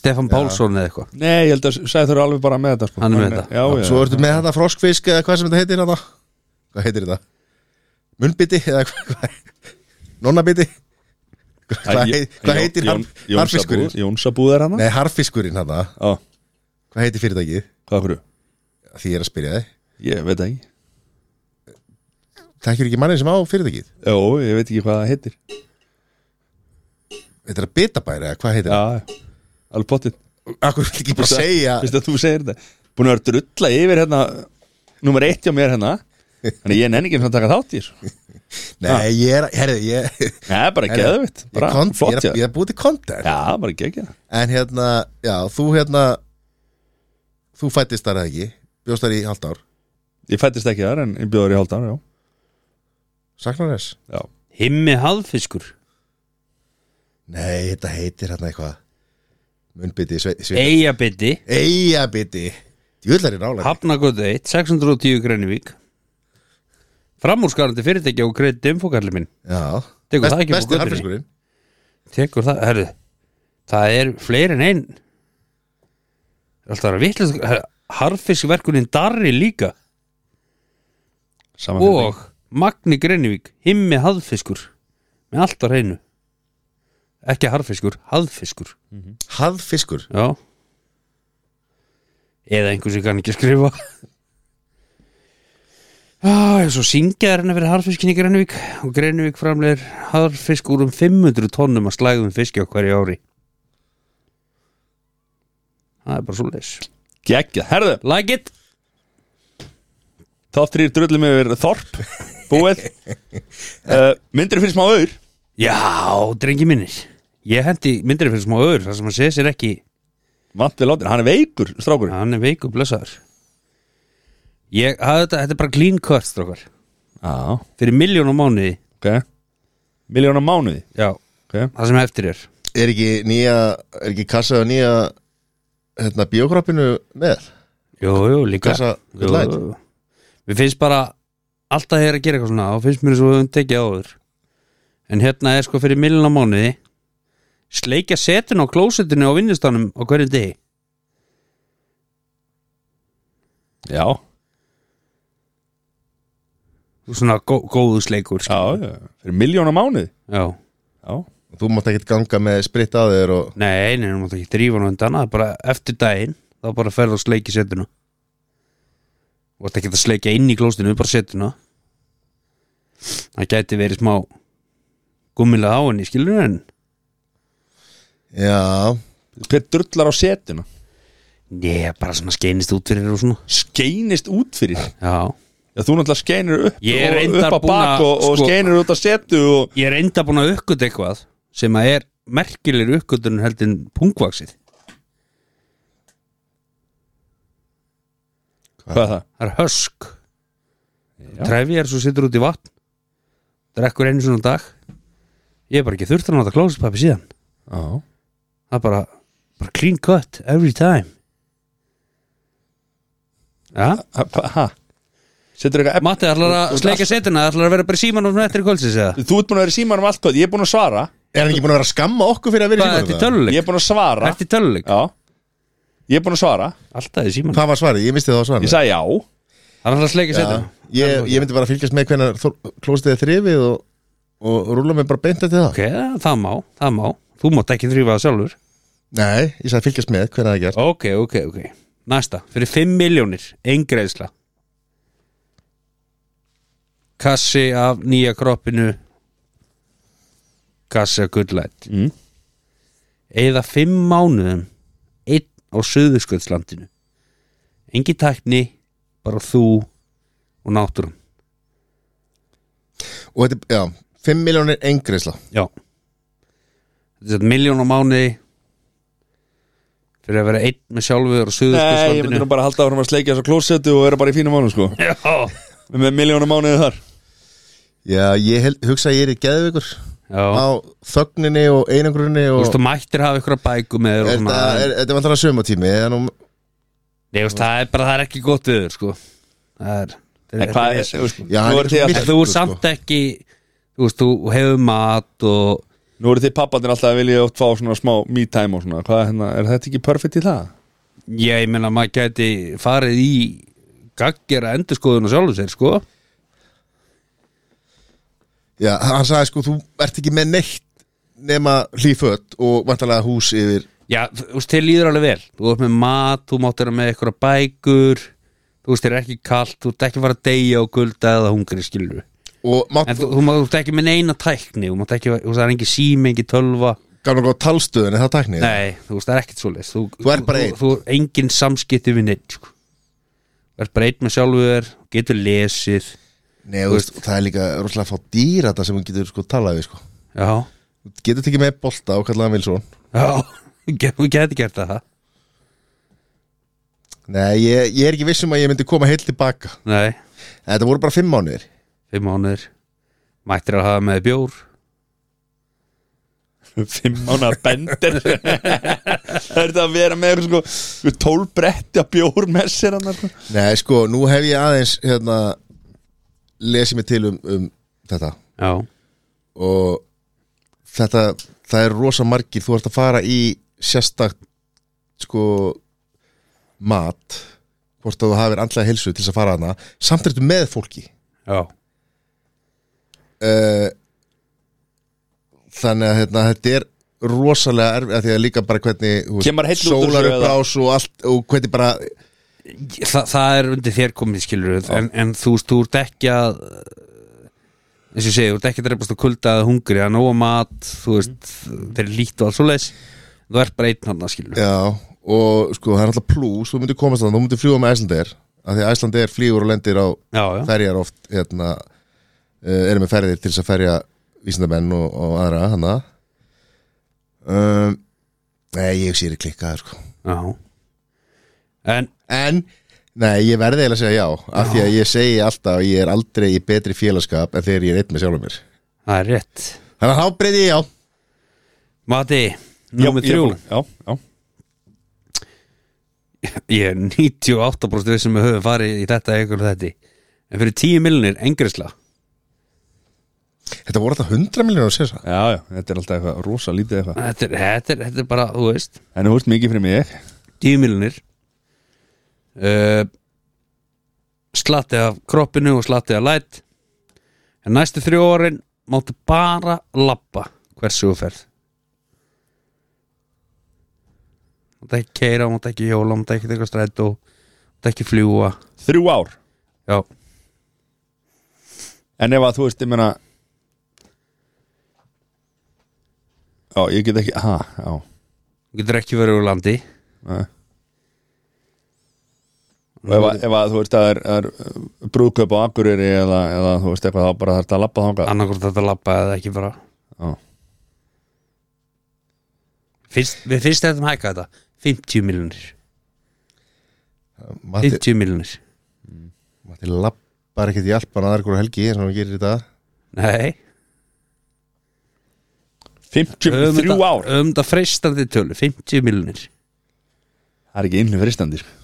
Speaker 3: Stefan Pálsson eða eitthvað
Speaker 1: Nei, ég held að sæði þau eru alveg bara með þetta sko.
Speaker 3: Hann er með þetta.
Speaker 1: Já, já,
Speaker 2: svo ertu með þetta froskfisk eða hvað sem þetta heitir þetta hvað heitir þetta munnbiti eða hvað hvað- nonnabiti hvað,
Speaker 1: Jón-
Speaker 2: heit, hvað heitir
Speaker 1: Jón-
Speaker 2: harf-
Speaker 1: Jónsabúð-
Speaker 2: harfiskurinn
Speaker 1: Jónsabúð er hann
Speaker 2: nei harfiskurinn hann
Speaker 1: Já,
Speaker 2: hvað heitir fyrirtækið
Speaker 1: hvað hverju?
Speaker 2: því ég er að spyrja þið
Speaker 1: Ég veit það ekki
Speaker 2: það ekki mannið sem á fyrirtækið
Speaker 1: Jó, ég veit ekki hvað það heitir
Speaker 2: þetta er að bitabæri eða hvað heitir
Speaker 1: Já, alveg pottit
Speaker 2: það akkur vil ekki bara segja
Speaker 1: Vist að þú segir þetta Búin að vera drulla yfir hérna Númer eitt hjá mér
Speaker 2: <laughs>
Speaker 1: hérna Þannig að ég nenni ekki eins og að taka þátt í þessu Ah.
Speaker 2: nei ég er herri ég
Speaker 1: Nei, bara
Speaker 2: Herra,
Speaker 1: geðvitt
Speaker 2: Ég,
Speaker 1: Bara
Speaker 2: kont, ég,
Speaker 1: flott
Speaker 2: er,
Speaker 1: hjá
Speaker 2: ég er búið til content
Speaker 1: Já, bara gegja
Speaker 2: En hérna, já, þú hérna Þú fættist þar eða ekki Bjóst þar í halvt ár
Speaker 1: Ég fættist ekki þar en ég bjóður í hálfdán, já
Speaker 2: Saknar þess?
Speaker 1: Já,
Speaker 3: Himmi Hallfiskur
Speaker 2: Nei, þetta heitir hérna eitthvað Munnbytti, sveit
Speaker 3: Eyjabiti
Speaker 2: Eyjabiti Júllar í nála
Speaker 3: Hafnagötu 1, 610 Grenivík Framúrskarandi fyrirtækja og greið dimfokalli minn
Speaker 2: Já
Speaker 3: Tekur
Speaker 2: Best-
Speaker 3: það ekki upp á
Speaker 2: Besti
Speaker 3: götunni?
Speaker 2: harfiskurinn
Speaker 3: Tekur það, herðu Það er fleiri en einn Alltaf að vitlust Harfiskverkunin Darri líka
Speaker 1: saman
Speaker 3: og Magni Grenivík Himmi Hallfiskur með allt á hreinu ekki Harfiskur, Hallfiskur
Speaker 2: Hafiskur
Speaker 3: Já Eða einhver sem kann ekki skrifa Já, ah, svo syngja er henni fyrir harfiskin í Grenivík og Grenivík framlegir harfisk úr um 500 tonnum að slæðum fiski á hverju ári Það er bara svo leis
Speaker 1: Gegja, herðu
Speaker 3: Like it
Speaker 1: Top 3 drullum yfir Þorp Búið uh, Myndir fyrir smá auður
Speaker 3: Já, drengi minnir Ég hendi myndir fyrir smá öður þar sem hann segir sér ekki
Speaker 1: Vant við látin, hann er veikur, strákurinn
Speaker 3: Hann er veiku blessaður Ég, að þetta, þetta er bara clean cut strókar
Speaker 1: Já,
Speaker 3: Fyrir miljónum mánuði
Speaker 1: ok Miljónar mánuði,
Speaker 3: Já,
Speaker 1: ok
Speaker 3: það sem eftir er
Speaker 2: Er ekki nýja Er ekki kassað á nýja Hérna, biokroppinu með
Speaker 3: Jú, jú, líka
Speaker 2: Kassa,
Speaker 3: jú,
Speaker 2: good light.
Speaker 3: jú. Mér finnst bara alltaf þegar að gera eitthvað svona og finnst mér svo höfum tekið áður En hérna er sko fyrir miljónum mánuði Sleikja setin á klósetinu á vinnustanum á hverju degi
Speaker 1: Já,
Speaker 3: Svona gó, góðu sleikur
Speaker 1: já,
Speaker 3: skilur.
Speaker 1: já Fyrir miljónar mánuði
Speaker 3: já
Speaker 1: Já,
Speaker 2: Þú mátt ekki ganga með spritt að þér og
Speaker 3: Nei, nei, nú máttu ekki drífa nú undan það er bara eftir daginn, þá bara ferðu að sleiki setuna Þú ætti ekki að sleikja inn í klóstinu, bara setuna Það gæti verið smá gummilega á henni, skilur henni
Speaker 2: Já
Speaker 1: hver drullar á setuna
Speaker 3: Nei, bara svona skeinist út fyrir og svona
Speaker 1: skeinist út fyrir
Speaker 3: Já,
Speaker 1: Já, þú náttúrulega skeinir upp
Speaker 3: Ég er
Speaker 1: og
Speaker 3: reyndar
Speaker 1: upp á
Speaker 3: búin að,
Speaker 1: bak og, og
Speaker 3: sko-
Speaker 1: skeinir út á setu og
Speaker 3: ég er enda búin að uppgöta eitthvað sem að er merkilegur uppgötun heldin pungvaksið
Speaker 1: hvað er það?
Speaker 3: Það er hösk Trefi er svo sittur út í vatn Drekkur einu svona dag Ég er bara ekki þurft að nota klósetpappi síðan
Speaker 1: Já,
Speaker 3: það er bara, bara clean cut every time ja?
Speaker 1: Ha- hva- ha? Setur eitthvað efni
Speaker 3: Matti, ætlar að sleika setina ætlar að vera bara í símanum eftir í kvöldsins eða
Speaker 1: Þú ert búin að vera í símanum allt hvað, ég er búin að svara
Speaker 2: Er hann ekki búin að vera að skamma okkur fyrir að vera í
Speaker 3: hvað,
Speaker 2: símanum
Speaker 3: ertu í
Speaker 1: Ég
Speaker 2: það?
Speaker 3: töluleik?
Speaker 1: er búin að svara
Speaker 3: ertu í töluleik?
Speaker 1: Já, ég er búin að svara
Speaker 3: alltaf í símanum
Speaker 2: Hvað var svarið? Ég misti það á svarið
Speaker 1: Ég sagði já
Speaker 3: hann ætlar að sleika setina
Speaker 2: ég, ég myndi bara að fylgjast með hvernig klóstið er þrifið og, og rúla mig bara beint eftir það
Speaker 3: ok, það má, það má þú mátt ekki þrýfa það sjálfur
Speaker 2: Nei, ég sagði fylgjast með hvernig það er gert
Speaker 3: ok, ok, ok næsta, fyrir 5 miljónir eingreðsla kassi af nýja kroppinu kassi af good light
Speaker 1: mm.
Speaker 3: eða fimm mánuðum einn á Suðurskjöldslandinu engi tækni bara þú og náttúrum
Speaker 2: Og þetta, já, 5 miljónir engriðsla
Speaker 3: já þetta er miljón á mánuði fyrir að vera einn með
Speaker 1: Nei, ég myndi
Speaker 3: sjálfur og
Speaker 1: nú
Speaker 3: suðustuðslandinu
Speaker 1: bara halda áfram að sleikja svo klósetu og vera bara í fínum mánu sko
Speaker 3: Já,
Speaker 1: Með miljónum mánuði þar
Speaker 2: Já, ég held, hugsa að ég er í geðveikur
Speaker 3: já
Speaker 2: á þögninni og einangrunni
Speaker 3: Þú
Speaker 2: og
Speaker 3: veist, þú mættir hafa ykkur að bæku með þér og
Speaker 2: er
Speaker 3: svona,
Speaker 2: það- er- Þetta er vantar að söma tími nú,
Speaker 3: Nei, þú veist, það er bara, það er ekki gott við þér, sko Það er, það
Speaker 1: En hvað er, þú veist,
Speaker 2: Já, hann
Speaker 1: nú
Speaker 2: er
Speaker 1: eru þið
Speaker 2: svo
Speaker 3: En
Speaker 1: alltaf-
Speaker 3: þú
Speaker 2: Sko.
Speaker 3: er samt ekki Þú veist, þú hefur mat og
Speaker 1: nú eru þið pappandir alltaf að vilja oft fá svona smá me time og svona Hvað, hérna, er þetta ekki perfect í það?
Speaker 3: Já, ég meina, maður gæti farið í gaggjara endurskoðun og sjálfum sér, sko
Speaker 2: Já, hann sagði sko, þú ert ekki með neitt nema hlýfött og vantarlega hús yfir
Speaker 3: Já, þú veist, þér líður alveg vel Þú ert með mat, þú mátt vera með ykkur að bækur Þú veist, þér er ekki kalt Þú ert ekki að fara að deyja og gulda eða hungri, skilur
Speaker 2: og mátt,
Speaker 3: En þú, þú, mátt- þú ert ekki með neina tækni Þú mátt ekki, þú veist, það er engi sími, engi tölva
Speaker 2: gaf mér góð talstöðin það tæknið
Speaker 3: Nei, þú veist, það er ekkert svoleiðis Þú,
Speaker 2: Þú ert bara
Speaker 3: þú,
Speaker 2: einn.
Speaker 3: þú, þú engin samskipti við neitt sko. Þú ert bara einn með sjálfur Getur lesið
Speaker 2: Nei, þú veist, það er líka rosalega fá dýr þetta sem hún getur sko talað við sko
Speaker 3: Já,
Speaker 2: Þú getur tekið með bolta og kallaði hann Vilsson
Speaker 3: já <laughs> Ge- Þú getur gert það
Speaker 2: Nei, ég, ég er ekki viss um að ég myndi koma heil tilbaka
Speaker 3: Nei,
Speaker 2: En Þetta voru bara fimm mánuðir
Speaker 3: fimm mánuður Mættir að hafa með bjór
Speaker 1: <laughs> Fimm mánuða bender <laughs> Það er þetta að vera með sko, tólbretti að bjór með sér annar, sko.
Speaker 2: Nei, sko, nú hef ég aðeins hérna, lesið mig til um, um þetta
Speaker 3: Já,
Speaker 2: og þetta, það er rosa margir þú ert að fara í sérstakt sko mat, hvort að þú hafir andlega helsu til þess að fara hana, samt er þetta með fólki
Speaker 3: já,
Speaker 2: Eh, þannig að hérna, þetta er rosalega erfið, af því að líka bara hvernig þú veist,
Speaker 1: Kemur heill út úr þessu
Speaker 2: sólar upp
Speaker 1: eða?
Speaker 2: rás og allt og hvernig bara,
Speaker 3: Þa, það er undir þér komið skilur en, en þú veist, þú ert ekki að eins og ég segi, þú ert ekki að dreipast að kulda að hungri, að nóa mat þú
Speaker 1: Mm.
Speaker 3: veist, þeir er lít og alls svo leis þú ert bara einn hann að skilur
Speaker 2: já og sko það er alltaf plús, þú myndir komast þannig þú myndir fljúa með Æslandeir, af því að Æslandeir flýgur og lendir á
Speaker 3: já, já.
Speaker 2: ferjar oft hérna, uh, eru með ferðir til þess að ferja vísindamenn og, og aðra hana um, nei, ég sé ég er klikkaður sko
Speaker 3: Já En,
Speaker 2: En, nei, ég verði eiginlega að segja já Af því að ég segi alltaf að ég er aldrei í betri félagskap En þegar ég er einn með sjálfum mér
Speaker 3: það er rétt
Speaker 2: Þannig að þá breyði ég já
Speaker 3: Mati,
Speaker 1: Já,
Speaker 3: nummer
Speaker 1: ég er
Speaker 3: þrjú
Speaker 1: búinn- Já, já
Speaker 3: Ég er 98% við sem við um höfum farið í þetta eitthvað þetta En fyrir 10 miljonir, engrisla
Speaker 2: Þetta voru alltaf 100 miljónur að segja það
Speaker 1: Já, já, þetta er alltaf eitthvað rosa lítið eitthvað
Speaker 3: þetta er, þetta, er, þetta er bara, þú veist
Speaker 1: En þú veist mikið fyrir mig
Speaker 3: 10 miljonir uh, Slatti af kroppinu og slatti af læt En næstu þrjú árin Máttu bara labba Hversu þú ferð Máttu ekki keira, máttu ekki hjóla Máttu ekki teka strætó Máttu ekki fljúa
Speaker 1: Þrjú ár
Speaker 3: Já,
Speaker 1: En ef að þú veist, ég meina Já, ég get ekki Ha, já
Speaker 3: þú getur ekki verið úr landi
Speaker 1: nei. Og ef, að- ef að þú veist að það er, er uh, brúðkaup á Akureyri eða, eða þú veist eitthvað þá bara þarf þetta að labba þangað
Speaker 3: annarkvort þetta labba eða ekki bara
Speaker 1: Já.
Speaker 3: fyrst, Við fyrst þetta um hækka þetta 50 miljonir
Speaker 2: Matti,
Speaker 3: 50 miljonir
Speaker 2: Matti lappar ekkert í alpan aðra hverju helgi eins og hann gerir í dag
Speaker 3: Nei
Speaker 1: 53 ár
Speaker 3: Um þetta freistandi tölu 50 miljonir
Speaker 1: Það er ekki innlega fristandi sko.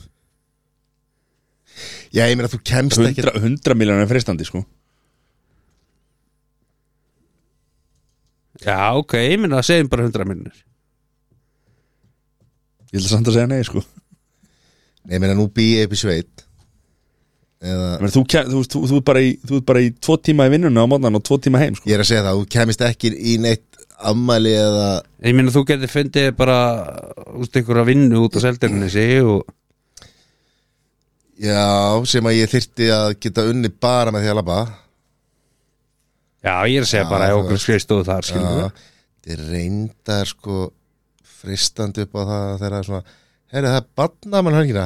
Speaker 2: Já, ég meina þú kemst ekki
Speaker 1: 100, 100 miljonar fristandi sko
Speaker 3: Já ok, ég minna að segjum bara 100 miljonir
Speaker 1: Ég ætla samt að segja nei sko
Speaker 2: Nei, ég meina nú bý ég upp í sveit Eða,
Speaker 1: Men þú, kem- þú, veist, þú, þú, ert bara í, þú ert bara í tvo tíma í vinnunni á mótnan og tvo tíma heim sko
Speaker 2: ég er að segja það, þú kemist ekki í neitt ammæli eða
Speaker 3: Ég minna þú getur fundið bara út einhverja vinnu út á seldernissi og
Speaker 2: Já, sem að ég þyrti að geta unni bara með því að labba
Speaker 3: Já, ég er að segja
Speaker 2: Já,
Speaker 3: bara
Speaker 2: þú
Speaker 3: ef okkur skrifstóðu þar skilur
Speaker 2: Já, þetta er reyndar sko fristandi upp á það þegar það er svona, herri það er banna mann hengina,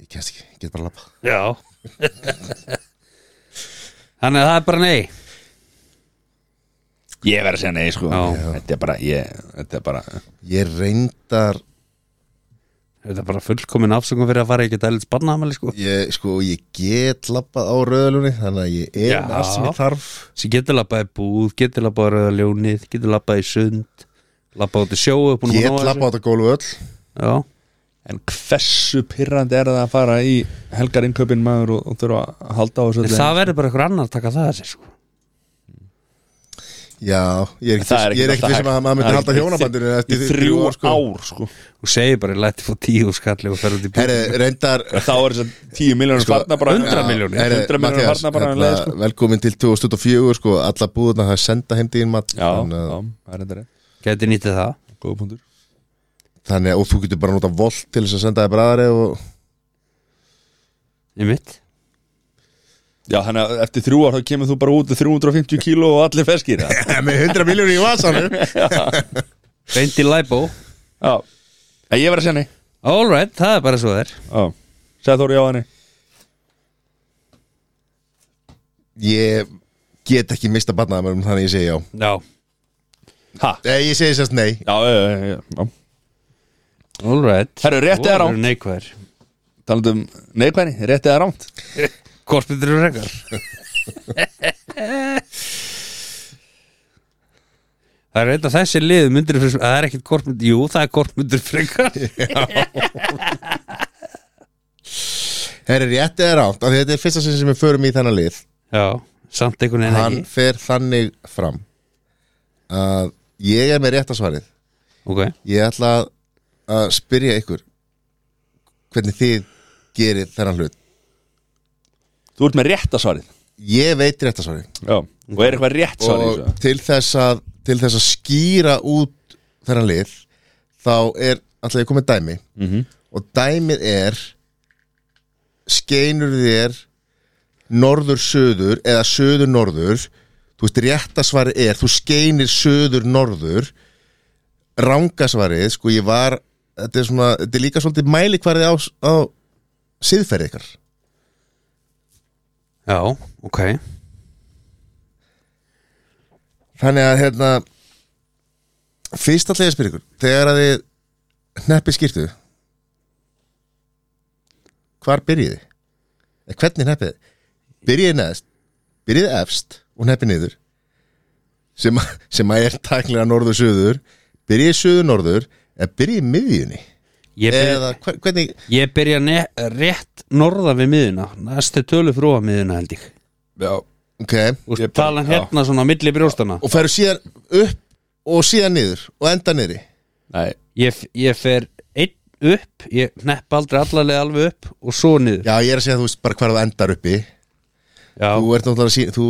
Speaker 2: ég kemst ekki, ég get bara lappa
Speaker 3: Já <laughs> Þannig að það er bara nei
Speaker 1: Ég verð að segja nei sko
Speaker 3: Já.
Speaker 1: Þetta er bara, ég, þetta er bara
Speaker 2: ég reyndar
Speaker 3: Þetta er bara fullkomin afsöngum fyrir að fara ekki dælits barnaðamæli sko
Speaker 2: ég, sko, ég get lappað á röðlunni þannig að ég er
Speaker 3: Já.
Speaker 2: með allt sem ég þarf
Speaker 3: sem getur labbað í búð, getur labbað á rauða ljónið getur labbað í sund labbað út í sjóu búin að
Speaker 2: get
Speaker 3: ná þessu.
Speaker 2: lappað á þetta gólu öll
Speaker 3: Já,
Speaker 1: En hversu pirrandi er það að fara í helgar innkaupin maður og, og þurfa að halda á þessu
Speaker 3: En
Speaker 1: öllu?
Speaker 3: það verður bara ykkur annar að taka það að sér sko
Speaker 2: Já, ég er
Speaker 1: En það
Speaker 2: ekkert ég er ekkert
Speaker 1: alltaf
Speaker 2: vissum að
Speaker 1: hægt. Það
Speaker 2: maður myndi
Speaker 1: er
Speaker 2: halda
Speaker 1: ekki-
Speaker 2: hjónabandinu
Speaker 1: í
Speaker 2: eftir
Speaker 1: þrjú ár sko.
Speaker 3: og segir bara, ég læti fór tíu skalli og fer út í búð
Speaker 2: Herri, reyndar
Speaker 1: En Þá er þess að 10 miljónir
Speaker 2: Sko,
Speaker 1: farna bara
Speaker 3: 100
Speaker 1: Já,
Speaker 3: milljónir.
Speaker 1: 100 miljónir
Speaker 2: Matthías,
Speaker 1: farna bara um
Speaker 2: hérna,
Speaker 1: leið sko.
Speaker 2: Velkomin til 2004 sko, alla búðuna það er senda heimdíðin mat
Speaker 1: Já,
Speaker 2: þannig,
Speaker 1: já,
Speaker 2: að-
Speaker 1: það er þetta rétt
Speaker 3: Gæti nýtið það
Speaker 1: Góða punktur
Speaker 2: þannig að og þú getur bara nota volt til þess að senda þér bræðari og
Speaker 3: Í mitt
Speaker 1: Já, þannig að eftir þrjú ár þá kemur þú bara út í 350 kíló og allir feskir eða?
Speaker 2: <laughs> <laughs> með 100 miljónir í vasanum
Speaker 3: Reyndi læbó
Speaker 1: Já, en ég verð að segja nei
Speaker 3: All right, það er bara svo þær
Speaker 1: Já, segð Þóri já henni
Speaker 2: Ég get ekki mista barnaðamörum þannig ég segi já
Speaker 3: Já
Speaker 1: Ha,
Speaker 2: Nei, ég segi sérst nei
Speaker 1: já, já, já, já, já.
Speaker 3: All right
Speaker 1: Herru, rétt eða rangt?
Speaker 3: Neikvæður
Speaker 1: Talandum neikvæðni, rétt eða rámt
Speaker 3: Hvort betur eru rekkar <laughs> Það er eitthvað þessi lið myndir fyrir, það er ekkit hvort myndir, jú það er hvort myndir frekar
Speaker 2: <laughs> Herri, rétt eða rámt, af því þetta er fyrsta sinn sem við förum í þennan lið
Speaker 3: Já, samt einhvern veginn
Speaker 2: Hann
Speaker 3: ekki
Speaker 2: fer þannig fram að ég er með rétta svarið
Speaker 3: Ok,
Speaker 2: Ég ætla að- að spyrja ykkur hvernig þið gerir þennan hlut
Speaker 1: Þú ert með rétta svarið
Speaker 2: Ég veit rétta svarið
Speaker 1: Já, og er eitthvað rétt svarið í
Speaker 2: og
Speaker 1: þessu?
Speaker 2: til þess að til þess að skýra út þennan lið þá er alltaf ég komið dæmi
Speaker 1: Mhm.
Speaker 2: -hmm. og dæmið er skeinur þér norður-söður eða söður-norður þú veist réttasvari er þú skeinir söður-norður rangasvarið sko ég var þetta er, svona, þetta er líka svolítið mælikvarið á, á siðferði ykkar
Speaker 3: já, ok
Speaker 2: Þannig að hérna Fyrst alltaf ég að spyrja ykkur Þegar að þið hneppið skýrtu Hvar byrjið þið? Eða Hvernig hneppið þið? Byrjið þið neðst Byrjið þið efst og hneppið niður sem, að- sem að er tæklega norður-söður Byrjið þið söður-norður Eða byrjið þið miðjunni
Speaker 3: Ég byrja,
Speaker 2: Eða hver, hvernig
Speaker 3: ég byrja ne, rétt norða við miðuna Næstu tölu frá miðuna held ég
Speaker 2: Já okay.
Speaker 3: Og tala hérna svona á milli brjóstana
Speaker 2: Og færu síðan upp og síðan niður Og enda niðri
Speaker 1: Nei,
Speaker 3: Ég, f- ég fer einn upp Ég nepp aldrei allarlega alveg upp Og svo niður
Speaker 2: Já ég er að segja þú veist bara hvar það endar uppi
Speaker 3: Já,
Speaker 2: Þú ert náttúrulega sín, þú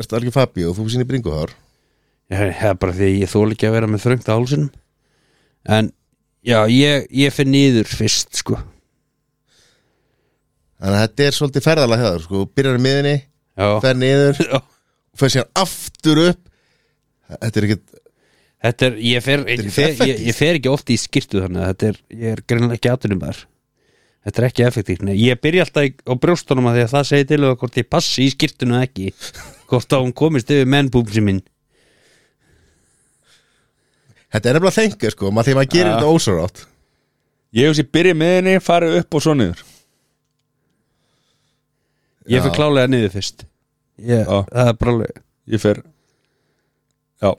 Speaker 2: ert algjör Fabi og þú sýnir bringuhár
Speaker 3: Ég- Það er bara því ég þól ekki að vera með þröngt á hálsinum En já, ég, ég finn niður fyrst sko
Speaker 2: Þannig að þetta er svolítið ferðalega hefðar sko, byrjar í miðinni,
Speaker 3: Já,
Speaker 2: fer niður
Speaker 3: <laughs> já.
Speaker 2: fer síðan aftur upp Þetta er ekkert,
Speaker 3: Þetta er, ég fer, ég,
Speaker 2: er
Speaker 3: fer, ég,
Speaker 2: effektíft.
Speaker 3: ég fer ekki oft í skýrtu þannig að Þetta er, ég er greinlega ekki aðtunum þar Þetta er ekki effektíft Nei, Ég byrja alltaf í- á brjóstunum að því að það segi til og hvort ég passi í skýrtunu eða ekki Hvort að hún komist yfir mennbúmsi minn
Speaker 2: þetta er nefnilega þengja sko, maður því maður gerir þetta ósórátt
Speaker 1: ég hugsi byrja með henni, fari upp og svo niður
Speaker 3: Ég fer klálega niður fyrst ég,
Speaker 1: Já.
Speaker 3: Það er bara alveg
Speaker 1: Ég fer Já Ö,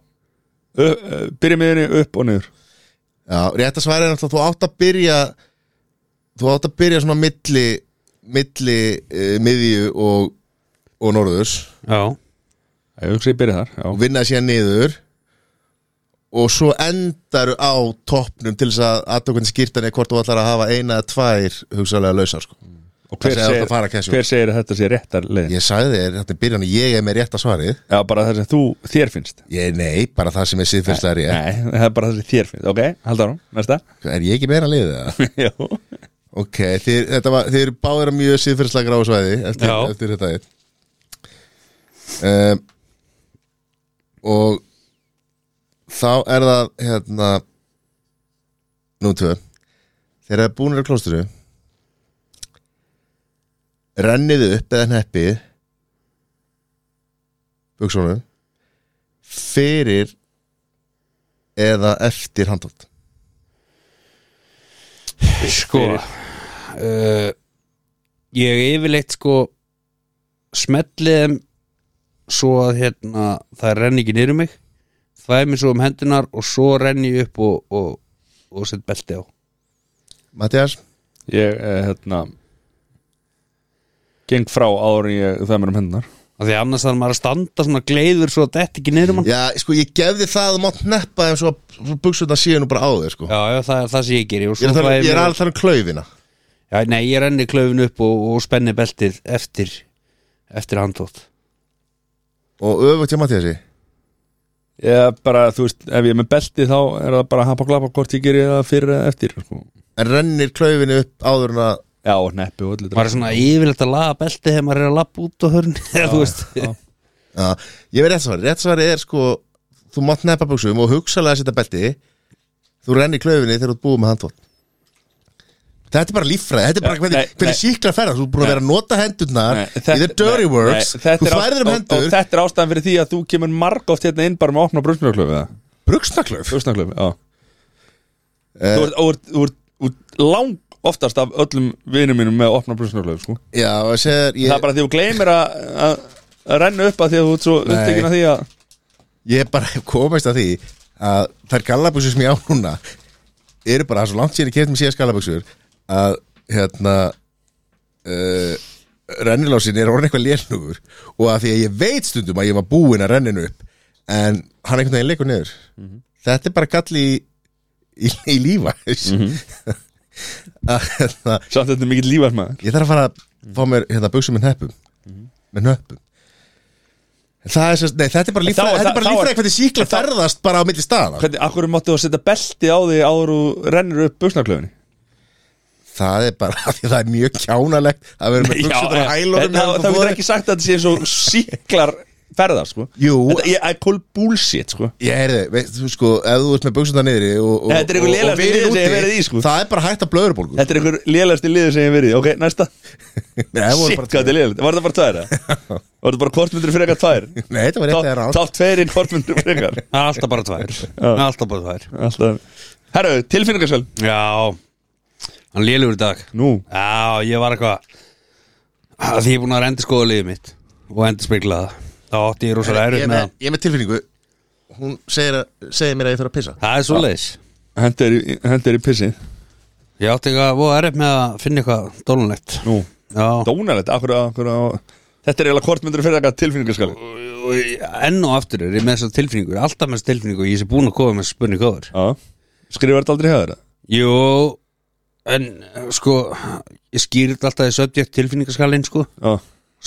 Speaker 1: ö, Byrja með henni upp og niður
Speaker 2: Já, rétt að svara er náttúrulega, þú átt að byrja þú átt að byrja svona milli milli uh, miðju og, og norðurs
Speaker 3: Já,
Speaker 1: Ég hugsi ég byrja þar Já,
Speaker 2: og vinna síðan niður og svo endaru á toppnum til þess að aðtökun skýrtan er hvort þú ætlar að hafa eina eða tvær hugsalega lausar sko.
Speaker 1: Mm. og hver
Speaker 2: það segir alltaf fara
Speaker 1: segir,
Speaker 2: casual.
Speaker 1: hver segir að þetta sé réttar leið
Speaker 2: ég sagði þér, þetta er byrjan að ég er með rétta svarið
Speaker 1: Já, bara það sem þú, þér finnst
Speaker 2: ég nei, bara það sem er síðfyrstlega rétt
Speaker 1: Nei, <laughs> það er bara það sem þér finnst Ok, halda árum, næsta
Speaker 2: er ég ekki meira að liða það?
Speaker 1: <laughs> Já,
Speaker 2: ok, þið, þetta var, þið eru báðir að mjög síðfyrstlega gráu svæði eftir,
Speaker 3: Já.
Speaker 2: eftir þetta eitt um, og þá er það hérna nú tvö þegar það búinir að klósturu renniðu upp eða hneppið buksónum fyrir eða eftir handótt
Speaker 3: Sko uh, Ég yfirleitt sko smetlið þeim svo að hérna það renni ekki niður um mig þvæði mér svo um hendunar og svo renni ég upp og, og, og sett belti á
Speaker 2: Mattias,
Speaker 1: Ég, eh, hérna Geng frá áður en ég það mér um hendunar
Speaker 3: af því annars þarf maður að standa svona gleiður svo að þetta ekki niður um hann
Speaker 2: já, sko, ég gefði það að mátt neppa þeim svo að buksutna síðan og bara á þeir, sko
Speaker 3: Já, já, það er það sem ég geri og
Speaker 2: Ég
Speaker 3: svo
Speaker 2: er, að tala-
Speaker 3: þvægi
Speaker 2: ég er
Speaker 3: mér-
Speaker 2: alveg þar um klaufina
Speaker 3: Já, nei, ég renni klöfun upp og, og spenni beltið eftir eftir handtótt
Speaker 2: og öfugt hjá Mattiasi
Speaker 1: Ég bara, þú veist, ef ég er með belti þá er það bara að hapa glapa hvort ég geri það fyrir eða eftir sko.
Speaker 2: en rennir klaufinu upp áður en að
Speaker 1: Já, og neppi og allir
Speaker 3: maður er svona yfirleitt að laga beltið þegar maður er að lappa út og hörn <laughs> eða þú veist
Speaker 2: já, ég veit rétt svar, rétt svar er sko þú mátt neppa buksum og hugsalega setja belti þú rennir klaufinu þegar þú ert búið með handtótt þetta er bara líffræði, þetta er bara
Speaker 1: Já,
Speaker 2: hvernig,
Speaker 1: nei,
Speaker 2: hvernig
Speaker 1: nei.
Speaker 2: síklar ferðast, þú er búin að vera að nota hendurnar
Speaker 1: Nei,
Speaker 2: í the dirty
Speaker 1: nei,
Speaker 2: works,
Speaker 1: nei, þetta
Speaker 2: þú
Speaker 1: er ást-
Speaker 2: færðir um
Speaker 1: og-
Speaker 2: hendur
Speaker 1: Og þetta er ástæðan fyrir því að þú kemur marg oft hérna inn bara með að opna brusnaklöf eða
Speaker 2: bruksnaklauf
Speaker 1: Brusnaklöf, já
Speaker 2: Eh,
Speaker 1: Þú ert- þú ert- Þú ert þú ert lang oftast af öllum vinum mínum með að opna brusnaklöf sko.
Speaker 2: já, og segir,
Speaker 1: Það er
Speaker 2: ég,
Speaker 1: bara því að þú gleymir að að- að renna upp að því að þú ert svo upptekinn að því að
Speaker 2: ég bara <laughs> hef komist að því að þær gallabuxur sem ég á núna eru bara svo langt sér í keftum síðast gallabuxur að hérna uh, rennilásin er orðin eitthvað lélnugur og að því að ég veit stundum að ég var búinn að renninu upp en hann einhvern veginn leikur niður þetta er bara galli í, í, í lífa mm <laughs> að hérna
Speaker 1: samt þetta er mikill lífarsmaður
Speaker 2: ég þarf að fara að
Speaker 1: Mm.
Speaker 2: fá mér hérna buksum með neppum
Speaker 1: Mm-hmm.
Speaker 2: með nöppum En það er sérst, nei þetta er bara líffræði
Speaker 1: þá-
Speaker 2: þetta er bara
Speaker 1: þá-
Speaker 2: líffræði
Speaker 1: þá-
Speaker 2: hvernig síkla
Speaker 1: þá-
Speaker 2: ferðast bara á milli staða
Speaker 1: Hvernig, akkur máttu þú að setja belti á því áður og rennir upp buksnaklöfinni?
Speaker 2: það er bara, <laughs> af því að það er mjög kjánalegt að vera með buksum og hælunum
Speaker 1: það, það hérna, getur ekki sagt að þetta sé svo síklar ferðar, sko
Speaker 2: Jú.
Speaker 1: Þetta ég- I call bullshit, sko
Speaker 2: Ég heyrði, veist þú sko, ef þú ert með buksum það niðri og, og,
Speaker 1: Þetta er
Speaker 2: og,
Speaker 1: eitthvað lélegasta
Speaker 2: og
Speaker 1: liðið
Speaker 2: verið
Speaker 1: sem ég hef verið í,
Speaker 2: úti,
Speaker 1: sko.
Speaker 2: það er bara hægt að blöðurbólgu
Speaker 1: Þetta er einhver lélægasti liður sem ég hef verið í Ok, næsta Shit, sko. hvað þetta er lélægt Var þetta bara tvær? eða? Var þetta bara kvortmyndur frekar tvær?
Speaker 2: Nei, þetta var rétt eða rátt
Speaker 1: Tá tveirinn kvortmyndur frekar
Speaker 3: Það er alltaf bara tvær Það er alltaf bara tvær
Speaker 1: Alltaf Herru, tilfinningarsvel
Speaker 3: Já, hann lélugur í dag
Speaker 1: Nú
Speaker 3: Já, ég var eitthvað að Því ég er búin að renda skoða liðið mitt og enda það Þá átti ég rosalega
Speaker 2: ég,
Speaker 3: erut
Speaker 2: er
Speaker 3: með
Speaker 2: með-
Speaker 3: hann
Speaker 2: ég er með tilfinningu hún segir, að, segir mér að ég þarf að <laughs> pissa
Speaker 3: Það er svo leiðis
Speaker 1: Hendur í, hendur í pissið
Speaker 3: Ég átti eitthvað að voða erut með að finna eitthvað dólunlegt
Speaker 1: Nú
Speaker 3: Já,
Speaker 1: Dónalegt, akkur, akkur, akkur Þetta er eiginlega kvortmyndur frekar tilfinningarskal
Speaker 3: enn og aftur er ég með þessar tilfinningur Alltaf með þessar tilfinningur Ég sé búin að koma með spurning góður
Speaker 1: Já Skrifar þetta aldrei hefur það?
Speaker 3: Jú, en eh, sko Ég skýrði alltaf í subject tilfinningaskalinn sko
Speaker 1: Já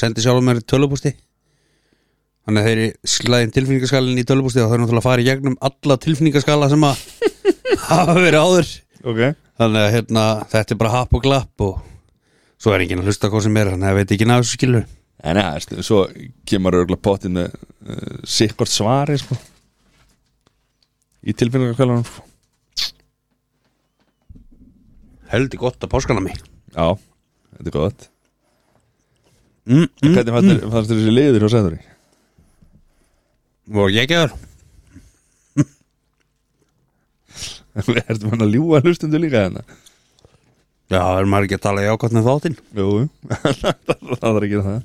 Speaker 3: sendi sjálfum mér tölupústi þannig að þeir eru slæðin tilfinningaskalinn í tölupústi og það er náttúrulega að fara í gegnum alla tilfinningaskala sem að <laughs> hafa verið áður
Speaker 1: Ok
Speaker 3: þannig að hérna, þetta er bara happ og glapp og svo er enginn að hlusta hvað sem er þannig að ég veit ekki náðu þessu skilur
Speaker 1: En ja, stu, svo kemur örgulega pottinn með uh, sikkort svari sko. í tilfinningarkvælanum sko.
Speaker 3: heldur gott að páskana mig
Speaker 1: Já, þetta er gott
Speaker 3: mm, mm,
Speaker 1: Hvernig fannst þér- fannst þér þessi liður hjá Sæðuri?
Speaker 3: og ég gefur
Speaker 1: <laughs> Ertu mann að ljúga hlustundu líka hérna?
Speaker 3: já, er maður ekki að tala jákvæmt með þáttinn
Speaker 1: Jú, <laughs> það þarf að gera það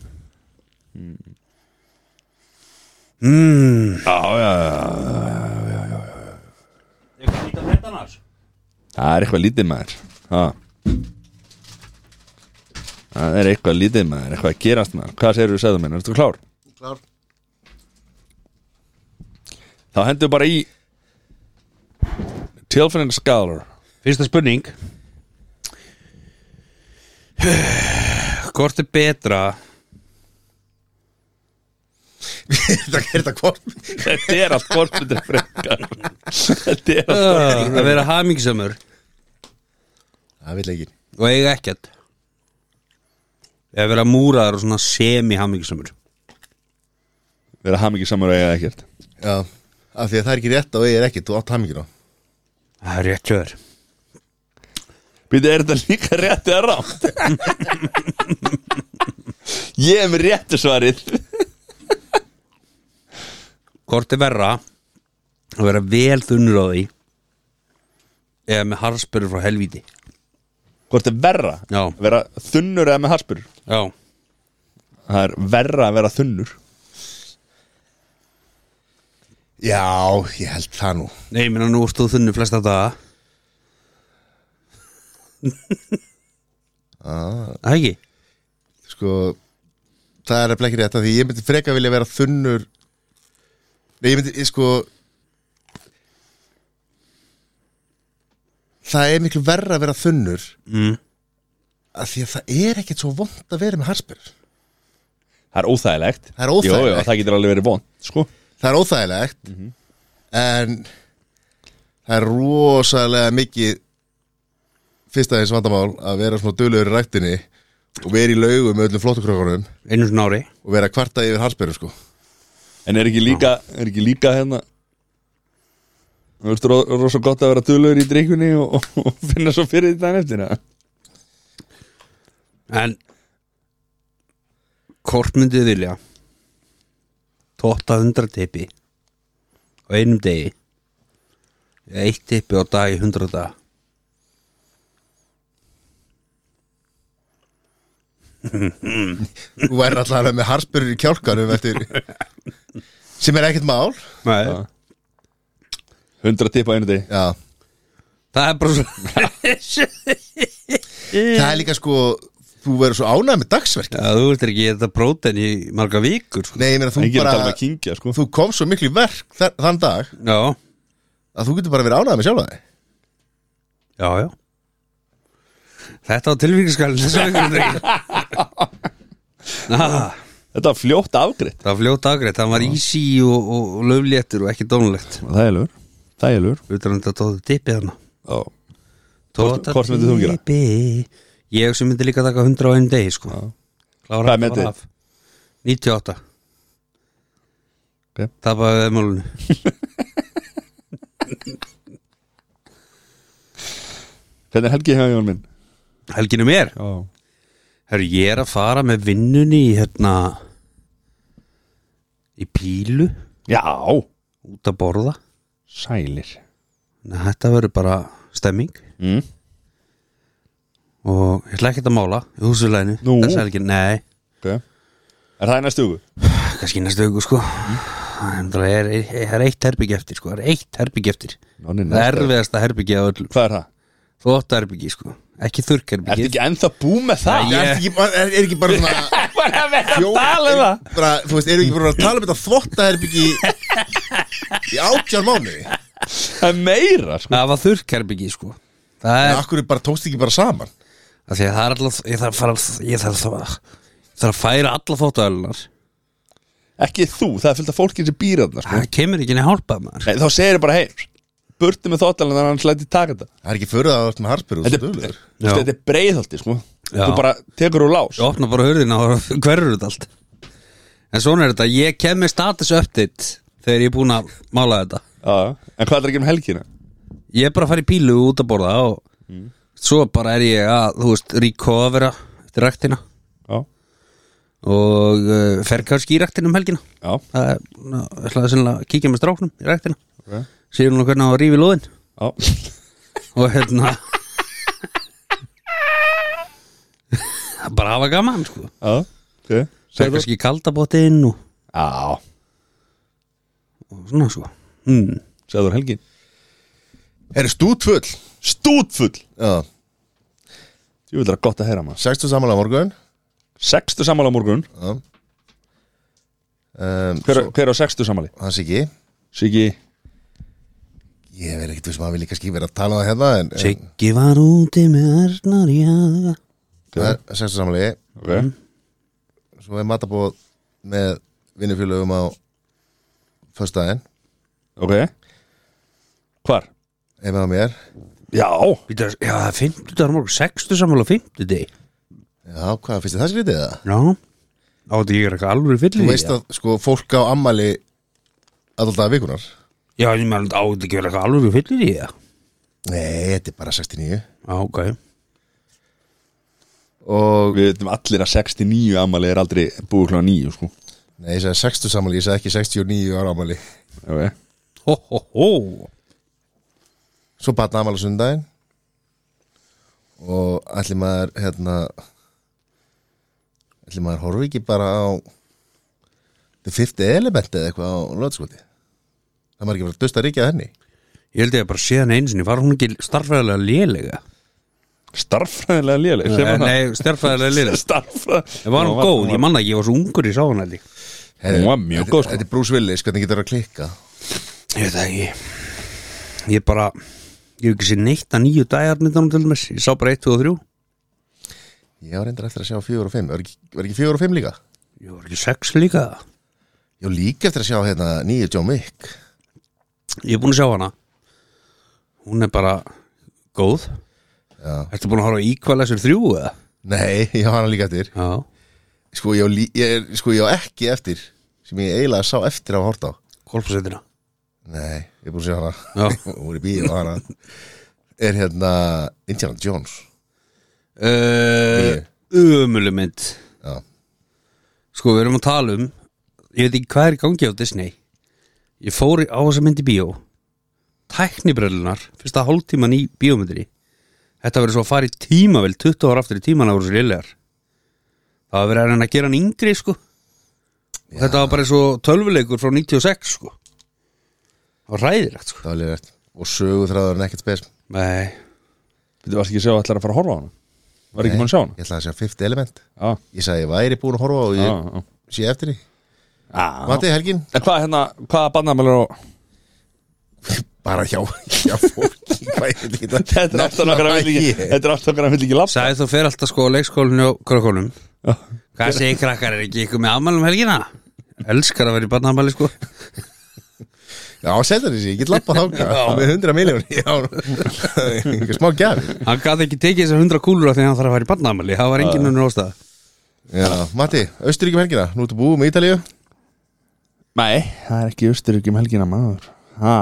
Speaker 3: mm.
Speaker 1: Já, já, já Það er eitthvað lítið maður ha. Það er eitthvað lítið maður, eitthvað að gerast maður Hvað segir þú Sæður minn, ertu klár?
Speaker 4: Klár.
Speaker 1: Þá hendur bara í Tilfinningsskálar
Speaker 3: fyrsta spurning hvort er betra
Speaker 2: Þetta er þetta hvort
Speaker 1: <laughs> Þetta er allt kortmyndir frekar Þetta er allt
Speaker 3: að vera hamingisamur
Speaker 2: Það vil ekki
Speaker 3: og eiga ekkert eða vera múraðar og svona semi-hamingisamur
Speaker 1: Við erum hamingi samur að eiga ekkert
Speaker 2: Já, af því að það er ekki rétt og ég er ekki, þú átt hamingin á
Speaker 3: það er rétt hjá þér
Speaker 1: Býtu, er þetta líka rétt eða rámt? Ég er með réttu svarið
Speaker 3: hvort er verra að vera vel þunnur á því eða með harspörur frá helvíti
Speaker 1: hvort er verra
Speaker 3: Já.
Speaker 1: að vera þunnur eða með harspur
Speaker 3: já
Speaker 1: það er verra að vera þunnur
Speaker 2: Já, ég held það nú
Speaker 3: Nei, ég minna nú ertu þú þunni flesta daga Það ekki?
Speaker 2: Sko, það er nefnilega ekki rétt af Því ég myndi freka vilja vera þunnur Nei, ég myndi, ég, sko Það er miklu verra að vera þunnur
Speaker 3: Mm.
Speaker 2: af Því að það er ekkert svo vond að vera með harspur
Speaker 1: það er óþægilegt
Speaker 2: Það er óþægilegt.
Speaker 1: Jó, jó, það getur alveg verið von sko.
Speaker 2: það er óþægilegt en það er rosalega mikið fyrsta eins vandamál að vera svona dölur í rættinni og vera í laugum með öllum flottukrökkunum
Speaker 3: Einu svona ári
Speaker 2: og vera að kvarta yfir harsbyrjum sko
Speaker 1: en er ekki líka, er ekki líka hérna þú veist ro- rosa gott að vera dölur í drikkunni og, og, og finna svo fyrir því daginn eftir eða?
Speaker 3: En Hvort myndið þið vilja Tóta hundra teipi Á einum degi Eða Eitt teipi á dag í hundra dag
Speaker 2: þú væri alltaf með harsbyrjum í kjálkanum eftir sem er ekkert mál
Speaker 3: Nei
Speaker 1: 100 tipp á einu deg
Speaker 2: Já.
Speaker 3: Það er bara svo
Speaker 2: það er líka sko þú verður svo ánægð með dagsverk
Speaker 3: Já, þú vilt ekki þetta prótein í marga vikur sko.
Speaker 2: nei, ég meina
Speaker 1: það
Speaker 2: þú
Speaker 1: getur bara... að
Speaker 2: bara
Speaker 1: kingja sko.
Speaker 2: þú kom svo miklu í verk þa- þann dag
Speaker 3: Já,
Speaker 2: að þú getur bara verið ánægð með sjálfa þig
Speaker 3: já, já Þetta á tilvíkiskallin þessu vikur <laughs> Ná,
Speaker 1: þetta var fljótt afgreitt
Speaker 3: Ah, Það var fljóta afgreitt, það var easy og, og, og löfléttur og ekki dónlegt
Speaker 1: það er lögur það er lögur
Speaker 3: Utan að þetta tóðu tippi þarna
Speaker 1: Hvort-
Speaker 3: Tóta
Speaker 1: hvort myndir þú gera?
Speaker 3: tippi. Ég sem myndi líka taka 100 á einu degi sko.
Speaker 1: Hvað
Speaker 3: Klára
Speaker 1: er
Speaker 3: þetta bara
Speaker 1: metið?
Speaker 3: af. 98
Speaker 1: Ok.
Speaker 3: Tapaði við málunni
Speaker 1: hvernig er helgi hjá Jón minn
Speaker 3: Helginu mér
Speaker 1: oh.
Speaker 3: Herru, ég er að fara með vinnunni í hérna í pílu
Speaker 1: já
Speaker 3: út að borða
Speaker 1: sælir
Speaker 3: Þannig að Þetta verður bara stemming
Speaker 1: mm.
Speaker 3: og ég ætla ekki að mála í húsuleginu
Speaker 1: Nú.
Speaker 3: Þessa helgi, nei,
Speaker 1: okay. er það í næstu hugu
Speaker 3: kannski næstu auku sko Það er, er, er eitt herbyggi eftir sko, það er eitt herbyggi eftir
Speaker 1: Nonni,
Speaker 3: Það er
Speaker 1: næsta-
Speaker 3: erfiðasta herbyggi á öllum
Speaker 1: Hvað er það?
Speaker 3: Þótt herbyggi sko, ekki þurrk
Speaker 1: Ertu
Speaker 3: herbyggi
Speaker 1: ekki ennþá búið með það?
Speaker 3: Nei,
Speaker 2: er, ekki bara- er, er ekki bara svona
Speaker 1: Bara að vera að
Speaker 2: Jó,
Speaker 1: tala um það
Speaker 2: bara, þú veist, erum við ekki búin að tala um þetta þvottaherbyggi í átján mánu
Speaker 1: Það er meira sko.
Speaker 3: Það var þurrk herbyggi sko Það er
Speaker 2: Akkur er bara tókst ekki bara saman
Speaker 3: Af Því að það er alltaf Ég þarf að fara Ég þarf að Ég þarf að færa alla þóttaölunar
Speaker 1: Ekki þú, það er fullt af fólkið sem býr þarna sko.
Speaker 3: Það kemur ekki neitt hálpað maður
Speaker 1: Nei, Þá segir bara heim Burti með þóttalan þannig að hann slæti taka þetta
Speaker 2: Það er ekki fyrir það að allt með harspyr og
Speaker 1: Þetta
Speaker 2: svo
Speaker 1: er,
Speaker 2: dölur
Speaker 1: þú veist, þetta er breiðhaldi sko.
Speaker 3: Já.
Speaker 1: Þú bara tekur úr lás
Speaker 3: Ég opna bara hurðina og <laughs> hverjur þetta allt En svona er þetta Ég kem með status update Þegar ég er búin að mála þetta
Speaker 1: Já. En hvað er það ekki um helgina?
Speaker 3: Ég er bara að fara í pílu út að borða Og
Speaker 1: Mm.
Speaker 3: svo bara er ég að Þú veist, recovera Eftir ræktina
Speaker 1: Já,
Speaker 3: Og uh, fer kannski í ræktina um helgina
Speaker 1: já,
Speaker 3: Það er ná, ég ætlaði sennilega að kíkja með stráknum í ræktina
Speaker 1: Ok.
Speaker 3: Sér hún hvernig á að rífi lóðin
Speaker 1: já.
Speaker 3: og hérna <laughs> bara hafa gaman sko
Speaker 1: já. Okay.
Speaker 3: það er kannski kaldabóttinn og,
Speaker 1: Já,
Speaker 3: og svona sko mm.
Speaker 1: segður helgin
Speaker 2: Er stútfull
Speaker 1: Stútfull
Speaker 2: Já,
Speaker 1: Ég vil það gott að heyra maður
Speaker 2: 60 saman á morgun
Speaker 1: Sextu samála morgun
Speaker 2: Já um,
Speaker 1: Hver, hver á sextu samáli?
Speaker 2: Hann sé ekki
Speaker 1: Siggi
Speaker 2: Ég verð ekkert vissum að við líka ekki vera að tala um það hérna en, en
Speaker 3: Siggi var úti með Arnar í aða
Speaker 2: það er 60 samanlegi
Speaker 1: okay.
Speaker 2: Svo er matabóð með vinnufélögum á Föstaðin,
Speaker 1: ok Hvar?
Speaker 2: heima á mér
Speaker 1: Já
Speaker 3: já það er 50 dagar morgun 60 sammála 50 deg
Speaker 2: Já, hvað, finnst þið það skrítið það?
Speaker 3: já á þetta ég er eitthvað alveg
Speaker 2: Þú
Speaker 3: fyllir
Speaker 2: veist að sko fólk á ammali alltaf vikunar
Speaker 3: já ég meðan á þetta ég er eitthvað alveg fyllir í það
Speaker 2: Nei, þetta er bara 69
Speaker 3: já ok
Speaker 2: Og
Speaker 1: Við veitum allir að 69 ammali er aldrei búið klá 9 sko
Speaker 2: Nei, ég sagði 60 sammali, ég sagði ekki 69 ára ammali
Speaker 1: okay.
Speaker 3: ho ho ho
Speaker 2: Svo batna ammali sundaginn og allir maður hérna allir maður horfi ekki bara á The Fifth Element eða eitthvað á löðskoti það maður ekki bara að dusta ríkja henni
Speaker 3: Ég held ég að bara séðan einu sinni Var hún ekki starffræðilega lélega?
Speaker 1: starffræðilega léleg sem að-
Speaker 3: Eh, Nei, starffræðilega lélega
Speaker 1: starffræðilega
Speaker 3: Það var hún góð, ég manna ekki, ég var svo ungur í sáðan held ég
Speaker 1: Hún var mjög
Speaker 2: þetta-
Speaker 1: góð, sko.
Speaker 2: Þetta er Bruce Willis, hvernig getur það að klikka
Speaker 3: Ég veit það ekki Ég bara, ég hef ekki sér neitt að nýju dæjarmyndanum til þess Ég sá bara 1, 2 og 3
Speaker 2: Ég var reyndar eftir að sjá 4 og 5 Var ekki, var ekki 4 og 5 líka?
Speaker 3: Ég var ekki 6 líka
Speaker 2: Ég var líka eftir að sjá hérna nýju John Wick
Speaker 3: Ég er búin að sjá hana Hún er bara góð
Speaker 2: Já.
Speaker 3: Ertu búin að horfa íkvæla þessir þrjú eða?
Speaker 2: Nei, <laughs> ég var hana líka eftir
Speaker 3: Já
Speaker 2: Sko ég á, lí, ég, er- sko, ég á ekki eftir sem ég eiginlega sá eftir að horta á
Speaker 3: Kolfasettina
Speaker 2: Nei, ég er búin að sjá hana <laughs>
Speaker 3: Já
Speaker 2: Hún er í bíó hana Er hérna Indiana Jones
Speaker 3: uh, Ömuleg mynd
Speaker 2: Já.
Speaker 3: Sko við erum að tala um Ég veit ekki hvað er í gangi á Disney Ég fór á þessa mynd í bíó Tæknibrellunar Fyrsta hálftíman í bíómyndri Þetta verður svo að fara í tímavel 20 ára aftur í tíman ára svo lélegar Það var verið að reyna að gera hann yngri sko Og Þetta var bara svo tölvuleikur frá 96 sko Það var ræðilegt sko
Speaker 2: Það var alveg rétt Og söguþráður en ekkert spes
Speaker 3: Nei,
Speaker 1: Þú varst ekki að sjá að ætlar að fara að horfa á hana Var ekki mann að sjá hana Ah,
Speaker 2: Ég ætla að sjá Fifth Element
Speaker 1: Já,
Speaker 2: Ég sagði ég væri búin að horfa á og
Speaker 1: já,
Speaker 2: ég
Speaker 1: já.
Speaker 2: sé eftir því
Speaker 1: Já.
Speaker 2: Mati helgin
Speaker 1: ah, En hvað hérna, hvaða bandamælar og
Speaker 2: Bara hjá, <laughs> hjá fólki Hvað er þetta?
Speaker 1: Þetta er aftan okkar að vil ekki Þetta er aftan okkar að vil ekki lappa
Speaker 3: sagði þú fer alltaf sko á leikskólinu og krökkunum Hvað segir krakkar, er ekki ykkur með afmælum helgina? Elskar að vera í barnaafmæli sko
Speaker 2: Já, seldur þessi, ég get lappað þáka með 100 miljón
Speaker 1: <laughs>
Speaker 2: Já, smá gjafi
Speaker 3: Hann gaf ekki tekið þessar hundra kúlur af því að hann þarf að fara í barnaafmæli Það var
Speaker 2: Ah.
Speaker 3: enginn unnur ástæð
Speaker 2: Já, Mati, Östuríkjum helgina, nú ertu búið með Ítalíu
Speaker 1: Nei, það er ekki Östuríki um helgina maður ha.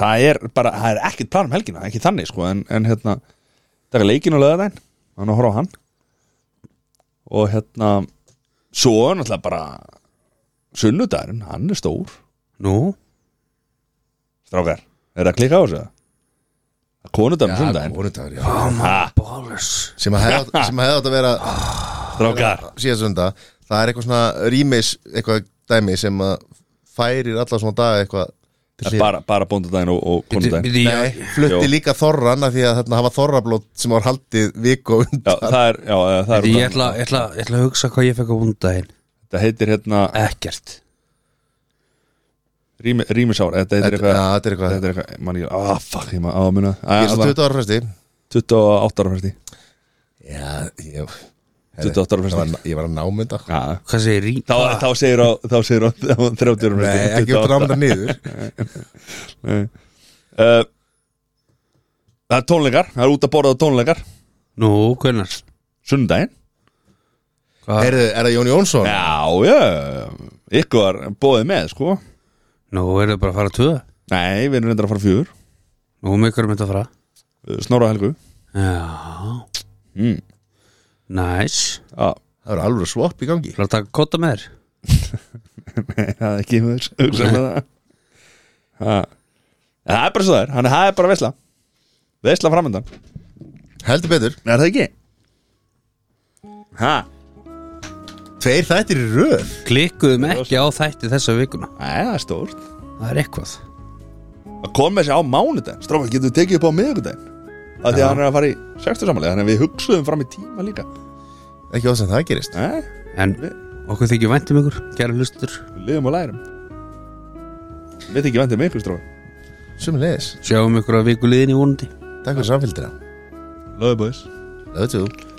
Speaker 1: Það er bara, það er ekkert plan um helgina Ekki þannig sko, en, en hérna Taka leikinn og löða þeim Þannig að horfa á hann Og hérna Svo er náttúrulega bara Sunnudagurinn, hann er stór
Speaker 3: Nú,
Speaker 1: Strákar, er það að klika á þessu? Konudagurinn, sunnudagurinn
Speaker 2: Vonudagur, já
Speaker 1: Ha,
Speaker 2: Ah.
Speaker 3: bólus
Speaker 2: Sem að hefði átt- sem að hefði átt að vera
Speaker 1: Strákar
Speaker 2: síðast sunda Það er eitthvað svona rýmis, eitthvað dæmi sem að færir alla svona daga eitthvað til
Speaker 1: Það er
Speaker 2: hliðar.
Speaker 1: bara, bara bóndudaginn og, og konudaginn
Speaker 2: Nei,
Speaker 3: Nei,
Speaker 2: flutti
Speaker 1: Jó.
Speaker 2: líka þorran af því að þarna hafa þorrablót sem var haldið viku
Speaker 1: Já,
Speaker 2: á undan
Speaker 1: það er, já, eh, það er
Speaker 3: Ég ætla, ég, ætla, ég ætla að hugsa hvað ég fekk á hundaginn
Speaker 1: Þetta heitir hérna
Speaker 3: Ekkert
Speaker 1: Rými- Rýmisár, þetta heitir
Speaker 2: Þetta-
Speaker 1: eitthvað
Speaker 2: já, þetta er eitthvað.
Speaker 1: Þetta er eitthvað, mann ég, ah, fuck, ég maður, á Ah, að muna
Speaker 2: Ég er svo 20 ára fyrsti
Speaker 1: 28 ára fyrsti
Speaker 2: Já, ég,
Speaker 1: 28 ára
Speaker 2: ég, var,
Speaker 1: fyrsti
Speaker 2: ég var að námynda
Speaker 1: Já,
Speaker 3: Hvað segir rí...
Speaker 1: þá, þá segir á, þá segir á 30 ára
Speaker 2: Nei,
Speaker 1: fyrsti
Speaker 2: ekki út að námynda niður
Speaker 1: Uh, Það er tónleikar, það er út að borða á tónleikar
Speaker 3: Nú, hvernar?
Speaker 1: Sundaginn
Speaker 3: Hvað?
Speaker 2: Heyrðu, Er það Jón Jónsson?
Speaker 1: Já, já, ykkur var bóðið með, sko
Speaker 3: Nú, er það bara að fara að tvöða?
Speaker 1: Nei, við erum reyndar að fara fjögur
Speaker 3: Nú, með ykkur er mynd að fara
Speaker 1: Uh, Snorra og Helgu
Speaker 3: Já,
Speaker 2: Hmm.
Speaker 1: mm.
Speaker 3: næs
Speaker 1: Já,
Speaker 2: Það eru alveg svopp í gangi
Speaker 3: Það er að taka kotta með þér
Speaker 1: <laughs> það er ekki með þess hugsa með það Ha. En það er bara svo það er hann það er bara vesla vesla framöndan
Speaker 2: Heldur betur
Speaker 1: er það ekki? hæ?
Speaker 2: Tveir þættir í röð
Speaker 3: Klikkuðum ekki á þætti þessa vikuna
Speaker 1: Nei, það er stórt
Speaker 3: Það er eitthvað
Speaker 1: að koma þessi á mánudaginn strákar getur við tekið upp á miðugudaginn að því að hann er að fara í sextu samanlega þannig að við hugsuðum fram í tíma líka
Speaker 2: Ekki á sem það gerist
Speaker 1: Nei,
Speaker 3: En okkur þykir væntum ykkur, kæra hlustur
Speaker 1: við liðum og lærum við þykir vendið með ykkur strákar
Speaker 2: Sumulegis
Speaker 3: Sjáum ykkur að viku liðin í vonandi
Speaker 2: Takk fyrir samfélgina
Speaker 1: löðu búis
Speaker 2: Love you